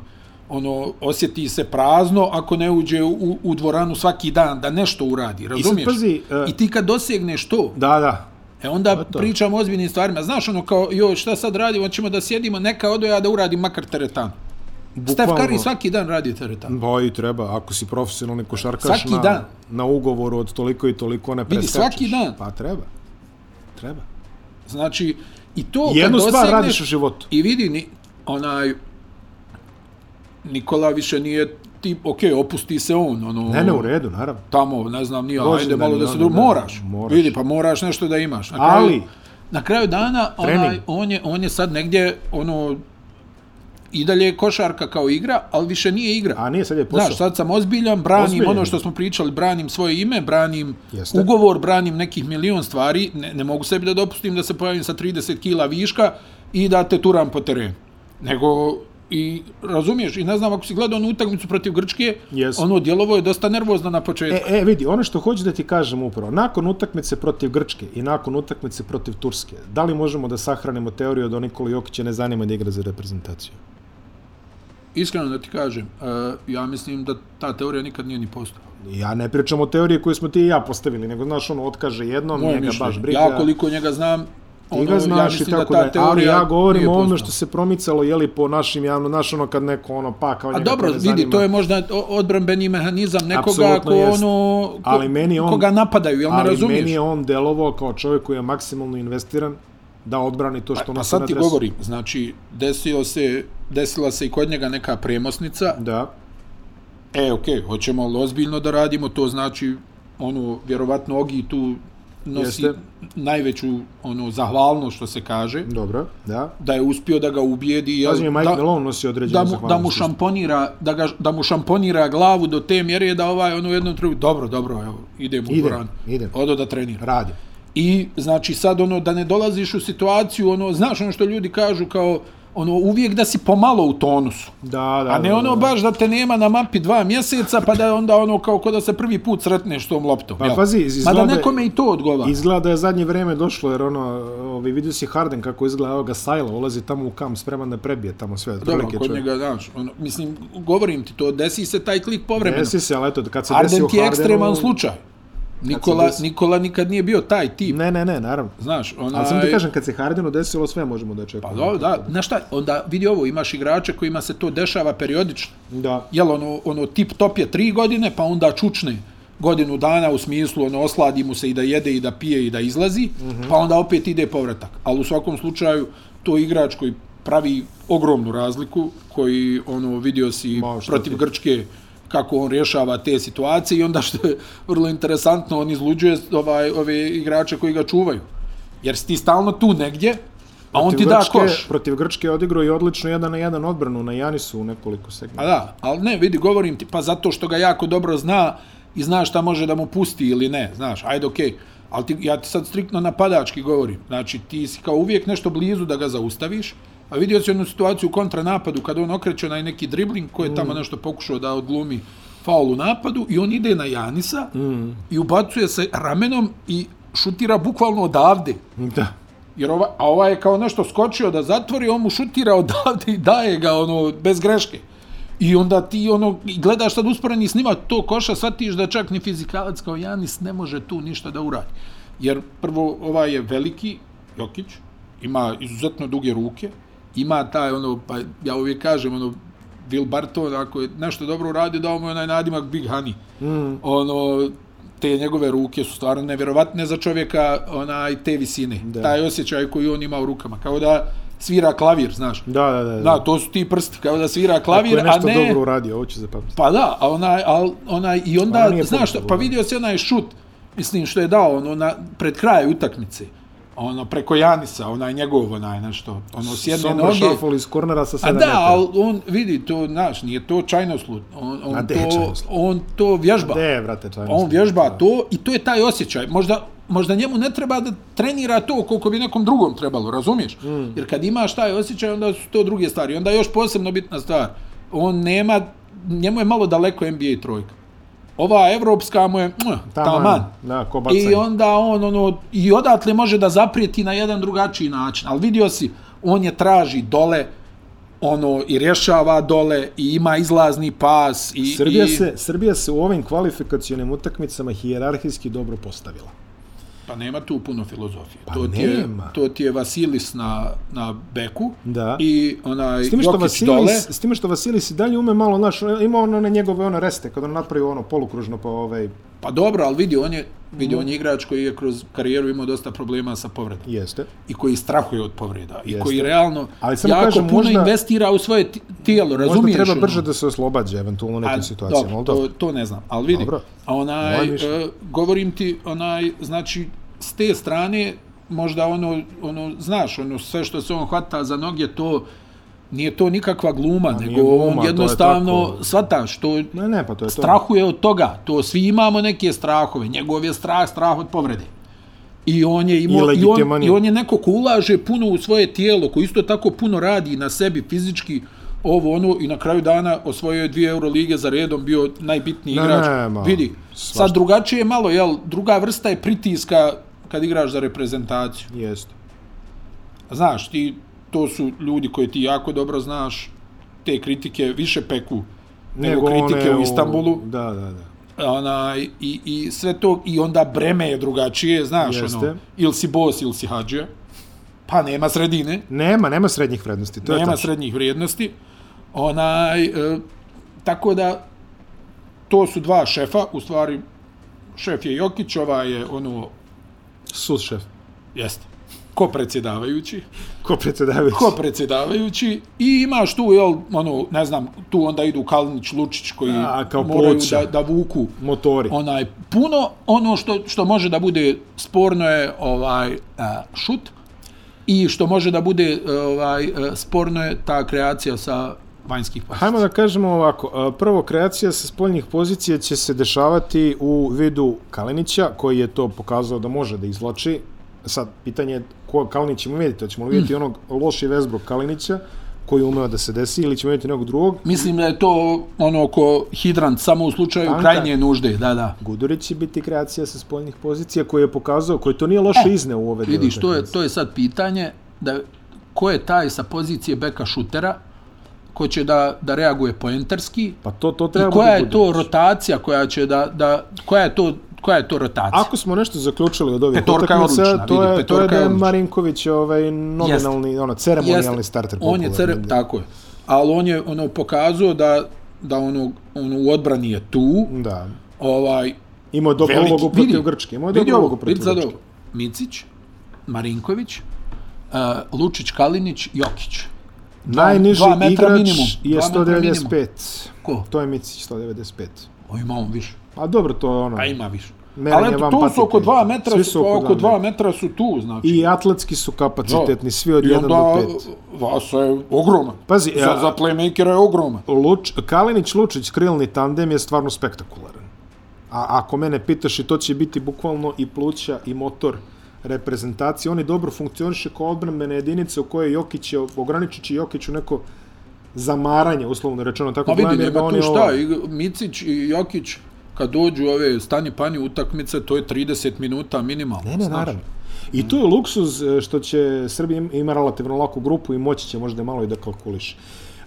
Speaker 2: ono, osjeti se prazno ako ne uđe u, u dvoranu svaki dan, da nešto uradi, razumiješ?
Speaker 1: pazi, e,
Speaker 2: I ti kad dosegneš to,
Speaker 1: Da, da,
Speaker 2: E onda
Speaker 1: Pa to.
Speaker 2: pričamo o ozbiljnim stvarima. Znaš ono kao, joj, šta sad radimo, ćemo da sjedimo, neka odo ja da uradim makar teretan. Stef
Speaker 1: Bukvalno.
Speaker 2: Curry svaki dan radi teretan.
Speaker 1: Ba i treba, ako si profesionalni košarkaš
Speaker 2: Svaki
Speaker 1: na,
Speaker 2: dan.
Speaker 1: na ugovoru od toliko i toliko ne
Speaker 2: Vidi,
Speaker 1: preskačeš.
Speaker 2: svaki dan.
Speaker 1: Pa treba, treba.
Speaker 2: Znači, i to kad
Speaker 1: Jednu stvar
Speaker 2: dosegneš-
Speaker 1: radiš u životu.
Speaker 2: I vidi, ni, onaj, Nikola više nije tip, okej, opusti se on, ono,
Speaker 1: Ne, ne, u redu, naravno.
Speaker 2: tamo, ne znam, nije,
Speaker 1: Dođe
Speaker 2: ajde
Speaker 1: da
Speaker 2: malo
Speaker 1: mi
Speaker 2: da se
Speaker 1: ono,
Speaker 2: drugo,
Speaker 1: da,
Speaker 2: moraš,
Speaker 1: moraš.
Speaker 2: vidi, pa moraš nešto da imaš. Na
Speaker 1: Ali-
Speaker 2: na kraju dana, onaj,
Speaker 1: Trening.
Speaker 2: on, je, on je sad negdje, ono, i dalje je košarka kao igra, ali više nije igra.
Speaker 1: A nije, sad je posao.
Speaker 2: Znaš, sad sam ozbiljan, branim
Speaker 1: Ozbiljan.
Speaker 2: ozbiljan. ono što smo pričali, branim svoje ime, branim
Speaker 1: Jeste.
Speaker 2: Jeste. ugovor, branim nekih milion stvari, ne, ne mogu sebi da dopustim da se pojavim sa 30 kila viška i da te turam po terenu. Nego, i razumiješ, i ne znam, ako si gledao onu utakmicu protiv Grčke,
Speaker 1: Jeste.
Speaker 2: ono djelovo je dosta nervozno na početku.
Speaker 1: E, e, vidi, ono što hoću da ti kažem upravo, nakon utakmice protiv Grčke i nakon utakmice protiv Turske, da li možemo da sahranimo teoriju da Nikola Jokića ne zanima da igra za reprezentaciju?
Speaker 2: Iskreno da ti kažem, uh, ja mislim da ta teorija nikad nije ni postala.
Speaker 1: Ja ne pričam o teoriji koju smo ti i ja postavili, nego, znaš, ono, otkaže jednom,
Speaker 2: Moje
Speaker 1: njega
Speaker 2: mišljenje.
Speaker 1: baš briga.
Speaker 2: Ja koliko njega znam,
Speaker 1: Ti
Speaker 2: ono,
Speaker 1: ga
Speaker 2: ja
Speaker 1: znaš ja i
Speaker 2: mislim da
Speaker 1: tako
Speaker 2: ta
Speaker 1: da,
Speaker 2: teorija
Speaker 1: ali ja govorim
Speaker 2: nije
Speaker 1: o onome
Speaker 2: poznata.
Speaker 1: što se promicalo, jeli, po našim javno, znaš, ono, kad neko, ono, pa, kao
Speaker 2: A
Speaker 1: njega
Speaker 2: dobro,
Speaker 1: to ne
Speaker 2: vidi,
Speaker 1: zanima.
Speaker 2: to je možda o- odbrambeni mehanizam nekoga
Speaker 1: Apsolutno
Speaker 2: ko
Speaker 1: jest.
Speaker 2: ono ko,
Speaker 1: Ali meni on-
Speaker 2: koga napadaju, jel me
Speaker 1: ali
Speaker 2: razumiješ?
Speaker 1: meni je on delovao kao čovjek koji je maksimalno investiran da odbrani to što
Speaker 2: Pa, pa
Speaker 1: nosi na
Speaker 2: sad ti
Speaker 1: dresu.
Speaker 2: govorim, znači, desio se, desila se i kod njega neka premosnica.
Speaker 1: Da.
Speaker 2: E, okej, hoćemo li ozbiljno da radimo, to znači, ono, vjerovatno Ogi tu nosi
Speaker 1: Jeste.
Speaker 2: najveću, ono, zahvalnost, što se kaže,
Speaker 1: Dobro, da.
Speaker 2: da je uspio da ga ubijedi, jel,
Speaker 1: Pazi, Mike
Speaker 2: da,
Speaker 1: Malone nosi određenu
Speaker 2: da, mu, da mu
Speaker 1: zahvalnost.
Speaker 2: šamponira, da, ga, da mu šamponira glavu do te mjere da ovaj, ono, u jednom trenutku, dobro, dobro, evo, idem u
Speaker 1: Idem,
Speaker 2: Goran,
Speaker 1: idem.
Speaker 2: odo da trenira.
Speaker 1: Radi.
Speaker 2: I znači sad ono da ne dolaziš u situaciju ono znaš ono što ljudi kažu kao ono uvijek da si pomalo u tonusu.
Speaker 1: Da, da,
Speaker 2: A ne
Speaker 1: da,
Speaker 2: ono
Speaker 1: da.
Speaker 2: baš da te nema na mapi dva mjeseca pa da je onda ono kao ko da se prvi put sretneš s tom loptom.
Speaker 1: Pa
Speaker 2: jel?
Speaker 1: pazi,
Speaker 2: Mada
Speaker 1: izgleda-
Speaker 2: nekome i to odgovara.
Speaker 1: Izgleda da je zadnje vreme došlo, jer ono, ovi, vidio si Harden kako izgleda, evo ga Sajla, ulazi tamo u kam, spreman da prebije tamo sve.
Speaker 2: Dobro,
Speaker 1: otprilike,
Speaker 2: kod
Speaker 1: čovjek.
Speaker 2: njega, znaš, ono, mislim, govorim ti to, desi se taj klik povremeno.
Speaker 1: Desi se, ali eto, kad se desi u
Speaker 2: Arden ti je
Speaker 1: Hardenu...
Speaker 2: ekstreman slučaj. Nikola,
Speaker 1: desi?
Speaker 2: Nikola nikad nije bio taj tip.
Speaker 1: Ne, ne, ne, naravno.
Speaker 2: Znaš, onaj...
Speaker 1: Ali sam ti kažem, kad se Hardenu desilo, sve možemo da
Speaker 2: Pa
Speaker 1: očekujemo.
Speaker 2: dobro, da, znaš šta, onda vidi ovo, imaš igrača kojima se to dešava periodično.
Speaker 1: Da.
Speaker 2: Jel, ono, ono tip top je tri godine, pa onda čučne godinu dana u smislu, ono, osladi mu se i da jede i da pije i da izlazi, mm
Speaker 1: Mhm.
Speaker 2: -hmm. pa onda opet ide povratak. Ali u svakom slučaju, to je igrač koji pravi ogromnu razliku, koji, ono, vidio si
Speaker 1: Ma, šta
Speaker 2: protiv
Speaker 1: ti?
Speaker 2: Grčke kako on rješava te situacije i onda što je vrlo interesantno, on izluđuje ovaj, ove igrače koji ga čuvaju. Jer si ti stalno tu negdje, a on ti
Speaker 1: Protiv
Speaker 2: da
Speaker 1: Grčke-
Speaker 2: koš.
Speaker 1: Protiv Grčke je odigrao i odlično jedan na jedan odbranu na Janisu u nekoliko
Speaker 2: A
Speaker 1: segmenta.
Speaker 2: Pa da, ali ne, vidi, govorim ti, pa zato što ga jako dobro zna i zna šta može da mu pusti ili ne, znaš, ajde, okej. Okay. Ali ti, ja ti sad striktno napadački govorim. Znači, ti si kao uvijek nešto blizu da ga zaustaviš, a vidio si onu situaciju u kontranapadu kada on okreće onaj neki dribling koji je tamo nešto pokušao da odglumi faul u napadu i on ide na Janisa mm. i ubacuje se ramenom i šutira bukvalno odavde.
Speaker 1: Da.
Speaker 2: Jer ova, a ova je kao nešto skočio da zatvori, on mu šutira odavde i daje ga ono, bez greške. I onda ti ono, i gledaš sad usporeni snimak to koša, shvatiš da čak ni fizikalac kao Janis ne može tu ništa da uradi. Jer prvo, ovaj je veliki, Jokić, ima izuzetno duge ruke, ima taj ono, pa ja uvijek kažem ono, Will Barton, ako je nešto dobro uradio, dao mu je onaj nadimak Big Honey. Mm. Ono, te njegove ruke su stvarno nevjerovatne za čovjeka onaj, te visine. Da. Taj osjećaj koji on ima u rukama. Kao da svira klavir, znaš.
Speaker 1: Da, da, da. da.
Speaker 2: Da, to su ti prsti, kao da svira
Speaker 1: Ako
Speaker 2: klavir,
Speaker 1: je
Speaker 2: a
Speaker 1: nešto
Speaker 2: ne...
Speaker 1: dobro uradio, ovo će zapamtiti.
Speaker 2: Pa da, a onaj, al, onaj i onda,
Speaker 1: Stvarno nije
Speaker 2: znaš što,
Speaker 1: pogodio,
Speaker 2: pa
Speaker 1: da.
Speaker 2: vidio se onaj šut, mislim što je dao, ono, na, pred kraj utakmice, ono, preko Janisa, onaj njegov, onaj, nešto, ono, s jedne
Speaker 1: Sombra
Speaker 2: noge.
Speaker 1: šafol iz kornera sa 7
Speaker 2: A da,
Speaker 1: metara.
Speaker 2: ali on, vidi, to, znaš, nije to čajnoslud, on,
Speaker 1: A
Speaker 2: on,
Speaker 1: gde je
Speaker 2: to,
Speaker 1: čajnoslud?
Speaker 2: on to vježba.
Speaker 1: Ne, vrate, čajno.
Speaker 2: On vježba to i to je taj osjećaj. Možda, možda njemu ne treba da trenira to koliko bi nekom drugom trebalo, razumiješ? Mm. Jer kad imaš taj osjećaj, onda su to druge stvari. Onda je još posebno bitna stvar. On nema, njemu je malo daleko NBA trojka. Ova evropska mu je mwah,
Speaker 1: Taman.
Speaker 2: taman.
Speaker 1: Da, ko bacanje.
Speaker 2: I onda on, ono, i odatle može da zaprijeti na jedan drugačiji način. Ali vidio si, on je traži dole, ono, i rješava dole, i ima izlazni pas, i...
Speaker 1: Srbija,
Speaker 2: i...
Speaker 1: se, Srbija se u ovim kvalifikacionim utakmicama hijerarhijski dobro postavila.
Speaker 2: Pa nema tu puno filozofije.
Speaker 1: Pa
Speaker 2: to ti je,
Speaker 1: nema.
Speaker 2: to ti je Vasilis na, na beku
Speaker 1: Da.
Speaker 2: i onaj
Speaker 1: S time što
Speaker 2: Jokić
Speaker 1: Vasilis,
Speaker 2: dole.
Speaker 1: s time što Vasilis i dalje ume malo, znaš, ima ono na njegove ono reste, kad on napravi ono polukružno pa ovaj,
Speaker 2: Pa dobro, ali vidi, on je,
Speaker 1: Mm.
Speaker 2: vidi, on je igrač koji je kroz karijeru imao dosta problema sa povredom.
Speaker 1: jeste.
Speaker 2: I koji strahuje od povreda. I
Speaker 1: Jeste.
Speaker 2: koji realno
Speaker 1: Ali samo
Speaker 2: jako
Speaker 1: kažem,
Speaker 2: puno
Speaker 1: možda-
Speaker 2: investira u svoje ti- tijelo,
Speaker 1: Možda
Speaker 2: razumiješ?
Speaker 1: treba
Speaker 2: ono?
Speaker 1: brže da se oslobađe eventualno u nekim
Speaker 2: A,
Speaker 1: situacijama, ali
Speaker 2: Dobro, to,
Speaker 1: dobro.
Speaker 2: to ne znam, ali vidi.
Speaker 1: Dobro.
Speaker 2: A onaj,
Speaker 1: Moje
Speaker 2: e,
Speaker 1: mišljenje.
Speaker 2: govorim ti, onaj, znači, s te strane, možda ono, ono, znaš, ono, sve što se on hvata za noge, to, nije to nikakva gluma,
Speaker 1: Pa nije
Speaker 2: nego
Speaker 1: gluma,
Speaker 2: gluma,
Speaker 1: to
Speaker 2: on
Speaker 1: je
Speaker 2: jednostavno
Speaker 1: tako.
Speaker 2: shvataš, to
Speaker 1: Ne, ne, pa to je to.
Speaker 2: strahuje od toga, to svi imamo neke strahove, njegov je strah, strah od povrede. I on je imao,
Speaker 1: I
Speaker 2: i, on,
Speaker 1: legitiman je.
Speaker 2: i on je neko ko ulaže puno u svoje tijelo, koji isto tako puno radi na sebi fizički, ovo ono, i na kraju dana osvojio je dvije Eurolige za redom, bio najbitniji
Speaker 1: Ne,
Speaker 2: igrač.
Speaker 1: ne, ma,
Speaker 2: Vidi,
Speaker 1: svašta.
Speaker 2: sad drugačije je malo, jel, druga vrsta je pritiska kad igraš za reprezentaciju.
Speaker 1: Jeste.
Speaker 2: Znaš, ti, to su ljudi koje ti jako dobro znaš, te kritike više peku nego, nego kritike
Speaker 1: one
Speaker 2: u Istanbulu
Speaker 1: Da, da, da.
Speaker 2: onaj, i, i sve to, i onda breme je drugačije, znaš,
Speaker 1: Jeste.
Speaker 2: Jeste. ono, ili si bos, ili si hađija, pa nema sredine,
Speaker 1: Nema, nema srednjih vrednosti, to
Speaker 2: to
Speaker 1: je
Speaker 2: nema
Speaker 1: tačno.
Speaker 2: srednjih vrijednosti, onaj, e, tako da, to su dva šefa, u stvari, šef je Jokić, ova je, ono,
Speaker 1: Sud šef.
Speaker 2: Jeste. ko predsjedavajući,
Speaker 1: Ko predsjedavajući?
Speaker 2: ko predsjedavajući i imaš tu, jel, ono, ne znam, tu onda idu Kalnić, Lučić koji
Speaker 1: A, kao
Speaker 2: moraju
Speaker 1: ploča.
Speaker 2: da, da vuku
Speaker 1: Motori.
Speaker 2: onaj puno ono što što može da bude sporno je ovaj a, šut i što može da bude e, ovaj e, sporno je ta kreacija sa vanjskih pozicija.
Speaker 1: Hajmo da kažemo ovako, a, prvo kreacija sa spoljnih pozicija će se dešavati u vidu Kalinića, koji je to pokazao da može da izvlači. Sad, pitanje je ko Kalinić ćemo vidjeti, hoćemo li
Speaker 2: Mm.
Speaker 1: vidjeti onog loši Vesbrok Kalinića, koji je umeo da se desi, ili ćemo vidjeti nekog drugog.
Speaker 2: Mislim da je to ono ko hidrant samo u slučaju
Speaker 1: Tanka.
Speaker 2: krajnje nužde, da da.
Speaker 1: Gudurić će biti kreacija sa spoljnih pozicija, koji je pokazao, koji to nije loše izneo u ove dve
Speaker 2: Vidiš, to E, je,
Speaker 1: utakmice.
Speaker 2: to je sad pitanje da ko je taj sa pozicije beka šutera ko će da, da reaguje poenterski
Speaker 1: Pa to, to
Speaker 2: i
Speaker 1: treba
Speaker 2: koja
Speaker 1: bude
Speaker 2: je to
Speaker 1: Gudurić.
Speaker 2: rotacija koja će da, da koja je to koja je to rotacija?
Speaker 1: Ako smo nešto zaključili od ovih
Speaker 2: Petorka je
Speaker 1: utakmica,
Speaker 2: odlična,
Speaker 1: to,
Speaker 2: vidi,
Speaker 1: je, to je
Speaker 2: petorka
Speaker 1: da
Speaker 2: je
Speaker 1: je
Speaker 2: odlična.
Speaker 1: Marinković ovaj nominalni, ono, ceremonijalni starter.
Speaker 2: On je
Speaker 1: popularni.
Speaker 2: cere, tako je. Ali on je ono pokazao da da ono, ono u odbrani je tu,
Speaker 1: Da.
Speaker 2: ovaj
Speaker 1: Imao je dobru
Speaker 2: veliki-
Speaker 1: ulogu protiv Grčke. Imao je
Speaker 2: vidi
Speaker 1: dobru
Speaker 2: ovo,
Speaker 1: ulogu protiv
Speaker 2: vidi sad
Speaker 1: Grčke.
Speaker 2: ovo. Micić, Marinković, uh, Lučić, Kalinić, Jokić.
Speaker 1: Najniži
Speaker 2: dva metra
Speaker 1: igrač
Speaker 2: minimum.
Speaker 1: je
Speaker 2: Dva metra minimum.
Speaker 1: 195.
Speaker 2: Ko?
Speaker 1: To je Micić 195.
Speaker 2: O, ima on više.
Speaker 1: A dobro, to je ono.
Speaker 2: A ima više.
Speaker 1: Merenje
Speaker 2: Ali eto,
Speaker 1: van
Speaker 2: to su
Speaker 1: patike.
Speaker 2: oko dva metra,
Speaker 1: Svi
Speaker 2: su, oko dva metra su tu, znači.
Speaker 1: I atletski su kapacitetni, svi od
Speaker 2: I
Speaker 1: 1
Speaker 2: onda
Speaker 1: do 5.
Speaker 2: Vasa je ogroman.
Speaker 1: Pazi,
Speaker 2: za,
Speaker 1: a-
Speaker 2: za playmakera je ogroman.
Speaker 1: Luč, Kalinić Lučić krilni tandem je stvarno spektakularan. A ako mene pitaš i to će biti bukvalno i pluća i motor reprezentacije. Oni dobro funkcioniše kao odbrambene jedinice u kojoj Jokić je ograničići Jokiću neko zamaranje, uslovno rečeno. Tako
Speaker 2: Pa vidi,
Speaker 1: gledam, jer ga
Speaker 2: nema
Speaker 1: on
Speaker 2: tu
Speaker 1: je
Speaker 2: šta,
Speaker 1: ovo-
Speaker 2: i Micić i Jokić, kad dođu ove stani pani utakmice, to je 30 minuta minimalno.
Speaker 1: Ne, ne,
Speaker 2: znaš.
Speaker 1: naravno. I tu je luksuz e, što će Srbija im- ima relativno laku grupu i moći će možda malo i da kalkuliše.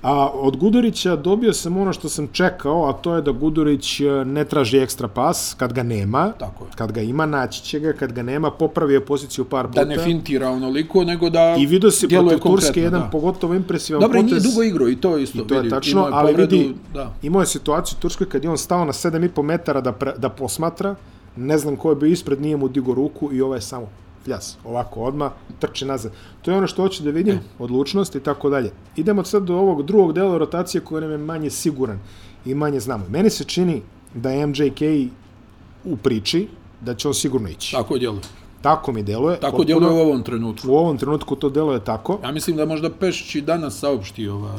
Speaker 1: A od Gudurića dobio sam ono što sam čekao, a to je da Gudurić e, ne traži ekstra pas kad ga nema.
Speaker 2: Tako je.
Speaker 1: Kad ga ima, naći će ga. Kad ga nema, popravio je poziciju par puta.
Speaker 2: Da ne fintira onoliko, nego da
Speaker 1: I vidio se
Speaker 2: djeluje
Speaker 1: protiv Turske
Speaker 2: konkretno,
Speaker 1: jedan
Speaker 2: da.
Speaker 1: pogotovo impresivan
Speaker 2: Dobro, i
Speaker 1: potez.
Speaker 2: nije dugo igro i to isto.
Speaker 1: I to je
Speaker 2: vidi,
Speaker 1: tačno,
Speaker 2: imao je
Speaker 1: ali
Speaker 2: povredu,
Speaker 1: vidi,
Speaker 2: Da.
Speaker 1: imao je situaciju u Turskoj kad je on stao na 7,5 metara da, pre, da posmatra, ne znam ko je bio ispred, nije mu digo ruku i ovaj je samo pljas, ovako odma trči nazad. To je ono što hoću da
Speaker 2: E.
Speaker 1: vidim, odlučnost i tako dalje. Idemo sad do ovog drugog dela rotacije koji nam je manje siguran i manje znamo. Meni se čini da je MJK u priči, da će on sigurno ići. Tako,
Speaker 2: Tako djeluje.
Speaker 1: tako mi deluje.
Speaker 2: Tako
Speaker 1: potpuno.
Speaker 2: djeluje u ovom trenutku.
Speaker 1: U ovom trenutku to deluje tako.
Speaker 2: Ja mislim da možda Pešić i danas saopšti ovaj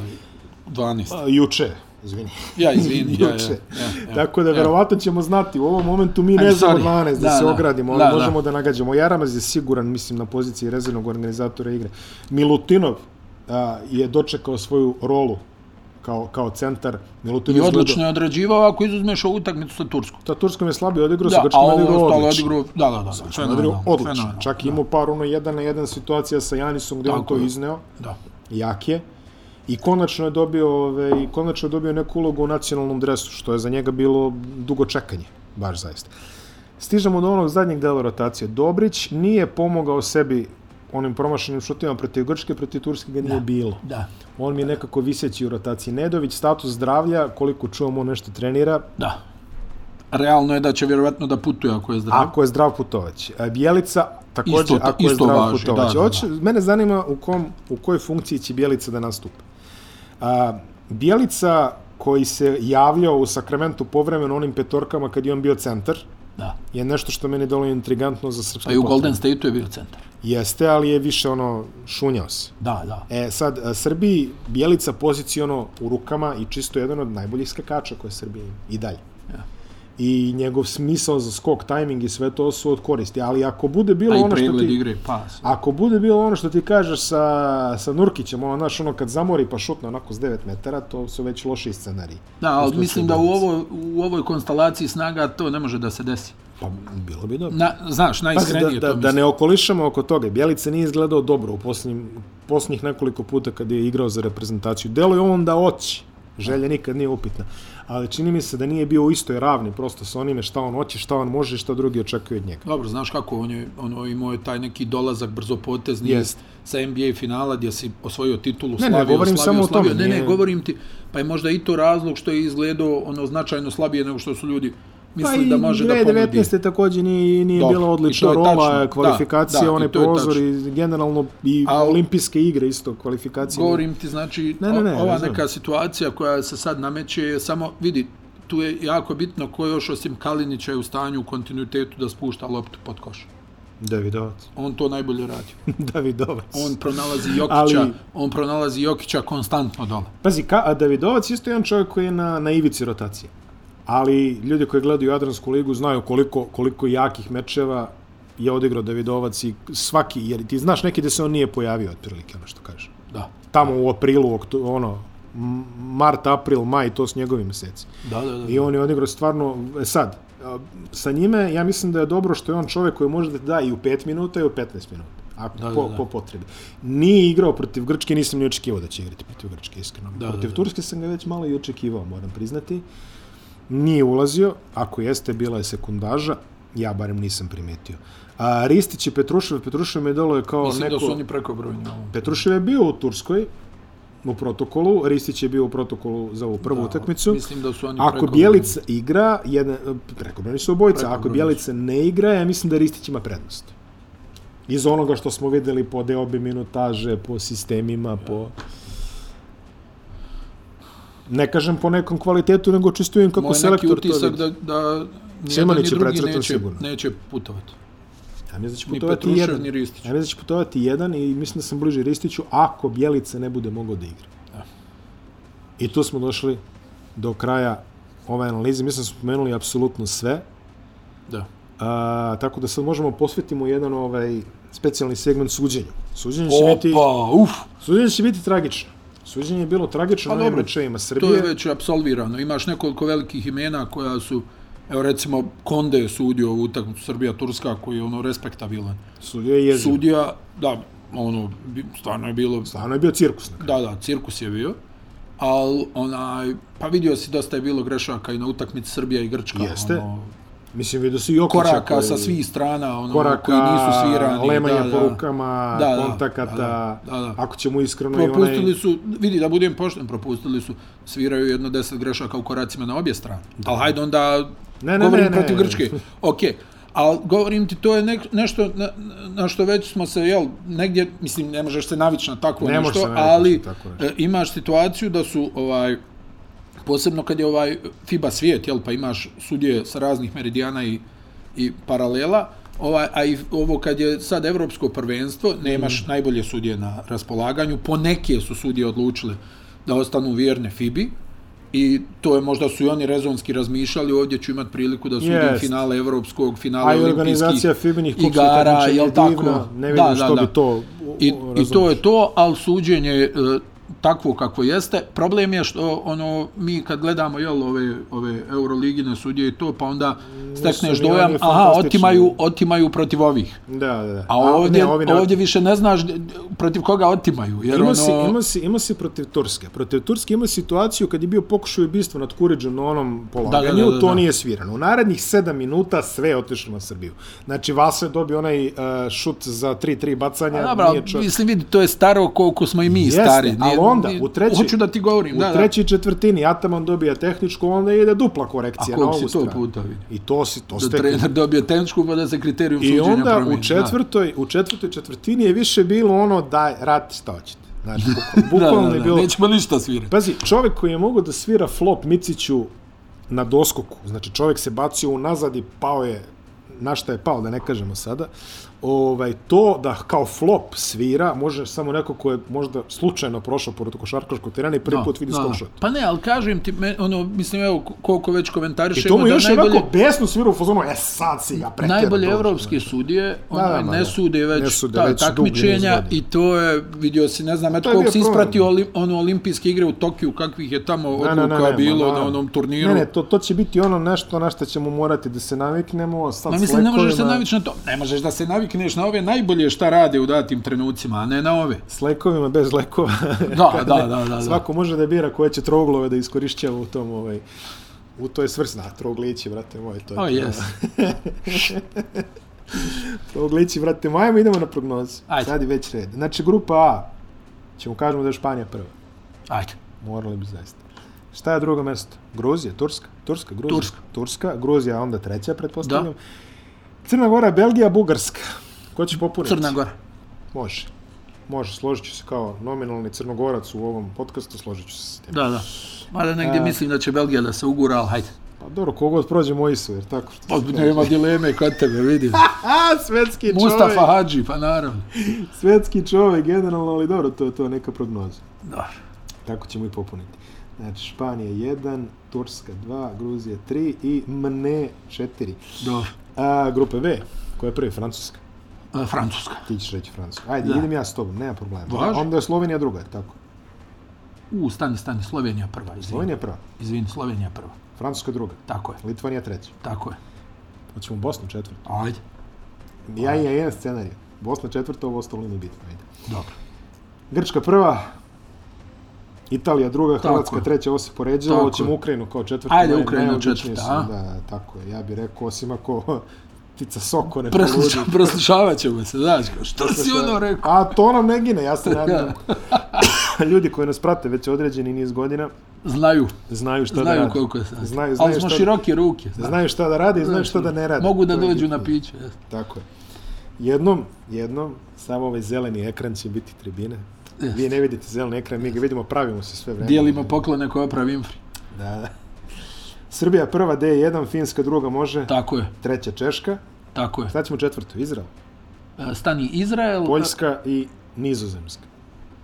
Speaker 2: 12.
Speaker 1: A, juče, izvini.
Speaker 2: Ja, izvini. ja, ja,
Speaker 1: Juče.
Speaker 2: ja, ja.
Speaker 1: Tako da verovatno ćemo znati u ovom momentu mi
Speaker 2: I'm
Speaker 1: ne znamo
Speaker 2: sorry.
Speaker 1: 12 da,
Speaker 2: Da,
Speaker 1: se
Speaker 2: da.
Speaker 1: ogradimo, ali
Speaker 2: Da, da.
Speaker 1: možemo da. nagađamo. Jaramaz je siguran mislim na poziciji rezervnog organizatora igre. Milutinov a, je dočekao svoju rolu kao kao centar.
Speaker 2: I
Speaker 1: Milutinov je
Speaker 2: odlično je odrađivao ako izuzmeš ovu utakmicu sa Turskom.
Speaker 1: Ta Turskom je slabio odigrao, sa
Speaker 2: Da, a
Speaker 1: Grčkom je
Speaker 2: ovo
Speaker 1: odigrao
Speaker 2: ostalo
Speaker 1: odlično.
Speaker 2: odigrao, da, da, da, da,
Speaker 1: Odigrao
Speaker 2: fenomenalno,
Speaker 1: odlično.
Speaker 2: fenomenalno,
Speaker 1: Čak
Speaker 2: da.
Speaker 1: je imao par ono jedan na jedan situacija sa Janisom gdje on
Speaker 2: Tako
Speaker 1: to
Speaker 2: je.
Speaker 1: izneo,
Speaker 2: Da.
Speaker 1: jak je. I konačno je dobio, ovaj, konačno je dobio neku ulogu u nacionalnom dresu, što je za njega bilo dugo čekanje, baš zaista. Stižemo do onog zadnjeg dela rotacije. Dobrić nije pomogao sebi onim promašenim šutima protiv Grčke, protiv Turske ga nije bilo.
Speaker 2: Da,
Speaker 1: On mi je nekako viseći u rotaciji. Nedović, status zdravlja, koliko čuvamo nešto trenira,
Speaker 2: da. Realno je da će vjerovatno da putuje ako je zdrav.
Speaker 1: ako je zdrav putovać. A Bjelica također
Speaker 2: Isto-
Speaker 1: ako je
Speaker 2: isto
Speaker 1: zdrav
Speaker 2: važi,
Speaker 1: putovać.
Speaker 2: da, da,
Speaker 1: Hoće- Mene zanima u, kom, u kojoj funkciji će Bjelica da nastupa. A, Bjelica koji se javljao u Sakramentu povremeno onim petorkama kad je on bio centar,
Speaker 2: Da.
Speaker 1: je nešto što meni dolo intrigantno za srpski
Speaker 2: A i u
Speaker 1: potrebe.
Speaker 2: Golden Stateu je bio centar.
Speaker 1: Jeste, ali je više ono, šunjao se.
Speaker 2: Da, da.
Speaker 1: E, sad, a, Srbiji Bjelica poziciono u rukama i čisto jedan od najboljih skakača koje Srbije ima i dalje.
Speaker 2: Ja.
Speaker 1: I njegov smisao za skok, tajming i sve to su od koristi. Ali ako bude bilo
Speaker 2: A Pa i
Speaker 1: ono što
Speaker 2: pregled
Speaker 1: ti...
Speaker 2: igre, pas.
Speaker 1: Ako bude bilo ono što ti kažeš sa, sa Nurkićem, ono, znaš, ono kad zamori pa šutne onako s 9 metara, to su već loši scenariji.
Speaker 2: Da,
Speaker 1: U
Speaker 2: ali
Speaker 1: slučaju
Speaker 2: mislim da u,
Speaker 1: Bjelice.
Speaker 2: ovo, u ovoj konstalaciji snaga to ne može da se desi.
Speaker 1: Pa, bilo bi dobro.
Speaker 2: Na, znaš,
Speaker 1: Pazi, da,
Speaker 2: najiskrenije
Speaker 1: da,
Speaker 2: to
Speaker 1: da
Speaker 2: mislim.
Speaker 1: ne okolišamo oko toga. Bjelica nije izgledao dobro u posljednjim, posljednjih nekoliko puta kad je igrao za reprezentaciju. Delo je on da oći. Želja nikad nije upitna. Ali čini mi se da nije bio u istoj ravni prosto sa onime šta on hoće, šta on može i šta drugi očekuju od njega.
Speaker 2: Dobro, znaš kako, on je ono, imao je taj neki dolazak brzopotezni
Speaker 1: Jest.
Speaker 2: sa NBA finala gdje si osvojio titulu,
Speaker 1: ne,
Speaker 2: slavio,
Speaker 1: govorim
Speaker 2: slavio,
Speaker 1: samo o
Speaker 2: slavio.
Speaker 1: tome,
Speaker 2: Ne, ne,
Speaker 1: nije-
Speaker 2: govorim ti, pa je možda i to razlog što je izgledao ono značajno slabije nego što su ljudi mislim da može da ponudi.
Speaker 1: 2019. takođe nije, nije
Speaker 2: Dobro,
Speaker 1: bila
Speaker 2: i to
Speaker 1: odlična
Speaker 2: je
Speaker 1: rola,
Speaker 2: tačno.
Speaker 1: kvalifikacija,
Speaker 2: Da,
Speaker 1: da,
Speaker 2: da, i
Speaker 1: one
Speaker 2: to je
Speaker 1: prozor i generalno i
Speaker 2: Al-
Speaker 1: olimpijske igre isto, kvalifikacije.
Speaker 2: Govorim ti, znači,
Speaker 1: Ne, ne, ne,
Speaker 2: o- ova
Speaker 1: razumem.
Speaker 2: neka situacija koja se sad nameće je samo, vidi, tu je jako bitno ko još osim Kalinića je u stanju u kontinuitetu da spušta loptu pod koš.
Speaker 1: Davidovac.
Speaker 2: On to najbolje radi.
Speaker 1: Davidovac.
Speaker 2: On pronalazi Jokića,
Speaker 1: Ali-
Speaker 2: Ali... on pronalazi Jokića konstantno dole.
Speaker 1: Pazi, ka, a Davidovac isto je jedan čovjek koji je na, na ivici rotacije. Ali ljudi koji gledaju Jadransku ligu znaju koliko, koliko jakih mečeva je odigrao Davidovac i svaki, jer ti znaš neki da se on nije pojavio otprilike, ono što kažem.
Speaker 2: Da.
Speaker 1: Tamo u aprilu, okto, ono, m- mart, april, maj, to su njegovi meseci.
Speaker 2: Da, da, da.
Speaker 1: I on je odigrao stvarno, e, sad, a, sa njime ja mislim da je dobro što je on čovjek koji može da ti da i u 5 minuta i u 15 minuta. Ako, da,
Speaker 2: Da,
Speaker 1: po,
Speaker 2: da, da.
Speaker 1: po potrebi. Nije igrao protiv Grčke, nisam ni očekivao da će igrati protiv Grčke, iskreno. Da,
Speaker 2: Da,
Speaker 1: protiv
Speaker 2: da, da.
Speaker 1: Turske sam ga već malo i očekivao, moram priznati. Nije ulazio, ako jeste, bila je sekundaža, ja barem nisam primetio. A, Ristić i Petrušev, Petrušev mi dolo je kao
Speaker 2: Mislim
Speaker 1: neko...
Speaker 2: da su oni prekobrojni. u ovom.
Speaker 1: Petrušev je bio u Turskoj, u protokolu, Ristić je bio u protokolu za ovu prvu
Speaker 2: Da,
Speaker 1: utakmicu.
Speaker 2: Mislim da su oni
Speaker 1: Ako
Speaker 2: prekobrojni.
Speaker 1: Bjelica igra, jedan, prekobrani su obojica, ako
Speaker 2: Prekobrojni
Speaker 1: Bjelica ne igra, ja mislim da Ristić ima prednost. Iz onoga što smo videli po deobi minutaže, po sistemima, po... Ne kažem po nekom kvalitetu, nego čistujem kako
Speaker 2: Moj neki
Speaker 1: selektor to vidi.
Speaker 2: utisak da, da nijedan
Speaker 1: Simanić
Speaker 2: ni
Speaker 1: je
Speaker 2: drugi
Speaker 1: precrtan
Speaker 2: neće,
Speaker 1: sigurno.
Speaker 2: neće putovati.
Speaker 1: Ja mislim da će
Speaker 2: Ni
Speaker 1: putovati
Speaker 2: Petrušev,
Speaker 1: jedan.
Speaker 2: ni Ristić.
Speaker 1: Ja mislim da će putovati jedan i mislim da sam bliže Ristiću ako Bjelica ne bude mogao da igra. I tu smo došli do kraja ove analize. Mislim da smo pomenuli apsolutno sve.
Speaker 2: Da.
Speaker 1: A, tako da sad možemo posvetimo jedan ovaj specijalni segment suđenju. Suđenje će, biti,
Speaker 2: Opa, uf,
Speaker 1: suđenje će biti tragično. Suđenje je bilo tragično
Speaker 2: Pa
Speaker 1: na ovim
Speaker 2: dobro,
Speaker 1: mečevima
Speaker 2: to je
Speaker 1: Srbije.
Speaker 2: već absolvirano. Imaš nekoliko velikih imena koja su, evo recimo, Konde je sudio ovu utakmicu Srbija-Turska koji je ono respektabilan.
Speaker 1: Sudio je jezivo.
Speaker 2: Sudija, da, ono, bi- stvarno je bilo,
Speaker 1: Stvarno je bio cirkus. na kraju.
Speaker 2: da, da, cirkus je bio, ali onaj, pa vidio si dosta je bilo grešaka i na utakmici Srbija i Grčka.
Speaker 1: Jeste.
Speaker 2: Ono,
Speaker 1: Mislim, vidio si Jokića
Speaker 2: koraka
Speaker 1: koji-
Speaker 2: sa svih strana, ono,
Speaker 1: koraka,
Speaker 2: koji nisu svirani.
Speaker 1: lemanje
Speaker 2: da,
Speaker 1: po
Speaker 2: da.
Speaker 1: rukama,
Speaker 2: Da, da,
Speaker 1: kontakata,
Speaker 2: da, da, da.
Speaker 1: ako ćemo iskreno i onaj...
Speaker 2: Propustili su, vidi da budem pošten, propustili su, sviraju jedno deset grešaka u koracima na obje strane. Ali hajde onda,
Speaker 1: Ne,
Speaker 2: ne,
Speaker 1: ne,
Speaker 2: ne, govorim
Speaker 1: ne, ne.
Speaker 2: protiv Grčke. Ok, ali govorim ti, to je nek, nešto na, na što već smo se, jel, negdje, mislim, ne možeš se navići na tako
Speaker 1: Ne možeš se
Speaker 2: nešto,
Speaker 1: navići na
Speaker 2: ali
Speaker 1: tako nešto.
Speaker 2: e, imaš situaciju da su, ovaj, posebno kad je ovaj FIBA svijet, jel, pa imaš sudje sa raznih meridijana i, i paralela, ovaj, a i ovo kad je sad evropsko prvenstvo, nemaš mm. najbolje sudje na raspolaganju, poneke su sudje odlučile da ostanu vjerne FIBI, i to je možda su i oni rezonski razmišljali, ovdje ću imat priliku da sudim
Speaker 1: Jest.
Speaker 2: finale evropskog, finale
Speaker 1: A i
Speaker 2: olimpijskih
Speaker 1: organizacija Fibinih kupskih
Speaker 2: igara,
Speaker 1: takmičenja je
Speaker 2: jel tako?
Speaker 1: divna, ne vidim što bi to... u-
Speaker 2: I,
Speaker 1: u-
Speaker 2: I to
Speaker 1: razumeš.
Speaker 2: je to, ali suđenje e, takvo kako jeste. Problem je što ono mi kad gledamo jel ove ove euroligine sudije i to pa onda stekneš
Speaker 1: ni oni
Speaker 2: dojam aha
Speaker 1: fantastični.
Speaker 2: otimaju otimaju protiv ovih.
Speaker 1: Da, da, da.
Speaker 2: A ovdje
Speaker 1: ne, ovi ne-
Speaker 2: ovdje više ne znaš d- d- protiv koga otimaju jer
Speaker 1: Imao
Speaker 2: ono
Speaker 1: si, imao si, imao si protiv Turske. Protiv Turske imao situaciju kad je bio pokušaj ubistva nad Kuriđom na onom polaganju, da, da, da, da. to
Speaker 2: da.
Speaker 1: nije svirano. U narednih 7 minuta sve je otišlo na Srbiju. Znači, Vaso je dobio onaj uh, šut za 3-3 bacanja.
Speaker 2: Dobra,
Speaker 1: nije čovjek-
Speaker 2: pa mislim vidi to je staro koliko smo i mi
Speaker 1: Jeste,
Speaker 2: stari.
Speaker 1: ali
Speaker 2: Nije-
Speaker 1: onda,
Speaker 2: nije-
Speaker 1: u trećoj-
Speaker 2: hoću da ti govorim,
Speaker 1: U
Speaker 2: da,
Speaker 1: da, trećoj četvrtini Ataman dobija tehničku, onda ide dupla
Speaker 2: da.
Speaker 1: korekcija na
Speaker 2: Koliko
Speaker 1: ovu
Speaker 2: si to
Speaker 1: stranu.
Speaker 2: puta vidi?
Speaker 1: I to si, to
Speaker 2: Da
Speaker 1: ste...
Speaker 2: trener dobije tehničku pa da se kriterijum
Speaker 1: I
Speaker 2: suđenja
Speaker 1: onda
Speaker 2: promijeni.
Speaker 1: u
Speaker 2: da.
Speaker 1: četvrtoj, u četvrtoj četvrtini je više bilo ono daj, rat šta hoćete. Znači, bukval- bukvalno
Speaker 2: da, da,
Speaker 1: je
Speaker 2: da,
Speaker 1: bilo...
Speaker 2: Nećemo ništa svirati.
Speaker 1: Pazi, čovjek koji je mogao da svira flop Miciću na doskoku, znači čovjek se bacio unazad i pao je, na šta je pao, da ne kažemo sada, ovaj, to da kao flop svira, može samo neko ko je možda slučajno prošao pored košarkaškog terena i prvi put vidi skop šut.
Speaker 2: Pa ne, ali kažem ti, me, ono, mislim, evo, ko- koliko već komentarišemo,
Speaker 1: I to mu
Speaker 2: Znači da
Speaker 1: još
Speaker 2: najbolje,
Speaker 1: onako besno svira u fazonu, e sad si ga pretjerao.
Speaker 2: najbolje
Speaker 1: dobro,
Speaker 2: evropski sudije, onaj,
Speaker 1: ma, znači. da.
Speaker 2: ne sude već
Speaker 1: Ne sude
Speaker 2: ta
Speaker 1: već dugi niz
Speaker 2: takmičenja
Speaker 1: godina.
Speaker 2: i to je, vidio si, ne znam, eto
Speaker 1: je bio
Speaker 2: koliko si ispratio
Speaker 1: problem.
Speaker 2: oli, ono, olimpijske igre u Tokiju, kakvih je tamo
Speaker 1: Ne, ne, ne,
Speaker 2: odluka
Speaker 1: ne,
Speaker 2: bilo
Speaker 1: ma,
Speaker 2: na
Speaker 1: da.
Speaker 2: onom turniru.
Speaker 1: Ne, ne, to, to će biti ono nešto na što ćemo morati da se naviknemo. Sad
Speaker 2: Ma
Speaker 1: s
Speaker 2: mislim, ne možeš se
Speaker 1: lekovima-
Speaker 2: navići na to. Ne možeš da se navikneš na ove najbolje šta rade u datim trenucima, a ne na ove.
Speaker 1: S lekovima, bez lekova.
Speaker 2: Da, da, da, da. da.
Speaker 1: Svako može da bira koje će troglove da iskorišćava u tom, ovaj, u toj svrsi. Da, troglići, brate moj, to je.
Speaker 2: O,
Speaker 1: to.
Speaker 2: jes.
Speaker 1: Troglići, brate moj, ajmo idemo na prognozu.
Speaker 2: Ajde.
Speaker 1: Sad je već red. Znači, grupa A, ćemo kažemo da je Španija prva.
Speaker 2: Ajde.
Speaker 1: Morali bi zaista. Šta je drugo mesto? Gruzija, Turska, Turska, Gruzija.
Speaker 2: Turska.
Speaker 1: Turska, Gruzija, onda treća, pretpostavljam. Crna Gora, Belgija, Bugarska. Ko će popuniti?
Speaker 2: Crna Gora.
Speaker 1: Može. Može, složit ću se kao nominalni crnogorac u ovom podcastu, složit ću se s tim.
Speaker 2: Da, da. Mada negdje mislim da će Belgija da se ugura, ali hajde.
Speaker 1: Pa dobro, kogod prođe moji su, jer tako što...
Speaker 2: Pa, nema dileme kod tebe, vidim.
Speaker 1: A, svetski čovjek!
Speaker 2: Mustafa Hadži, pa naravno.
Speaker 1: Svetski čovjek, generalno, ali dobro, to je to neka prognoza.
Speaker 2: Dobro.
Speaker 1: Tako ćemo i popuniti. Znači, Španija 1, Turska 2, Gruzija 3 i Mne 4.
Speaker 2: Dobro.
Speaker 1: A, grupe B, koja je prvi, Francuska.
Speaker 2: E, Francuska.
Speaker 1: Ti ćeš reći Francuska. Ajde,
Speaker 2: Da.
Speaker 1: idem ja s tobom, nema problema.
Speaker 2: Važi.
Speaker 1: Onda je Slovenija druga, je tako.
Speaker 2: U, stani, stani, Slovenija prva, izvini.
Speaker 1: Slovenija prva,
Speaker 2: Izvini, Slovenija prva.
Speaker 1: Francuska druga,
Speaker 2: Tako je,
Speaker 1: Litvanija treća.
Speaker 2: tako je.
Speaker 1: Hoćemo Bosnu četvrtu.
Speaker 2: Ajde.
Speaker 1: Ja i ja jedan scenarij. Bosna četvrta, ovo ostalo nije bitno. Ajde.
Speaker 2: Dobro.
Speaker 1: Grčka prva, Italija druga,
Speaker 2: Tako
Speaker 1: Hrvatska
Speaker 2: je.
Speaker 1: treća, ovo se poređalo,
Speaker 2: Tako
Speaker 1: hoćemo
Speaker 2: je.
Speaker 1: Ukrajinu kao četvrtu.
Speaker 2: Ajde,
Speaker 1: naj-
Speaker 2: Ukrajina
Speaker 1: najobičniji
Speaker 2: četvrta,
Speaker 1: su,
Speaker 2: a?
Speaker 1: Da, tako je, ja bih rekao, osim ako tica soko ne poludi.
Speaker 2: Presluša, preslušavat ćemo se, znaš, kao, što si ono rekao?
Speaker 1: A to nam ne gine, ja se nadam.
Speaker 2: Ja.
Speaker 1: Ljudi koji nas prate već određeni niz godina,
Speaker 2: Znaju,
Speaker 1: znaju šta da
Speaker 2: znaju
Speaker 1: rade.
Speaker 2: koliko je sad.
Speaker 1: Znaju, znaju
Speaker 2: Ali smo
Speaker 1: šta-
Speaker 2: široke ruke. znaš.
Speaker 1: Znaju šta da rade i znaju šta da ne rade.
Speaker 2: Mogu da
Speaker 1: To je
Speaker 2: dođu na
Speaker 1: bitno.
Speaker 2: piće. jes.
Speaker 1: Tako je. Jednom, jednom, samo ovaj zeleni ekran će biti tribine.
Speaker 2: Jeste.
Speaker 1: Vi ne vidite zeleni ekran, mi ga vidimo, pravimo se sve vreme.
Speaker 2: Dijelimo poklone koje opravi Infri.
Speaker 1: Da, da. Srbija prva D1, Finska druga može,
Speaker 2: Tako je,
Speaker 1: treća Češka.
Speaker 2: tako je.
Speaker 1: Šta ćemo četvrtu? Izrael.
Speaker 2: E, Stani Izrael,
Speaker 1: Poljska i Nizozemska.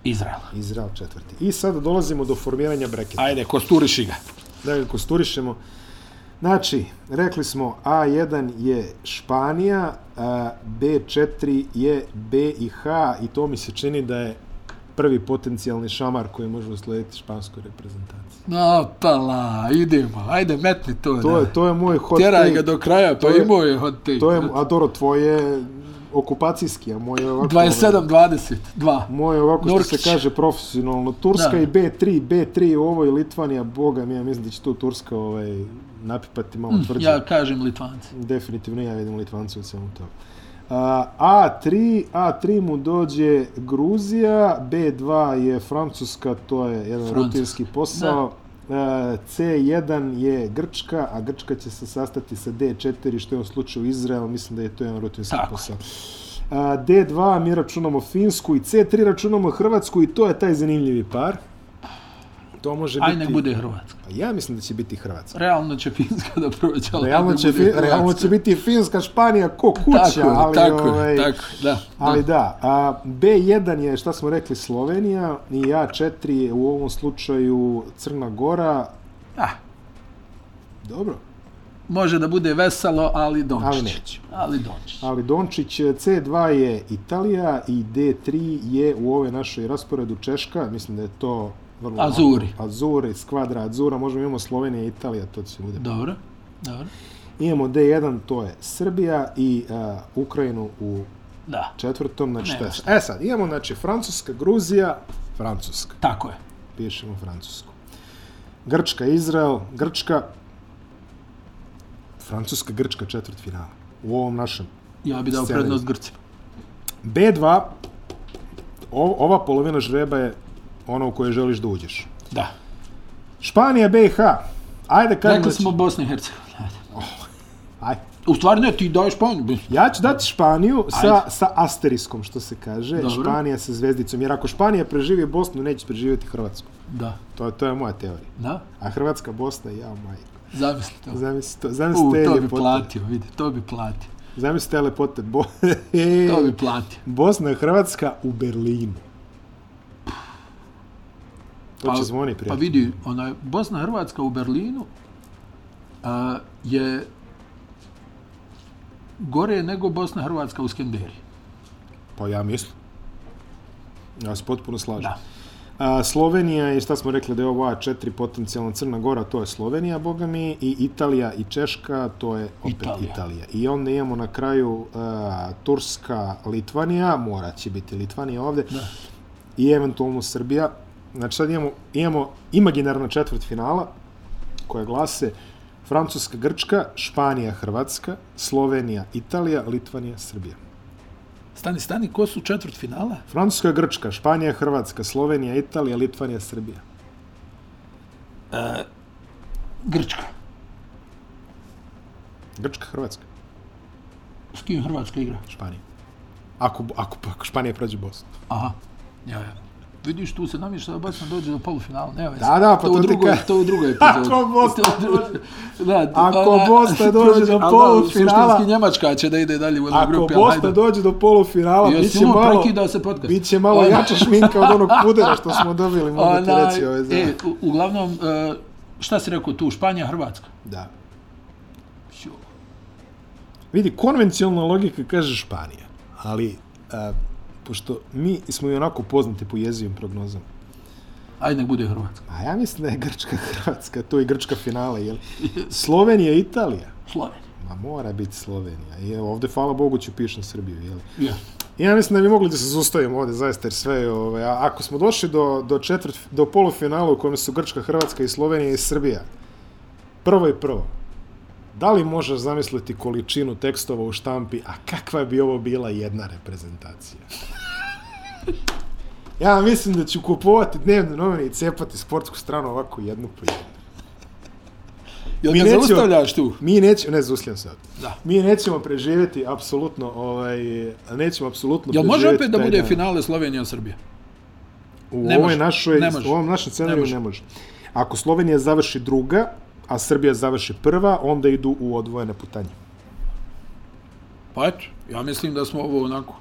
Speaker 2: Izrael.
Speaker 1: Izrael četvrti. I sada dolazimo do formiranja breketa.
Speaker 2: Ajde, kosturiši ga.
Speaker 1: Da ga kosturišemo. Znači, rekli smo A1 je Španija, a B4 je B i H i to mi se čini da je prvi potencijalni šamar koji može uslediti španskoj reprezentaciji.
Speaker 2: Opala, idemo, ajde metni to.
Speaker 1: To
Speaker 2: da.
Speaker 1: je, to je moj hot
Speaker 2: Tjeraj
Speaker 1: take.
Speaker 2: ga do kraja,
Speaker 1: To
Speaker 2: pa
Speaker 1: je-
Speaker 2: imao je hot take.
Speaker 1: To je, a dobro, tvoje okupacijski, a moje ovako...
Speaker 2: 27-20, 2.
Speaker 1: Moje ovako što
Speaker 2: Nurkić.
Speaker 1: se kaže profesionalno Turska
Speaker 2: Da.
Speaker 1: i B3, B3 ovo i Litvanija, boga mi, ja mislim da će tu Turska ovaj, napipati malo tvrđe.
Speaker 2: Hm, Ja kažem Litvanci.
Speaker 1: Definitivno ja vidim Litvance u svemu tomu. A, A3, A3 mu dođe Gruzija, B2 je Francuska, to je jedan
Speaker 2: Francuska.
Speaker 1: rutinski posao. E, C1 je Grčka, a Grčka će se sastati sa D4, što je u slučaju Izrael, mislim da je to jedan rutinski
Speaker 2: Tako.
Speaker 1: posao. A, D2 mi računamo Finsku i C3 računamo Hrvatsku i to je taj zanimljivi par. To može
Speaker 2: Aj
Speaker 1: biti...
Speaker 2: nek bude Hrvatska.
Speaker 1: Pa Ja mislim da će biti Hrvatska.
Speaker 2: Realno će Finska da prođe, ali
Speaker 1: Realno
Speaker 2: nek
Speaker 1: će,
Speaker 2: bude
Speaker 1: fi,
Speaker 2: Hrvatska.
Speaker 1: realno će biti Finska, Španija, ko kuća,
Speaker 2: tako, je,
Speaker 1: ali,
Speaker 2: tako, je,
Speaker 1: ovaj,
Speaker 2: tako, je, da.
Speaker 1: ali
Speaker 2: da.
Speaker 1: da. A, B1 je, šta smo rekli, Slovenija i A4 je u ovom slučaju Crna Gora.
Speaker 2: Ah,
Speaker 1: Dobro,
Speaker 2: može da bude veselo, ali Dončić.
Speaker 1: Ali neće.
Speaker 2: Ali Dončić.
Speaker 1: ali Dončić, C2 je Italija i D3 je u ovoj našoj rasporedu Češka, mislim da je to vrlo...
Speaker 2: Azuri.
Speaker 1: Azuri, skvadra Azura, možemo imamo Slovenija i Italija, to će bude.
Speaker 2: Dobro, dobro.
Speaker 1: Imamo D1, to je Srbija i a, Ukrajinu u
Speaker 2: Da,
Speaker 1: četvrtom, znači
Speaker 2: Ne,
Speaker 1: šta je sad? E sad, imamo znači Francuska, Gruzija, Francuska.
Speaker 2: tako je.
Speaker 1: Pišemo Francusku. Grčka, Izrael, Grčka, Francuska, Grčka četvrt finala. U ovom našem.
Speaker 2: Ja bi dao
Speaker 1: Scenarij.
Speaker 2: prednost Grcima.
Speaker 1: B2, o, ova polovina žreba je ono u koje želiš da uđeš.
Speaker 2: Da.
Speaker 1: Španija, BiH. Ajde, kažem
Speaker 2: Rekli
Speaker 1: da će-
Speaker 2: smo Bosna i Hercegovina. ajde.
Speaker 1: Ajde.
Speaker 2: U stvari ne, ti daješ pa on.
Speaker 1: Ja ću dati Španiju sa,
Speaker 2: Ajde.
Speaker 1: sa asteriskom, što se kaže.
Speaker 2: Dobro.
Speaker 1: Španija sa zvezdicom. Jer ako Španija preživi Bosnu, neće preživjeti Hrvatsku.
Speaker 2: Da,
Speaker 1: To, to je moja teorija.
Speaker 2: da.
Speaker 1: A Hrvatska, Bosna, ja majko.
Speaker 2: Zamisli to.
Speaker 1: Zamisli to,
Speaker 2: U,
Speaker 1: zamisli te
Speaker 2: to bi
Speaker 1: lepote.
Speaker 2: platio, vidi, to bi platio.
Speaker 1: Zamisli te lepote. Bo... Ej,
Speaker 2: To bi platio.
Speaker 1: Bosna i Hrvatska u Berlinu. To će zvoni prije.
Speaker 2: Pa vidi, onaj, Bosna i Hrvatska u Berlinu a, je gore nego Bosna i Hrvatska u Skenderiji.
Speaker 1: Pa ja mislim. Ja se potpuno slažem.
Speaker 2: Da.
Speaker 1: A, Slovenija je, šta smo rekli, da je ovo A4 potencijalna Crna Gora, to je Slovenija, boga mi, i Italija i Češka, to je opet Italija.
Speaker 2: Italija.
Speaker 1: Italija. I onda imamo na kraju a, Turska, Litvanija, mora će biti Litvanija ovde, da. i eventualno Srbija. Znači sad imamo, imamo imaginarna četvrt finala, koja glase Francuska, Grčka, Španija, Hrvatska, Slovenija, Italija, Litvanija, Srbija.
Speaker 2: Stani, stani, ko su četvrt finala?
Speaker 1: Francuska, Grčka, Španija, Hrvatska, Slovenija, Italija, Litvanija, Srbija.
Speaker 2: Grčka.
Speaker 1: Grčka, Hrvatska,
Speaker 2: S kim Hrvatska igra?
Speaker 1: Španija. Ako, ako, ako Španija prođe Bosnu.
Speaker 2: Aha, ja, ja. Vidiš, tu se namješta da Bosna dođe do polufinala, nema veze.
Speaker 1: Da, da, pa
Speaker 2: to, u
Speaker 1: to ti
Speaker 2: drugoj,
Speaker 1: kažem.
Speaker 2: to u drugoj epizodi.
Speaker 1: Ako Bosna
Speaker 2: To u dru- da,
Speaker 1: Ako
Speaker 2: ona-
Speaker 1: Bosna dođe do
Speaker 2: ali da,
Speaker 1: polufinala-
Speaker 2: Suštinski Njemačka će da ide dalje u jednoj
Speaker 1: Ako
Speaker 2: grupi, ali
Speaker 1: Bosna
Speaker 2: hajde.
Speaker 1: dođe do polufinala,
Speaker 2: Jesi
Speaker 1: bit će
Speaker 2: umro,
Speaker 1: malo,
Speaker 2: prekidao se podcast?
Speaker 1: bit će malo
Speaker 2: Ona-
Speaker 1: jača šminka od onog pudera što smo dobili, mogu ti
Speaker 2: Onaj,
Speaker 1: reći ove
Speaker 2: e,
Speaker 1: za...
Speaker 2: u- uglavnom, e, šta si rekao tu, Španija, Hrvatska?
Speaker 1: Da. Vidi, konvencionalna logika kaže Španija, ali a, pošto mi smo i onako poznati po jezivim prognozama,
Speaker 2: Ajde, nek bude Hrvatska.
Speaker 1: a ja mislim da je Grčka Hrvatska, to je Grčka finale, jel? Slovenija i Italija,
Speaker 2: Slovenija.
Speaker 1: ma mora biti Slovenija, i evo, ovde, hvala Bogu, ću piš na Srbiju, jel?
Speaker 2: Ja.
Speaker 1: Ja mislim da bi mogli da se zustavimo ovde, zaista, jer sve, je, ovaj, a- ako smo došli do, do, četvrt, do polufinala u kojem su Grčka, Hrvatska i Slovenija i Srbija, prvo i prvo, da li možeš zamisliti količinu tekstova u štampi, a kakva bi ovo bila jedna reprezentacija? Ja mislim da ću kupovati dnevne novine i cepati sportsku stranu ovako jednu po jednu.
Speaker 2: Jel
Speaker 1: Mi
Speaker 2: ne
Speaker 1: nećemo-
Speaker 2: zaustavljaš tu?
Speaker 1: Mi nećemo, ne zusljem sad,
Speaker 2: Da.
Speaker 1: mi nećemo preživjeti apsolutno, ovaj, nećemo apsolutno
Speaker 2: Jel može
Speaker 1: preživjeti
Speaker 2: opet da
Speaker 1: taj
Speaker 2: bude
Speaker 1: dan.
Speaker 2: finale Slovenija-Srbija?
Speaker 1: U
Speaker 2: Ne
Speaker 1: ovoj
Speaker 2: može.
Speaker 1: našoj,
Speaker 2: Ne može.
Speaker 1: u ovom našem scenariju
Speaker 2: može.
Speaker 1: ne može. Ako Slovenija završi druga, a Srbija završi prva, onda idu u odvojene putanje.
Speaker 2: Pa eto, ja mislim da smo ovo onako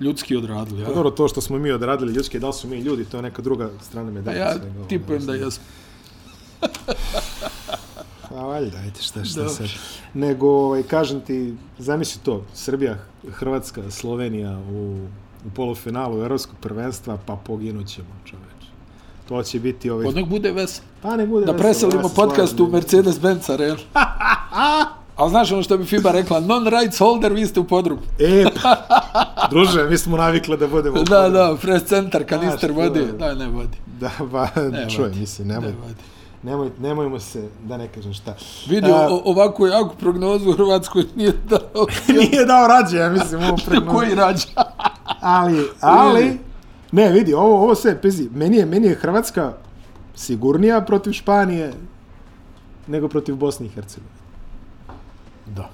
Speaker 2: ljudski odradili. Ja,
Speaker 1: Pa dobro, to što smo mi odradili ljudski, da li su mi ljudi, to je neka druga strana medalja.
Speaker 2: Pa ja
Speaker 1: svega ovoga,
Speaker 2: tipujem da
Speaker 1: mislim.
Speaker 2: jesmo.
Speaker 1: A valjda, ajte, šta, šta
Speaker 2: Da.
Speaker 1: sad. Nego, ovaj, kažem ti, zamisli to, Srbija, Hrvatska, Slovenija u, u polufinalu Evropskog prvenstva, pa poginućemo, čoveče. To će biti ovaj...
Speaker 2: Pa nek bude vesel.
Speaker 1: Pa ne bude
Speaker 2: Da
Speaker 1: veselo, ja
Speaker 2: preselimo
Speaker 1: se
Speaker 2: podcast
Speaker 1: slažem.
Speaker 2: u Mercedes-Benz Arena. A znaš ono što bi FIBA rekla, non rights holder, vi ste u podrumu.
Speaker 1: E, pa, druže, mi smo navikli da budemo... u
Speaker 2: Da, da, press center, kanister
Speaker 1: što
Speaker 2: vode.
Speaker 1: je?
Speaker 2: Da, ne vodi.
Speaker 1: Da, ba,
Speaker 2: Ne
Speaker 1: čuj,
Speaker 2: vodi.
Speaker 1: mislim,
Speaker 2: Ne
Speaker 1: nemoj,
Speaker 2: vodi.
Speaker 1: nemoj, nemojmo se, da ne kažem šta.
Speaker 2: Vidi,
Speaker 1: A,
Speaker 2: o- ovako jaku prognozu u Hrvatskoj nije dao.
Speaker 1: nije dao rađe, ja mislim, ovo pregnoz.
Speaker 2: Koji rađa?
Speaker 1: Ali, ali, ne, vidi, ovo, ovo sve, pezi, meni je, meni je Hrvatska sigurnija protiv Španije nego protiv Bosne i Hercegovine.
Speaker 2: Da.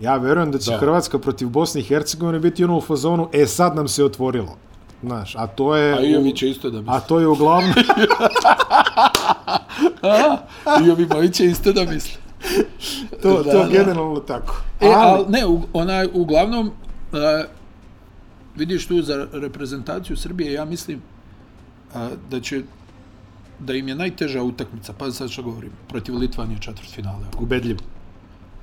Speaker 1: Ja verujem da će
Speaker 2: Da.
Speaker 1: da. Hrvatska protiv Bosne i Hercegovine biti ono u fazonu, e, sad nam se otvorilo. Znaš, a to je...
Speaker 2: A Ijović je isto da misli.
Speaker 1: A to je uglavnom...
Speaker 2: Ijovi Mojić je isto da misli.
Speaker 1: To,
Speaker 2: Da,
Speaker 1: to
Speaker 2: da.
Speaker 1: generalno tako.
Speaker 2: E, ali, ne, u, onaj, uglavnom, e, vidiš tu za reprezentaciju Srbije, ja mislim a, da će da im je najteža utakmica, pa sad što govorim, protiv Litvanije četvrt finale. Ako,
Speaker 1: ubedljivo.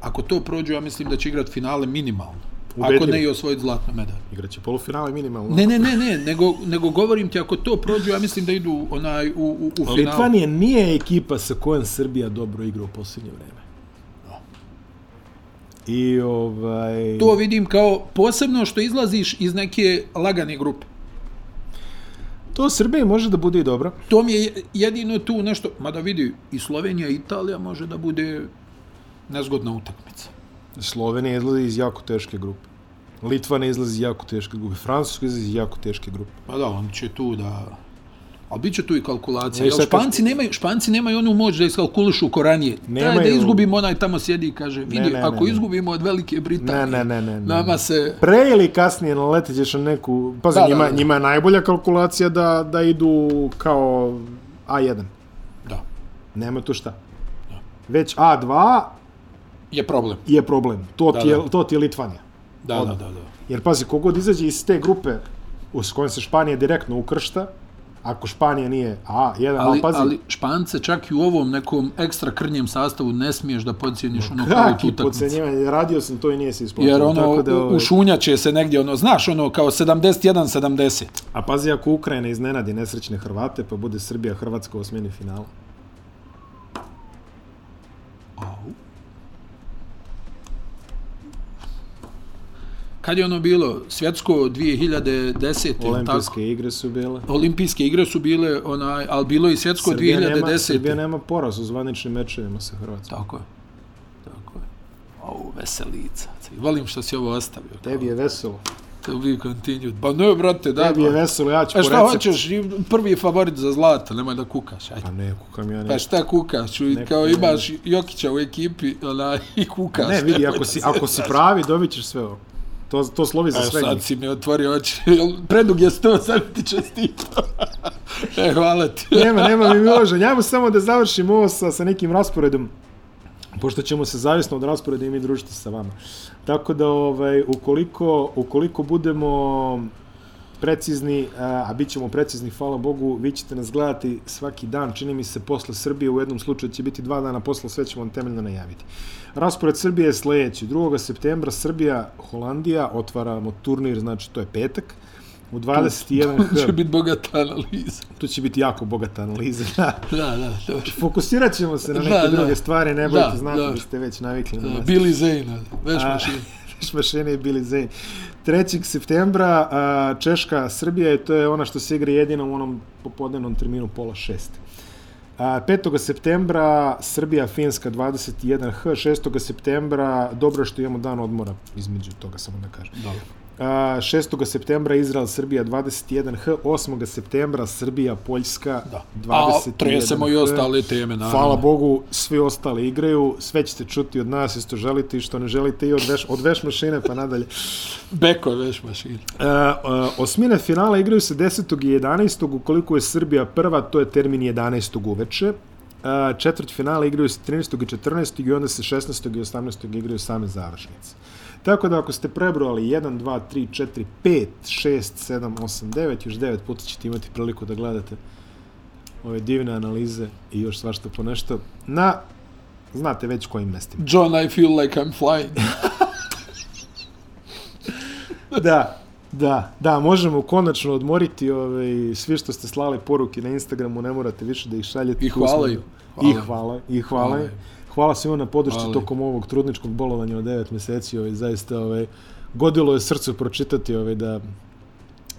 Speaker 2: ako to prođu, ja mislim da će igrat finale minimalno. Ako
Speaker 1: Ubedljivo.
Speaker 2: ne i osvojiti zlatnu medalju.
Speaker 1: Igraće polufinale minimalno.
Speaker 2: Ne, ne, ne, ne, nego, nego govorim ti, ako to prođu, ja mislim da idu onaj, u, u, u final.
Speaker 1: Litvanija nije ekipa sa kojom Srbija dobro igra u posljednje vreme. I ovaj...
Speaker 2: To vidim kao posebno što izlaziš iz neke lagane grupe.
Speaker 1: to Srbiji može da bude i dobro.
Speaker 2: To mi je jedino tu nešto, mada vidi, i Slovenija i Italija može da bude nezgodna utakmica.
Speaker 1: Slovenija izlazi iz jako teške grupe. Litva ne izlazi iz jako teške grupe. Francuska izlazi iz jako teške grupe.
Speaker 2: Pa da, on će tu da... Ali bit će tu i kalkulacija.
Speaker 1: Ne, pa-
Speaker 2: Jel,
Speaker 1: sad kad-
Speaker 2: španci, nemaju, španci nemaju onu moć da iskalkulišu ko ranije. Nemaju... Da,
Speaker 1: Nemaju.
Speaker 2: izgubimo, onaj tamo sjedi i kaže, vidi,
Speaker 1: ne, ne,
Speaker 2: ako
Speaker 1: ne.
Speaker 2: izgubimo od Velike Britanije,
Speaker 1: Ne, ne, ne, ne, ne.
Speaker 2: nama se...
Speaker 1: Pre ili kasnije naletit ćeš na neku... Pazi,
Speaker 2: Da, da,
Speaker 1: njima,
Speaker 2: da.
Speaker 1: njima je najbolja kalkulacija da, da idu kao A1.
Speaker 2: Da,
Speaker 1: Nema tu šta. Već A2
Speaker 2: je problem.
Speaker 1: je problem. To,
Speaker 2: Da,
Speaker 1: ti, je,
Speaker 2: da.
Speaker 1: to ti je Litvanija.
Speaker 2: Da, da, da, da.
Speaker 1: Jer pazi, kogod izađe iz te grupe u s kojom se Španija direktno ukršta, ako Španija nije A, jedan, ali,
Speaker 2: Ali,
Speaker 1: pazi,
Speaker 2: ali Špance čak i u ovom nekom ekstra krnjem sastavu ne smiješ da pocijeniš ono kao tu
Speaker 1: kaki
Speaker 2: utakmicu.
Speaker 1: pocenjivanje, radio sam to i nije se isplatilo.
Speaker 2: Jer ono,
Speaker 1: tako da, ovaj,
Speaker 2: ušunjaće se negdje, ono, znaš, ono, kao 71-70.
Speaker 1: A pazi, ako Ukrajina iznenadi nesrećne Hrvate, pa bude Srbija Hrvatska u osmini finala.
Speaker 2: Kad je ono bilo? Svjetsko 2010. ili tako?
Speaker 1: Olimpijske igre su bile.
Speaker 2: Olimpijske igre su bile, onaj, ali bilo je i svjetsko
Speaker 1: Srbija nema,
Speaker 2: 2010.
Speaker 1: Srbija nema poraz u zvaničnim mečevima sa Hrvatskom.
Speaker 2: Tako je. Tako je. Au, veselica. Volim što si ovo ostavio.
Speaker 1: Tebi je veselo.
Speaker 2: To be continued. Pa ne, brate, daj.
Speaker 1: Tebi je
Speaker 2: brate.
Speaker 1: veselo, ja ću
Speaker 2: E
Speaker 1: po
Speaker 2: šta
Speaker 1: receptu.
Speaker 2: hoćeš, prvi je favorit za zlato, nemoj da kukaš, ajde.
Speaker 1: Pa ne, kukam ja
Speaker 2: Pa
Speaker 1: ne.
Speaker 2: šta kukaš, i
Speaker 1: Ne,
Speaker 2: kao
Speaker 1: ne.
Speaker 2: imaš Jokića u ekipi, ona, i kukaš.
Speaker 1: Ne, vidi,
Speaker 2: nemoj
Speaker 1: ako
Speaker 2: da
Speaker 1: si,
Speaker 2: se-
Speaker 1: ako si pravi, dobit ćeš sve ovo. To, to slovi za
Speaker 2: Evo
Speaker 1: sve
Speaker 2: E, sad
Speaker 1: njih.
Speaker 2: si mi otvorio oči, Jel, predug je sto, sad ti čestito. e, hvala ti.
Speaker 1: Nema, nema mi Miloža. Njamo samo da završimo ovo sa, sa nekim rasporedom. Pošto ćemo se zavisno od rasporeda i mi družiti sa vama. Tako da, ovaj, ukoliko, ukoliko budemo precizni, a, a bit ćemo precizni, hvala Bogu, vi ćete nas gledati svaki dan, čini mi se posle Srbije, u jednom slučaju će biti dva dana posle, sve ćemo vam temeljno najaviti. Raspored Srbije je sledeći, 2. septembra Srbija, Holandija, otvaramo turnir, znači to je petak, u 21
Speaker 2: Će
Speaker 1: h
Speaker 2: biti bogata analiza.
Speaker 1: tu će biti jako bogata analiza. da.
Speaker 2: Da, da, dobro.
Speaker 1: Fokusirat ćemo se na neke
Speaker 2: Da, da.
Speaker 1: druge stvari, ne bojte,
Speaker 2: Da,
Speaker 1: znate da.
Speaker 2: dobro.
Speaker 1: ste već navikli na
Speaker 2: Da,
Speaker 1: nas.
Speaker 2: Billy Zane, veš
Speaker 1: A,
Speaker 2: mašina.
Speaker 1: Veš mašine i Billy Zane. 3. septembra a, Češka, Srbija i to je ona što se igra jedina u onom popodnevnom terminu pola šeste. A, 5. septembra Srbija, Finska 21H, 6. septembra, dobro je što imamo dan odmora između toga, samo da kažem.
Speaker 2: Dobro.
Speaker 1: A, 6. septembra Izrael, Srbija 21H, 8. septembra Srbija, Poljska
Speaker 2: Da.
Speaker 1: 21H.
Speaker 2: A tresemo i ostale teme, naravno.
Speaker 1: Hvala Bogu, svi ostali igraju, sve ćete čuti od nas, isto želite i što ne želite i od veš, od veš mašine pa nadalje.
Speaker 2: Beko je veš mašina.
Speaker 1: E, e, osmine finala igraju se 10. i 11. ukoliko je Srbija prva, to je termin 11. uveče. E, četvrt finala igraju se 13. i 14. i onda se 16. i 18. igraju same završnice. Tako da ako ste prebrojali 1, 2, 3, 4, 5, 6, 7, 8, 9, još 9 puta ćete imati priliku da gledate ove divne analize i još svašta po nešto na, znate već kojim mestima.
Speaker 2: John, I feel like I'm flying.
Speaker 1: da, da, da, možemo konačno odmoriti ovaj, svi što ste slali poruke na Instagramu, ne morate više da ih šaljete.
Speaker 2: I
Speaker 1: Tu smo-
Speaker 2: hvala im.
Speaker 1: I
Speaker 2: Hvala.
Speaker 1: hvala, i hvala.
Speaker 2: Hvala
Speaker 1: Hvala,
Speaker 2: im.
Speaker 1: hvala svima na podršci
Speaker 2: Hvala im.
Speaker 1: tokom ovog trudničkog bolovanja od 9 meseci, ovaj, zaista ovaj, godilo je srcu pročitati ovaj, da,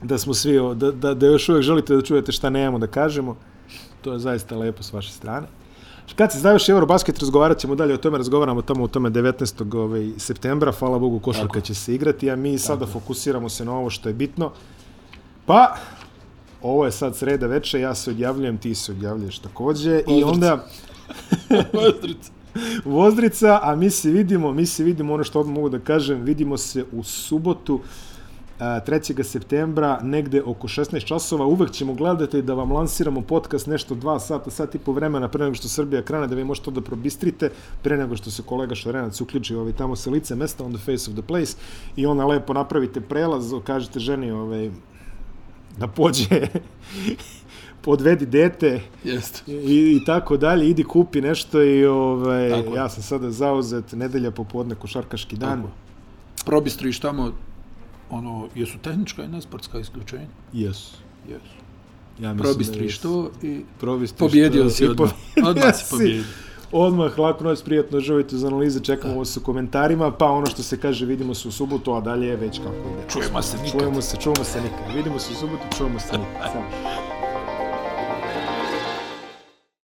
Speaker 1: da smo svi, o, da, da, da još uvek želite da čujete šta nemamo da kažemo. To je zaista lepo s vaše strane. Kad se završi Eurobasket, razgovarat ćemo dalje o tome, razgovaramo tamo o tome 19. Ovaj, septembra, hvala Bogu, košarka će se igrati, a mi sada fokusiramo se na ovo što je bitno. Pa, ovo je sad sreda veče, ja se odjavljujem, ti se odjavljuješ takođe, i
Speaker 2: Pozdrav.
Speaker 1: onda
Speaker 2: Ostrica.
Speaker 1: Vozdrica, a mi se vidimo, mi se vidimo, ono što odmah mogu da kažem, vidimo se u subotu, a, 3. septembra, negde oko 16 časova. Uvek ćemo gledati da vam lansiramo podcast nešto dva sata, sat i po vremena pre nego što Srbija krene, da vi možete to da probistrite, pre nego što se kolega Šarenac uključi ovaj, tamo sa lice mesta on the face of the place i onda lepo napravite prelaz, kažete ženi ovaj, da pođe, podvedi dete,
Speaker 2: Jeste.
Speaker 1: i, i tako dalje, idi kupi nešto i ovaj,
Speaker 2: Tako je.
Speaker 1: ja sam sada zauzet, nedelja popodne, košarkaški dan.
Speaker 2: Tako Probistriš tamo, ono, jesu tehnička i nesportska isključenja?
Speaker 1: Yes.
Speaker 2: Jesu.
Speaker 1: Ja mislim
Speaker 2: Probistriš
Speaker 1: da jesu.
Speaker 2: to i
Speaker 1: Probistriš
Speaker 2: pobjedio
Speaker 1: to
Speaker 2: si
Speaker 1: i
Speaker 2: odmah.
Speaker 1: pobjedio
Speaker 2: Odmah si
Speaker 1: si.
Speaker 2: pobjedio.
Speaker 1: Odmah, laku noć, prijatno, živite uz analize, čekamo vas u komentarima, pa ono što se kaže, vidimo se u subotu, a dalje je već kako ide.
Speaker 2: Čujemo se nikad.
Speaker 1: Čujemo se, čujemo se nikad. Vidimo se u subotu, čujemo se nikad. Samo.